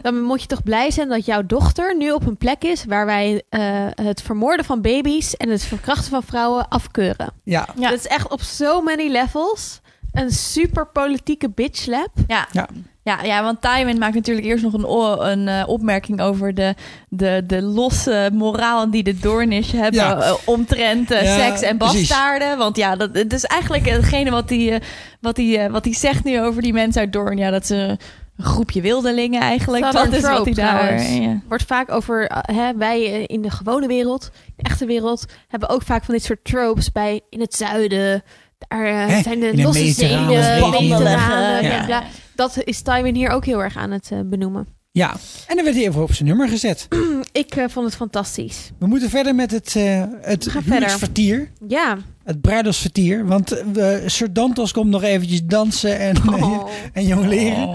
D: Dan moet je toch blij zijn dat jouw dochter nu op een plek is... waar wij eh, het vermoorden van baby's en het verkrachten van vrouwen afkeuren.
A: Ja.
D: Dat is echt op so many levels een super politieke bitch lap.
E: Ja.
A: Ja.
E: Ja, ja, want Tywin maakt natuurlijk eerst nog een, o- een eh, opmerking over de, de, de losse moraal die de Doornish hebben
D: Ja.
E: eh, omtrent eh,
D: Ja,
E: seks en
D: precies.
E: bastaarden. Want ja, dat, het is eigenlijk hetgene wat hij die, wat die, eh, wat die zegt nu over die mensen uit Doorn. Ja, dat ze een groepje wildelingen eigenlijk. Dat is wat hij daar... ja.
D: Wordt vaak over, eh, hè, wij eh, in de gewone wereld, in de echte wereld, hebben ook vaak van dit soort tropes bij in het zuiden. Daar eh,
E: Hè?
D: zijn de
E: In de
D: losse
E: mediterrane
D: zeden,
E: regio.
D: mediterrane,
A: Ja.
D: bla, bla. Dat is Tywin hier ook heel erg aan het eh, benoemen.
A: Ja, en dan werd hij even op zijn nummer gezet.
D: Ik eh, vond het fantastisch.
A: We moeten verder met het, eh het
D: gaan
A: huwelijksvertier.
D: Ja,
A: Het bruidelsvertier. Want eh, Sir Dantos komt nog eventjes dansen en,
D: Oh.
A: en jong leren.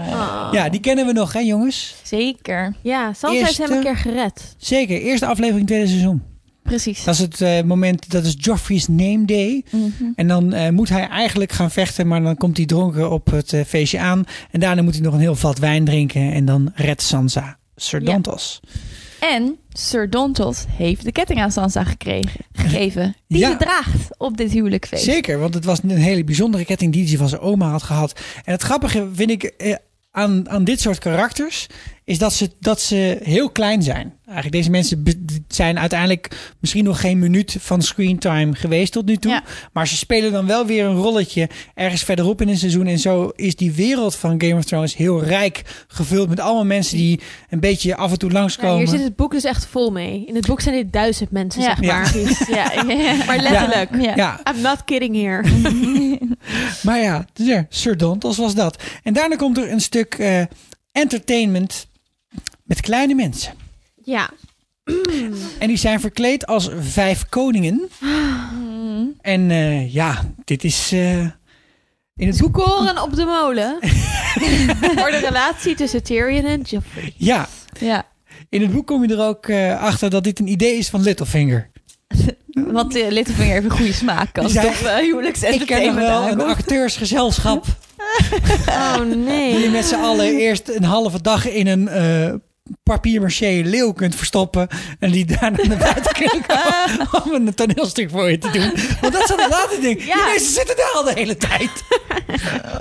A: Ja, die kennen we nog hè jongens?
E: Zeker.
D: Ja, Sans heeft hem een
A: Eerste-
D: keer gered.
A: Zeker, eerste aflevering tweede seizoen.
E: Precies.
A: Dat is het eh, moment, dat is Joffrey's name day.
D: Mhm.
A: En dan eh, moet hij eigenlijk gaan vechten, maar dan komt hij dronken op het eh, feestje aan. En daarna moet hij nog een heel vat wijn drinken en dan redt Sansa Sir
E: Ja.
A: Dantos.
E: En Sir Dontos heeft de ketting aan Sansa gekregen, gegeven. Die
A: Ja.
E: ze draagt op dit huwelijkfeest.
A: Zeker, want het was een hele bijzondere ketting die hij van zijn oma had gehad. En het grappige vind ik eh, aan, aan dit soort karakters, is dat ze, dat ze heel klein zijn. Eigenlijk deze mensen be- zijn uiteindelijk misschien nog geen minuut van screentime geweest tot nu toe. Maar ze spelen dan wel weer een rolletje ergens verderop in een seizoen. En zo is die wereld van Game of Thrones heel rijk gevuld met allemaal mensen die een beetje af en toe
D: Ja,
A: langskomen.
D: hier zit het boek dus echt vol mee. In het boek zijn dit duizend mensen,
E: Ja.
D: zeg
A: Ja.
D: maar. Ja. Maar letterlijk.
A: Ja. Ja.
D: I'm not kidding here.
A: Maar ja, dus ja, Sir Dantos was dat. En daarna komt er een stuk eh, entertainment met kleine mensen.
D: ja.
A: En die zijn verkleed als vijf koningen. En eh, ja, dit is... eh, in het boek...
D: Koren op de molen. Voor de relatie tussen Tyrion en Joffrey.
A: Ja,
E: Ja.
A: in het boek kom je er ook eh, achter dat dit een idee is van Littlefinger.
E: Want eh, Littlefinger heeft een goede smaak als
A: Die zei,
E: het op uh,
A: Ik ken nog
E: huwelijksentertainment
A: wel een
E: aankomt.
A: acteursgezelschap.
D: Oh nee.
A: Die je met z'n allen eerst een halve dag in een eh papier-maché leeuw kunt verstoppen. En die daarna naar buiten kunnen komen om een toneelstuk voor je te doen. Want dat is dan het laatste ding.
D: Ja.
A: Die mensen zitten daar al de hele tijd.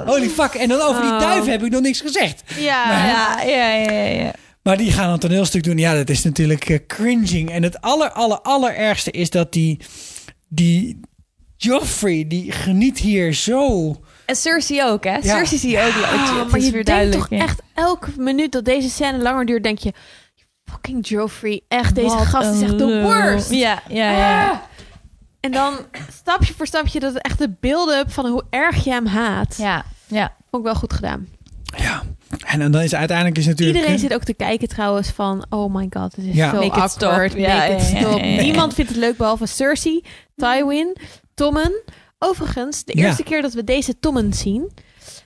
A: Holy fuck. En dan over die
E: Oh.
A: duiven heb ik nog niks gezegd.
D: Ja,
E: ja, Ah, ja, ja, ja.
A: Maar die gaan een toneelstuk doen. Ja, dat is natuurlijk eh, cringing. En het aller, aller, allerergste is dat die, die Joffrey, die geniet hier zo...
E: En Cersei ook, hè? Cersei zie je ook. Ja, het- het
D: maar
E: is
D: je
E: weer
D: denkt
E: duidelijk.
D: toch echt elke minuut dat deze scène langer duurt, denk je... Fucking Joffrey, echt, deze
E: Wat
D: gast is
E: een
D: echt de
E: lul.
D: worst.
E: Ja, ja, ja.
D: Ah. En dan stapje voor stapje dat het echt de build-up van hoe erg je hem haat.
E: Ja, ja.
D: Vond ik wel goed gedaan.
A: En dan is uiteindelijk is natuurlijk...
D: Iedereen zit ook te kijken trouwens van... Oh my god, dit is
A: Ja.
D: zo
A: Make
E: it stop.
D: awkward.
E: Ja,
D: Make
E: ja,
D: it
E: ja, ja,
D: stop.
E: ja, ja.
D: Niemand vindt het leuk behalve Cersei, Tywin, Tommen. Overigens, de
A: Ja.
D: eerste keer dat we deze Tommen zien...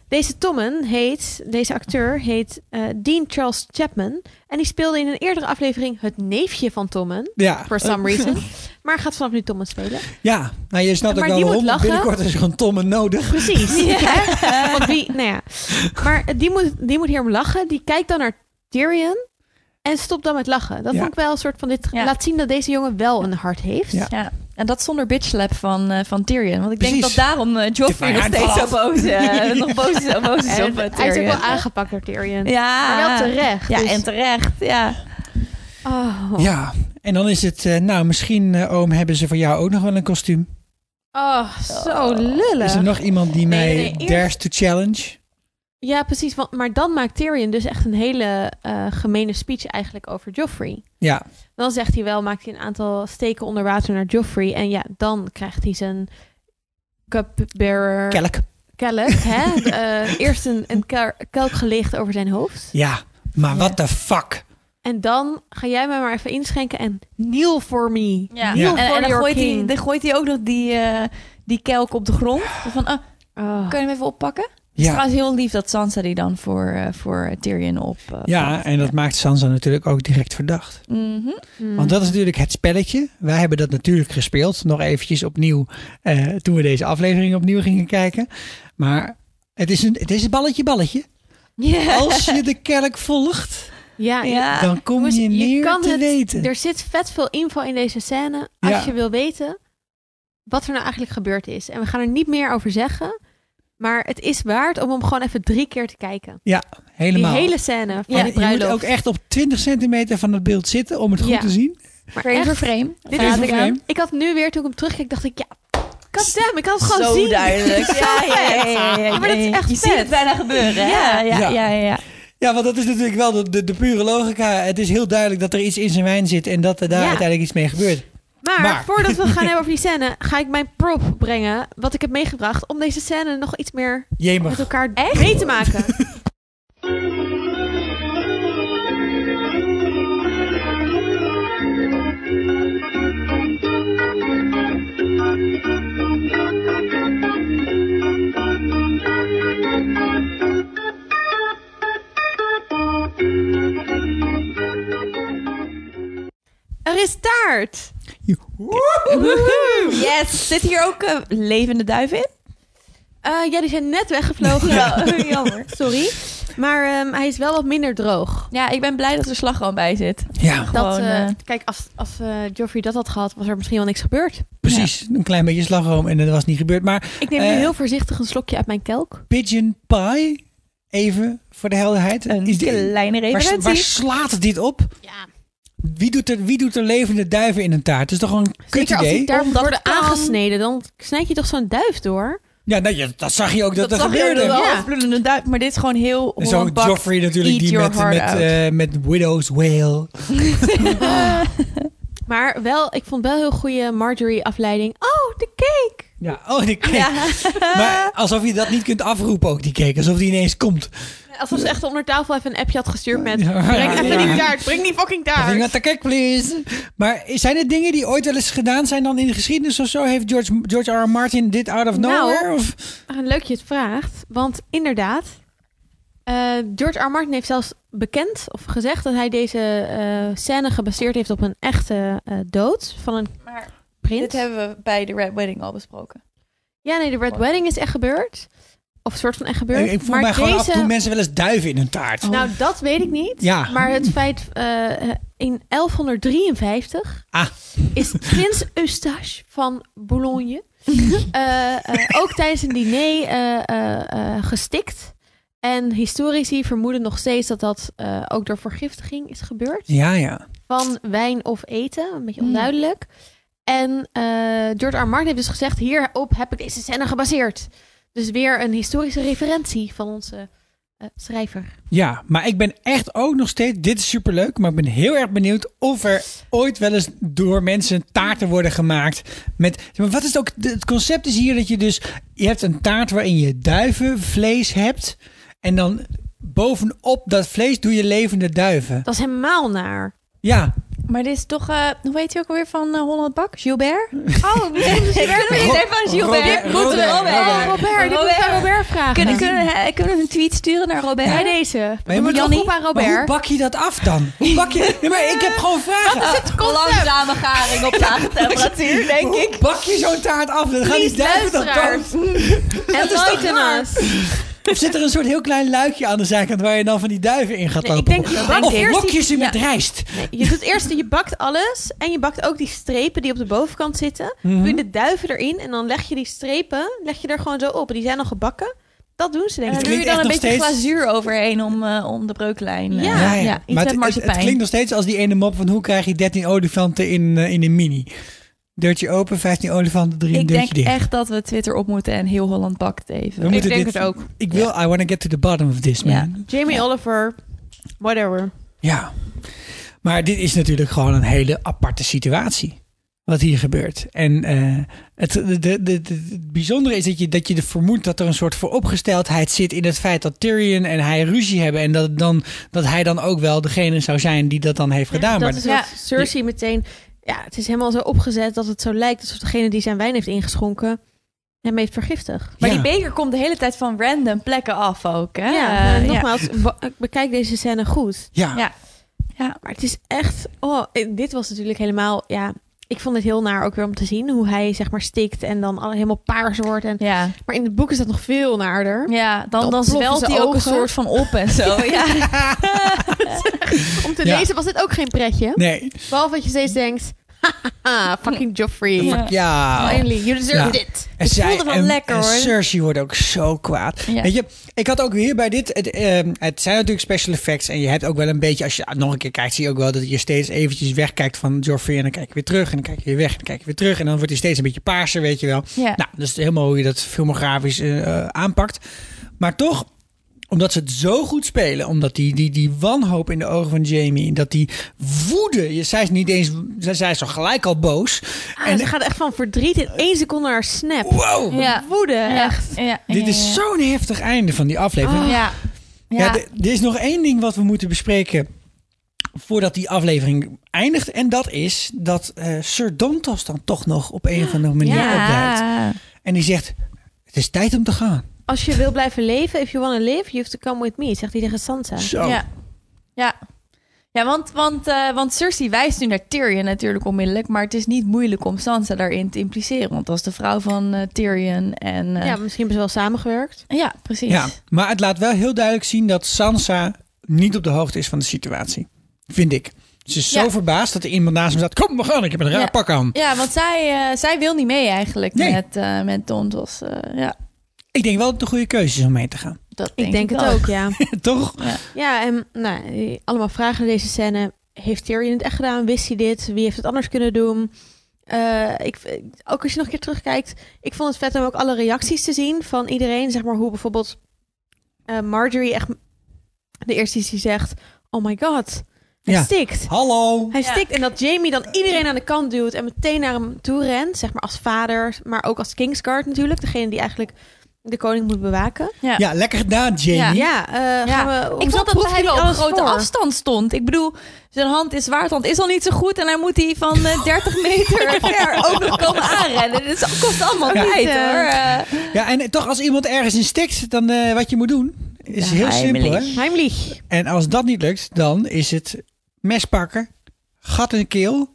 D: Deze Tommen heet, deze acteur heet eh, Dean Charles Chapman. En die speelde in een eerdere aflevering het neefje van Tommen.
A: Ja.
D: For some reason. maar gaat vanaf nu Tommen spelen.
A: Ja, nou je snapt
D: Maar
A: ook wel
D: die moet
A: waarom.
D: lachen.
A: Binnenkort is er gewoon Tommen nodig.
D: Precies. hè? Want wie, nou ja. Maar die moet, die moet hierom lachen. Die kijkt dan naar Tyrion en stopt dan met lachen. Dat
E: Ja.
D: vond ik wel een soort van dit. Laat zien dat deze jongen wel een hart heeft.
E: Ja. En dat zonder bitchlap van, eh, van Tyrion. Want ik denk
D: Precies.
E: dat daarom eh, Joffrey nog
D: Ja,
E: steeds zo
D: dat-
E: boos, eh, nog boos, is- boos is
D: En
E: op eh,
D: Hij is ook
E: Tyrion.
D: wel aangepakt door Tyrion.
E: Ja.
D: Maar wel terecht.
E: Ja,
D: dus-
E: en terecht. Ja.
D: Oh.
A: Ja, en dan is het, eh, nou misschien eh, oom, hebben ze voor jou ook nog wel een kostuum?
D: Oh, zo lullig.
A: Is er nog iemand die mij
D: nee, nee, eerst-
A: dares to challenge?
D: Ja, precies. Want, maar dan maakt Tyrion dus echt een hele eh gemene speech eigenlijk over Joffrey.
A: Ja,
D: Dan zegt hij wel, maakt hij een aantal steken onder water naar Joffrey. En ja, dan krijgt hij zijn cupbearer...
A: kelk.
D: Kelk, hè? Eh, eerst een, een kel- kelk gelicht over zijn hoofd.
A: Ja, maar what the fuck?
D: En dan ga jij mij maar even inschenken en kneel for me.
E: Ja.
D: Kneel
E: En,
D: for
E: en dan,
D: your
E: gooit hij,
D: king.
E: dan gooit hij ook nog die, eh, die kelk op de grond. Van, ah,
A: Oh.
E: Kun je hem even oppakken? Het is
A: Ja.
E: trouwens heel lief dat Sansa die dan voor, eh, voor Tyrion op... eh,
A: Ja, en dat maakt Sansa natuurlijk ook direct verdacht.
E: Mhm.
D: Hmm.
A: Want dat is natuurlijk het spelletje. Wij hebben dat natuurlijk gespeeld. Nog eventjes opnieuw eh, toen we deze aflevering opnieuw gingen kijken. Maar het is een, het is een balletje balletje.
D: Ja.
A: Als je de kelk volgt,
D: Ja,
A: Ja. Dan kom
D: Ah, Jongens,
A: je meer
D: kan
A: te
D: het-
A: weten.
D: Er zit vet veel info in deze scène. Als
A: Ja.
D: je wil weten wat er nou eigenlijk gebeurd is. En we gaan er niet meer over zeggen. Maar het is waard om hem gewoon even drie keer te kijken.
A: ja, helemaal.
D: Die hele scène van
A: Ja,
D: die
A: je moet
D: bruiloft.
A: ook echt op 20 centimeter van het beeld zitten om het goed
D: Ja.
A: te zien.
D: Maar
E: Frame
D: echt,
E: voor frame.
D: Dit
A: Frame
D: is
A: voor
D: ik,
A: frame.
D: ik had nu weer, toen ik hem terugkeek, dacht ik, ja, goddamn, ik kan het
E: Zo
D: gewoon zien.
E: duidelijk. Ja, ja, ja, ja, ja, ja.
D: Ja, maar dat is echt
E: Je ziet
D: vet.
E: het bijna gebeuren, hè? Ja, ja, ja, ja.
A: Ja, want dat is natuurlijk wel de, de, de pure logica. Het is heel duidelijk dat er iets in zijn wijn zit en dat er daar
D: Ja.
A: uiteindelijk iets mee gebeurt.
D: Maar,
A: Maar-
D: voordat we gaan hebben over die scène, ga ik mijn prop brengen, wat ik heb meegebracht, om deze scène nog iets meer met
A: Jemig.
D: elkaar mee te maken. Er is taart!
E: Woehoe. Yes! Zit hier ook eh, levende duiven in?
D: Eh, ja, die zijn net weggevlogen.
E: Ja.
D: Ja, Jammer. Sorry. Maar ehm, hij is wel wat minder droog.
E: Ja, ik ben blij dat er slagroom bij zit.
A: Ja,
D: Dat,
E: Gewoon,
D: eh,
E: eh,
D: kijk, als, als eh, Joffrey dat had gehad, was er misschien wel niks gebeurd.
A: precies. Een klein beetje slagroom en dat was niet gebeurd. Maar
D: Ik neem
A: eh,
D: nu heel voorzichtig een slokje uit mijn kelk.
A: Pigeon Pie, even voor de helderheid. Een
E: kleine
A: Waar,
E: referentie.
A: waar slaat dit op?
D: Ja.
A: Wie doet, er, wie doet er levende duiven in een taart? Het is toch gewoon een kut
D: Zeker als
A: idee?
D: die daar
E: Omdat
D: worden
E: het kan.
D: aangesneden, dan snijd je toch zo'n duif door?
A: Ja, nou, ja, dat zag je ook dat,
E: dat
A: er
E: zag je ook
A: gebeurde.
E: wel.
D: Ja.
E: afbloedende duif. Maar dit is gewoon heel
A: En zo
E: Holland bakt.
A: Joffrey natuurlijk
E: Eat
A: die
E: your
A: met,
E: heart
A: met,
E: out.
A: eh, met Widow's Whale.
D: Maar wel, ik vond wel heel goede Marjorie-afleiding. Oh, de cake!
A: Ja, oh, die cake.
E: Ja.
A: Maar alsof je dat niet kunt afroepen ook, die cake. Alsof die ineens komt.
D: Alsof ze echt onder tafel even een appje had gestuurd met...
A: Ja.
D: Breng even
A: Ja.
D: die taart, breng die fucking
A: Bring
D: taart!
A: out the cake, please. Maar zijn er dingen die ooit wel eens gedaan zijn dan in de geschiedenis of zo? Heeft George, George R. R. Martin dit out of
D: Nou.
A: nowhere? of?
D: Ah, Leuk je het vraagt, want inderdaad... eh, George R. R. Martin heeft zelfs bekend of gezegd dat hij deze eh, scène gebaseerd heeft op een echte eh, dood van een
E: Maar
D: prins.
E: dit hebben we bij de Red Wedding al besproken.
D: Ja, nee, de Red Wedding is echt gebeurd. Of een soort van echt gebeurd.
A: ik, ik voel
D: maar
A: mij gewoon af en toe
D: deze-
A: mensen wel eens duiven in een taart.
D: Nou, dat weet ik niet.
A: Ja.
D: Maar het feit, eh, in 1153
A: Ah.
D: is prins Eustache van Boulogne eh, eh, ook tijdens een diner eh, eh, eh, gestikt. En historici vermoeden nog steeds dat dat eh, ook door vergiftiging is gebeurd.
A: Ja, ja.
D: Van wijn of eten, een beetje onduidelijk. En eh George R. R. Martin heeft dus gezegd, hierop heb ik deze scène gebaseerd. Dus weer een historische referentie van onze eh, schrijver.
A: Ja, maar ik ben echt ook nog steeds... Dit is superleuk, maar ik ben heel erg benieuwd... of er ooit wel eens door mensen taarten worden gemaakt. Met, Zeg maar wat is het ook... Het concept is hier dat je dus... Je hebt een taart waarin je duivenvlees hebt... en dan bovenop dat vlees doe je levende duiven.
D: Dat is helemaal naar.
A: Ja,
E: Maar dit is toch, eh, hoe heet hij ook alweer van eh, Holland Bak? Gilbert? Oh, nee,
D: dus ik
E: Gilbert.
D: weet
E: Ik
D: het
E: zei
D: even
E: van
D: aan
E: Gilbert.
D: Gilbert.
E: Dit moeten we-
D: Robert. Oh, Robert, dit moeten we aan Robert vragen.
E: Eh, Kunnen, kunnen, we- kunnen we een tweet sturen naar Robert?
D: Bij deze.
A: Maar je moet
E: Jannie?
A: toch- Maar hoe bak je dat af dan? Hoe bak je... Nee, maar ik heb gewoon vragen.
E: Dat is het concept. Langzame garing op lage temperatuur, denk ik.
A: Hoe bak je zo'n taart af? Dan gaat die
E: Lief
A: duiven dan
E: luisteraars.
A: Dat is toch raar? Of zit er een soort heel klein luikje aan de zijkant waar je dan van die duiven in gaat
D: Nee, ik
A: lopen?
D: denk- ik denk
A: of
D: eerst
A: blokjes je
D: die-
A: ze met
D: ja.
A: rijst?
D: Je doet eerst, je bakt alles en je bakt ook die strepen die op de bovenkant zitten.
A: Mhm.
D: Doe je de duiven erin en dan leg je die strepen, leg je er gewoon zo op. Die zijn al gebakken. Dat doen ze denk
E: En
D: ik.
E: dan doe je dan een beetje glazuur overheen om, eh, om de breuklijn. eh,
D: Ja.
E: ja,
A: ja.
E: iets
A: maar
E: met
A: het, het, het
E: marsepein.
A: klinkt nog steeds als die ene mop van hoe krijg je 13 olifanten in, eh, in een mini? Deurtje open, 15 olifanten, drie een
E: ik denk
A: deurtje dicht.
E: echt dat we Twitter op moeten en heel Holland bakt even.
A: We moeten dit- Ik wil, I want to get to the bottom of this, man.
E: Ja.
A: Ja.
D: Jamie Oliver, whatever.
A: Maar dit is natuurlijk gewoon een hele aparte situatie. Wat hier gebeurt. En eh, het, de, de, de- het bijzondere is dat je, dat je er vermoedt dat er een soort vooropgesteldheid zit in het feit dat Tyrion en hij ruzie hebben. En dat, het dan, dat hij dan ook wel degene zou zijn die dat dan heeft gedaan. maar
D: dat is wat Cersei meteen... Ja, het is helemaal zo opgezet dat het zo lijkt alsof degene die zijn wijn heeft ingeschonken hem heeft vergiftigd.
E: Maar die beker komt de hele tijd van random plekken af ook. Hè?
D: Ja,
E: Eh,
D: eh, nogmaals, wa- ik bekijk deze scène goed.
A: Ja.
E: Ja. ja.
D: Maar het is echt... Oh, eh, dit was natuurlijk helemaal... Ja, ik vond het heel naar ook weer om te zien hoe hij zeg maar stikt en dan al helemaal paars wordt. En,
E: ja.
D: Maar in het boek is dat nog veel naarder.
E: Ja, dan, dan
D: ploffen
E: zwelt
D: zijn
E: hij ook een
D: ogen.
E: soort van op en zo. Ja.
D: Om te
A: Ja.
D: lezen was dit ook geen pretje.
A: Nee.
D: Behalve dat je steeds denkt... Haha, fucking Joffrey.
A: Fuck ja.
D: Finally, you deserve
A: Ja.
D: it.
A: En
D: Het
A: zij-
D: voelde wel
A: en-
D: lekker
A: en
D: hoor.
A: Cersei wordt ook zo kwaad.
D: Ja.
A: Weet je, ik had ook weer bij dit. Het, ehm, het zijn natuurlijk special effects. En je hebt ook wel een beetje, als je nog een keer kijkt, zie je ook wel dat je steeds eventjes wegkijkt van Joffrey. En dan kijk je weer terug. En dan kijk je weer weg. En dan kijk je weer terug. En dan wordt hij steeds een beetje paarser, weet je wel.
E: Ja.
A: Nou, dus helemaal hoe je dat filmografisch eh, eh, aanpakt. Maar toch omdat ze het zo goed spelen, omdat die, die, die wanhoop in de ogen van Jamie, dat die woede, je- zij is niet eens, zij, zij is al gelijk al boos.
D: Ah, ze gaat echt van verdriet in één seconde naar snap.
A: Wow.
E: Ja.
D: Woede,
E: Ja.
D: echt.
E: Ja.
A: Dit
E: Ja.
A: is zo'n heftig einde van die aflevering.
E: Oh. Ja.
A: Ja,
E: Ja.
A: d- er is nog één ding wat we moeten bespreken voordat die aflevering eindigt. En dat is dat eh, Sir Dantos dan toch nog op een of andere manier
D: Ja.
A: opduikt. En die zegt, het is tijd om te gaan.
D: Als je wil blijven leven, if you want to live, you have to come with me, zegt hij tegen Sansa.
A: Zo.
E: Ja. Ja. Ja, want, want, eh, want Cersei wijst nu naar Tyrion natuurlijk onmiddellijk. Maar het is niet moeilijk om Sansa daarin te impliceren. Want dat is de vrouw van eh, Tyrion. En, eh,
D: Ja, misschien hebben ze wel samengewerkt.
E: ja, precies.
A: Ja, maar het laat wel heel duidelijk zien dat Sansa niet op de hoogte is van de situatie. Vind ik. Ze is zo
E: Ja.
A: verbaasd dat er iemand naast hem staat. Kom, we gaan. Ik heb een raar
E: Ja.
A: pak aan.
E: Ja, want zij, eh, zij wil niet mee eigenlijk
A: Nee.
E: met, eh met Dontos. eh, ja,
A: Ik denk wel dat het een goede keuze is om mee te gaan.
E: dat
D: Ik denk het
E: wel.
D: ook, ja.
A: Toch?
D: Ja, en nou, allemaal vragen in deze scène. Heeft Tyrion het echt gedaan? Wist hij dit? Wie heeft het anders kunnen doen? Eh, ik, ook als je nog een keer terugkijkt. Ik vond het vet om ook alle reacties te zien van iedereen. Zeg maar hoe bijvoorbeeld eh, Marjorie echt de eerste is die zegt... Oh my god, hij
A: Ja.
D: stikt.
A: Hallo.
D: Hij stikt en dat Jamie dan iedereen aan de kant duwt en meteen naar hem toe rent. Zeg maar als vader, maar ook als Kingsguard natuurlijk. Degene die eigenlijk de koning moet bewaken.
E: Ja.
A: Ja, lekker gedaan, Jamie.
D: Ja, eh, gaan we...
E: ik
D: hoezo
E: vond dat
D: proeft
E: hij
D: hij
E: wel op
D: alles
E: grote
D: voor?
E: afstand stond. Ik bedoel, zijn hand is zwaardhand is al niet zo goed. En hij moet die van eh, 30 meter ver ook nog komen aanrennen. Dit is- kost allemaal
A: Ja.
E: tijd
A: Eh,
E: hoor. Eh,
A: Ja, en toch als iemand ergens in stikt, dan eh, wat je moet doen is heel simpel. Hè?
D: Heimlich.
A: En als dat niet lukt, dan is het mes pakken, gat in de keel,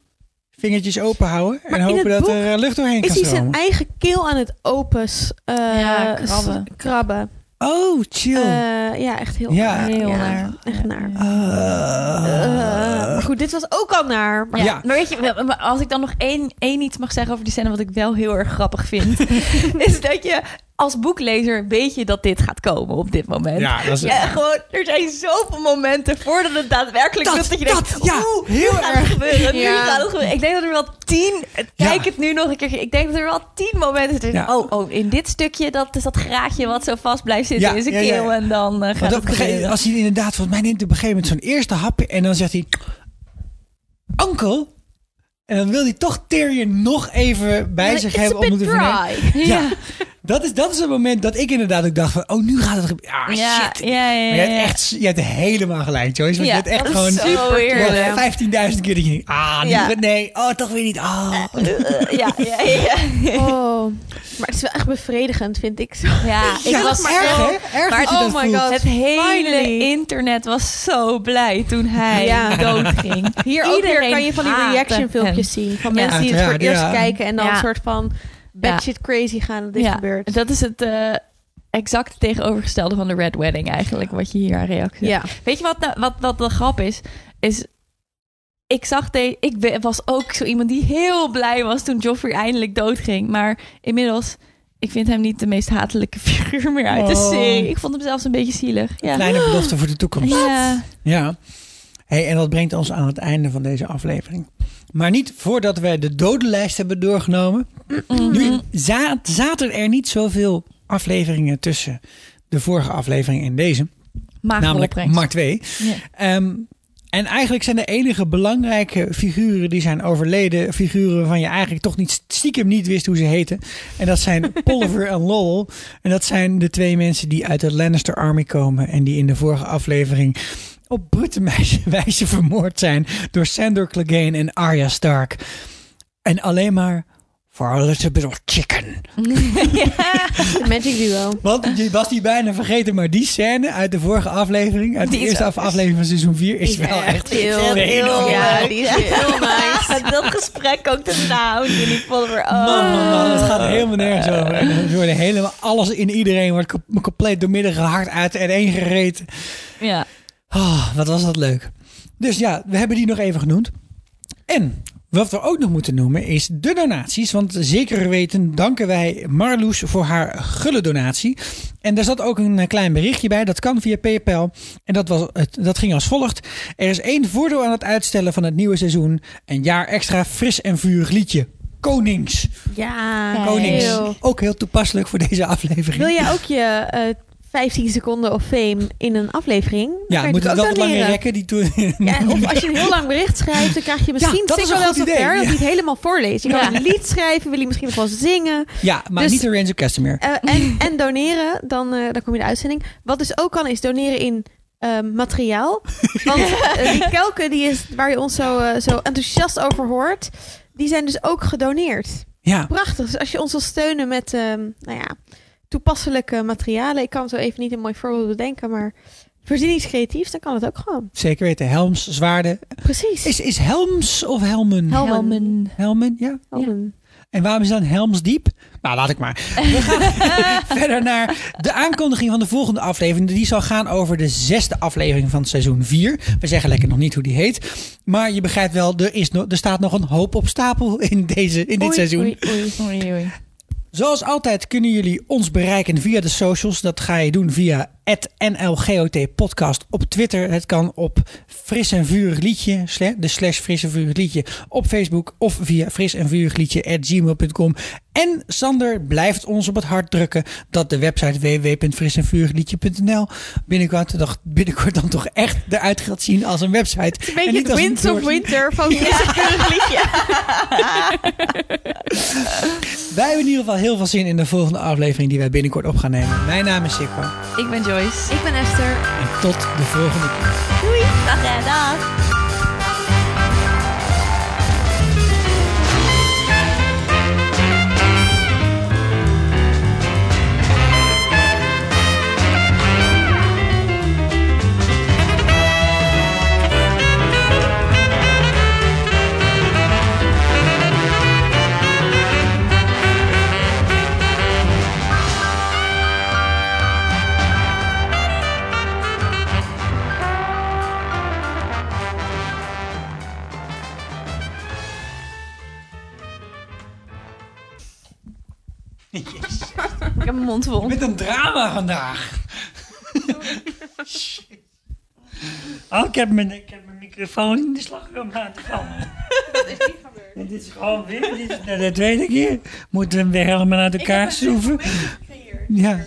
A: vingertjes open houden en
D: in
A: hopen
D: het
A: dat
D: boek
A: er eh, lucht doorheen
D: Is
A: kan
D: hij zijn
A: stromen.
D: eigen keel aan het open s- eh,
E: Ja, krabben.
D: s- krabben.
A: Oh, chill.
D: Eh, ja, echt heel
A: Ja.
D: naar.
E: Heel
D: Ja,
E: naar.
D: Echt naar.
A: Ah.
D: Eh, maar goed, dit was ook al naar. Maar
E: Ja.
A: Ja.
E: Maar weet je, wel, maar als ik dan nog één, één iets mag zeggen over die scène, wat ik wel heel erg grappig vind, is dat je als boeklezer weet je dat dit gaat komen op dit moment.
A: Ja, dat is-
E: Ja, gewoon, er zijn zoveel momenten voordat het daadwerkelijk
A: Dat,
E: lukt dat je
A: dat,
E: denkt,
A: ja,
E: oeh,
A: heel
E: nu gaat het
A: erg.
E: gebeuren, nu
D: Ja.
E: gaat het gebeuren. Ik denk dat er wel tien, kijk het nu nog een keer, ik denk dat er wel tien momenten zijn.
A: Ja.
E: Oh, oh, in dit stukje, dat is dat graadje wat zo vast blijft zitten
A: Ja,
E: in zijn
A: ja, ja, ja.
E: keel en dan eh, gaat
A: Want op een
E: het
A: gegeven-
E: gebeuren.
A: als hij inderdaad, volgens mij neemt hij op een gegeven moment zo'n eerste hapje en dan zegt hij, onkel. En dan wil hij toch Tyrion nog even bij
E: Ja,
A: zich
E: it's a
A: hebben om
E: bit
A: het te vernemen.
E: dry.
A: Ja. Dat is, dat is het moment dat ik inderdaad ook dacht van... Oh, nu gaat het gebeuren. Ah,
E: ja,
A: shit.
E: ja, ja,
A: Maar
E: ja,
A: je
E: ja.
A: hebt echt je hebt helemaal gelijk, Joyce. Want
E: Ja,
A: je hebt echt
E: dat is
A: gewoon
E: zo eerlijk.
A: wel 15.000 keer dat je denkt... Ah, nu-
E: Ja. Eh,
A: nee. Oh, toch weer niet. Ah.
E: ja, ja, ja.
D: Oh, maar het is wel echt bevredigend, vind ik. Zo.
E: Ja, ik
D: Ja,
E: was
D: maar
E: erg,
D: zo-
E: hè?
D: Erg
E: maar,
D: dat je
E: oh
D: dat
E: my
D: voelt.
E: god, het hele
D: Finally.
E: internet was zo blij toen hij
D: Ja.
E: doodging.
D: Hier ook weer
E: Iedereen
D: kan je van die
E: haatte
D: reaction filmpjes
E: hem.
D: zien. Van
E: Ja.
D: mensen die het voor het eerst
E: Uiteraard, ja.
D: kijken en dan
E: Ja.
D: een soort van batshit crazy gaan dat dit
E: Ja,
D: gebeurt.
E: Dat is het eh, exacte tegenovergestelde van de Red Wedding eigenlijk, wat je hier aan reactie
D: Ja.
E: Weet je wat, nou- wat, wat de grap is? Is ik zag de, ik be- was ook zo iemand die heel blij was toen Joffrey eindelijk doodging. Maar inmiddels, ik vind hem niet de meest hatelijke figuur meer uit de
A: Oh.
E: serie. Ik vond hem zelfs een beetje zielig. Ja.
A: Kleine belofte voor de toekomst.
E: Ja.
A: Ja. Hey, en dat brengt ons aan het einde van deze aflevering. Maar niet voordat wij de dodenlijst hebben doorgenomen. Nu za- zaten er niet zoveel afleveringen tussen de vorige aflevering en deze.
E: Magere
A: namelijk
E: opbrengst.
A: maar twee.
E: Ja.
A: Ehm, en eigenlijk zijn de enige belangrijke figuren die zijn overleden... figuren waarvan je eigenlijk toch niet stiekem niet wist hoe ze heten. En dat zijn Polliver en Lowell. En dat zijn de twee mensen die uit de Lannister Army komen... en die in de vorige aflevering op brute meisje- wijze vermoord zijn... door Sandor Clegane en Arya Stark. En alleen maar voor a little bit of chicken.
D: De Magic Duo.
A: Want je was die bijna vergeten, maar die scène uit de vorige aflevering, uit
D: Die
A: de
D: is
A: eerste
D: ook-
A: af- aflevering van seizoen 4, is wel echt
E: heel,
A: heel
E: ja,
A: leuk.
E: die is heel nice. dat gesprek ook daarna, hoe jullie Polver. Oh.
A: Man, man, man, het gaat helemaal nergens over. En ze worden helemaal, alles in iedereen wordt co- compleet doormidden gehakt uit en één gereten.
E: Ja.
A: Ah, wat was dat leuk. Dus ja, we hebben die nog even genoemd. En wat we ook nog moeten noemen is de donaties. Want zeker weten danken wij Marloes voor haar gulle donatie. En daar zat ook een eh, klein berichtje bij. Dat kan via PayPal. En dat, was het, dat ging als volgt. Er is één voordeel aan het uitstellen van het nieuwe seizoen. Een jaar extra fris en vurig liedje. Konings.
D: Ja,
A: Konings.
D: heel.
A: Ook heel toepasselijk voor deze aflevering.
D: Wil jij ook je eh, 15 seconden of fame in een aflevering? Dan kan
A: Ja,
D: je
A: moet het
D: natuurlijk
A: wel wat
D: ook dat
A: langer
D: leren.
A: rekken. Die toen...
D: Ja, of als je een heel lang bericht schrijft, dan krijg je misschien
A: Ja, dat
D: zit
A: is
D: wel
A: een
D: wel
A: goed
D: zo
A: idee,
D: ver dat
A: ja.
D: hij het helemaal voorleest. Je kan
A: Ja.
D: een lied schrijven, wil je misschien nog wel zingen.
A: Ja, maar
D: Dus-
A: niet de Ransom Customer.
D: Eh, en, en doneren, dan, eh, dan kom je in de uitzending. Wat dus ook kan, is doneren in eh, materiaal. Want eh, die kelken die is, waar je ons zo, eh, zo enthousiast over hoort, die zijn dus ook gedoneerd.
A: Ja.
D: Prachtig. Dus als je ons wil steunen met ehm, nou ja, toepasselijke materialen. Ik kan zo even niet een mooi voorbeeld bedenken, maar voorzien iets creatiefs, dan kan het ook gewoon.
A: Zeker weten, helms, zwaarden.
D: Precies.
A: Is, is helms of helmen?
D: Helmen.
E: Helmen.
A: Helmen, ja.
D: Helmen.
A: En waarom is dan helms diep? Nou, laat ik maar. We gaan verder naar de aankondiging van de volgende aflevering. Die zal gaan over de zesde aflevering van seizoen 4. We zeggen lekker nog niet hoe die heet. Maar je begrijpt wel, er, is no- er staat nog een hoop op stapel in, deze, in dit
E: Oei,
A: seizoen.
E: oei, oei. Oei, oei.
A: Zoals altijd kunnen jullie ons bereiken via de socials. Dat ga je doen via NLGOT podcast op Twitter. Het kan op Fris en Vurig Liedje, sla- de slash Fris en Vurig Liedje op Facebook of via Fris en Vurig Liedje at gmail.com. En Sander blijft ons op het hart drukken dat de website www.frisenvurigliedje.nl binnenkort, dan- binnenkort dan toch echt eruit gaat zien als een website. Het
D: Een beetje het Winds of Winter van Christopher Liedje.
A: Wij hebben in ieder geval heel veel zin in de volgende aflevering die wij binnenkort op gaan nemen. Mijn naam is Sikko.
E: Ik ben Joyce.
D: Ik ben Esther.
A: En tot de volgende keer.
E: Doei. Dag en dag. Ik heb mijn mond vol.
A: Met een drama vandaag. Oh, ik heb mijn, ik heb mijn microfoon in de slagroom laten vallen.
C: Dat is niet
A: En dit is gewoon weer, dit is de tweede keer. Moeten we hem weer helemaal uit elkaar schroeven? Ja.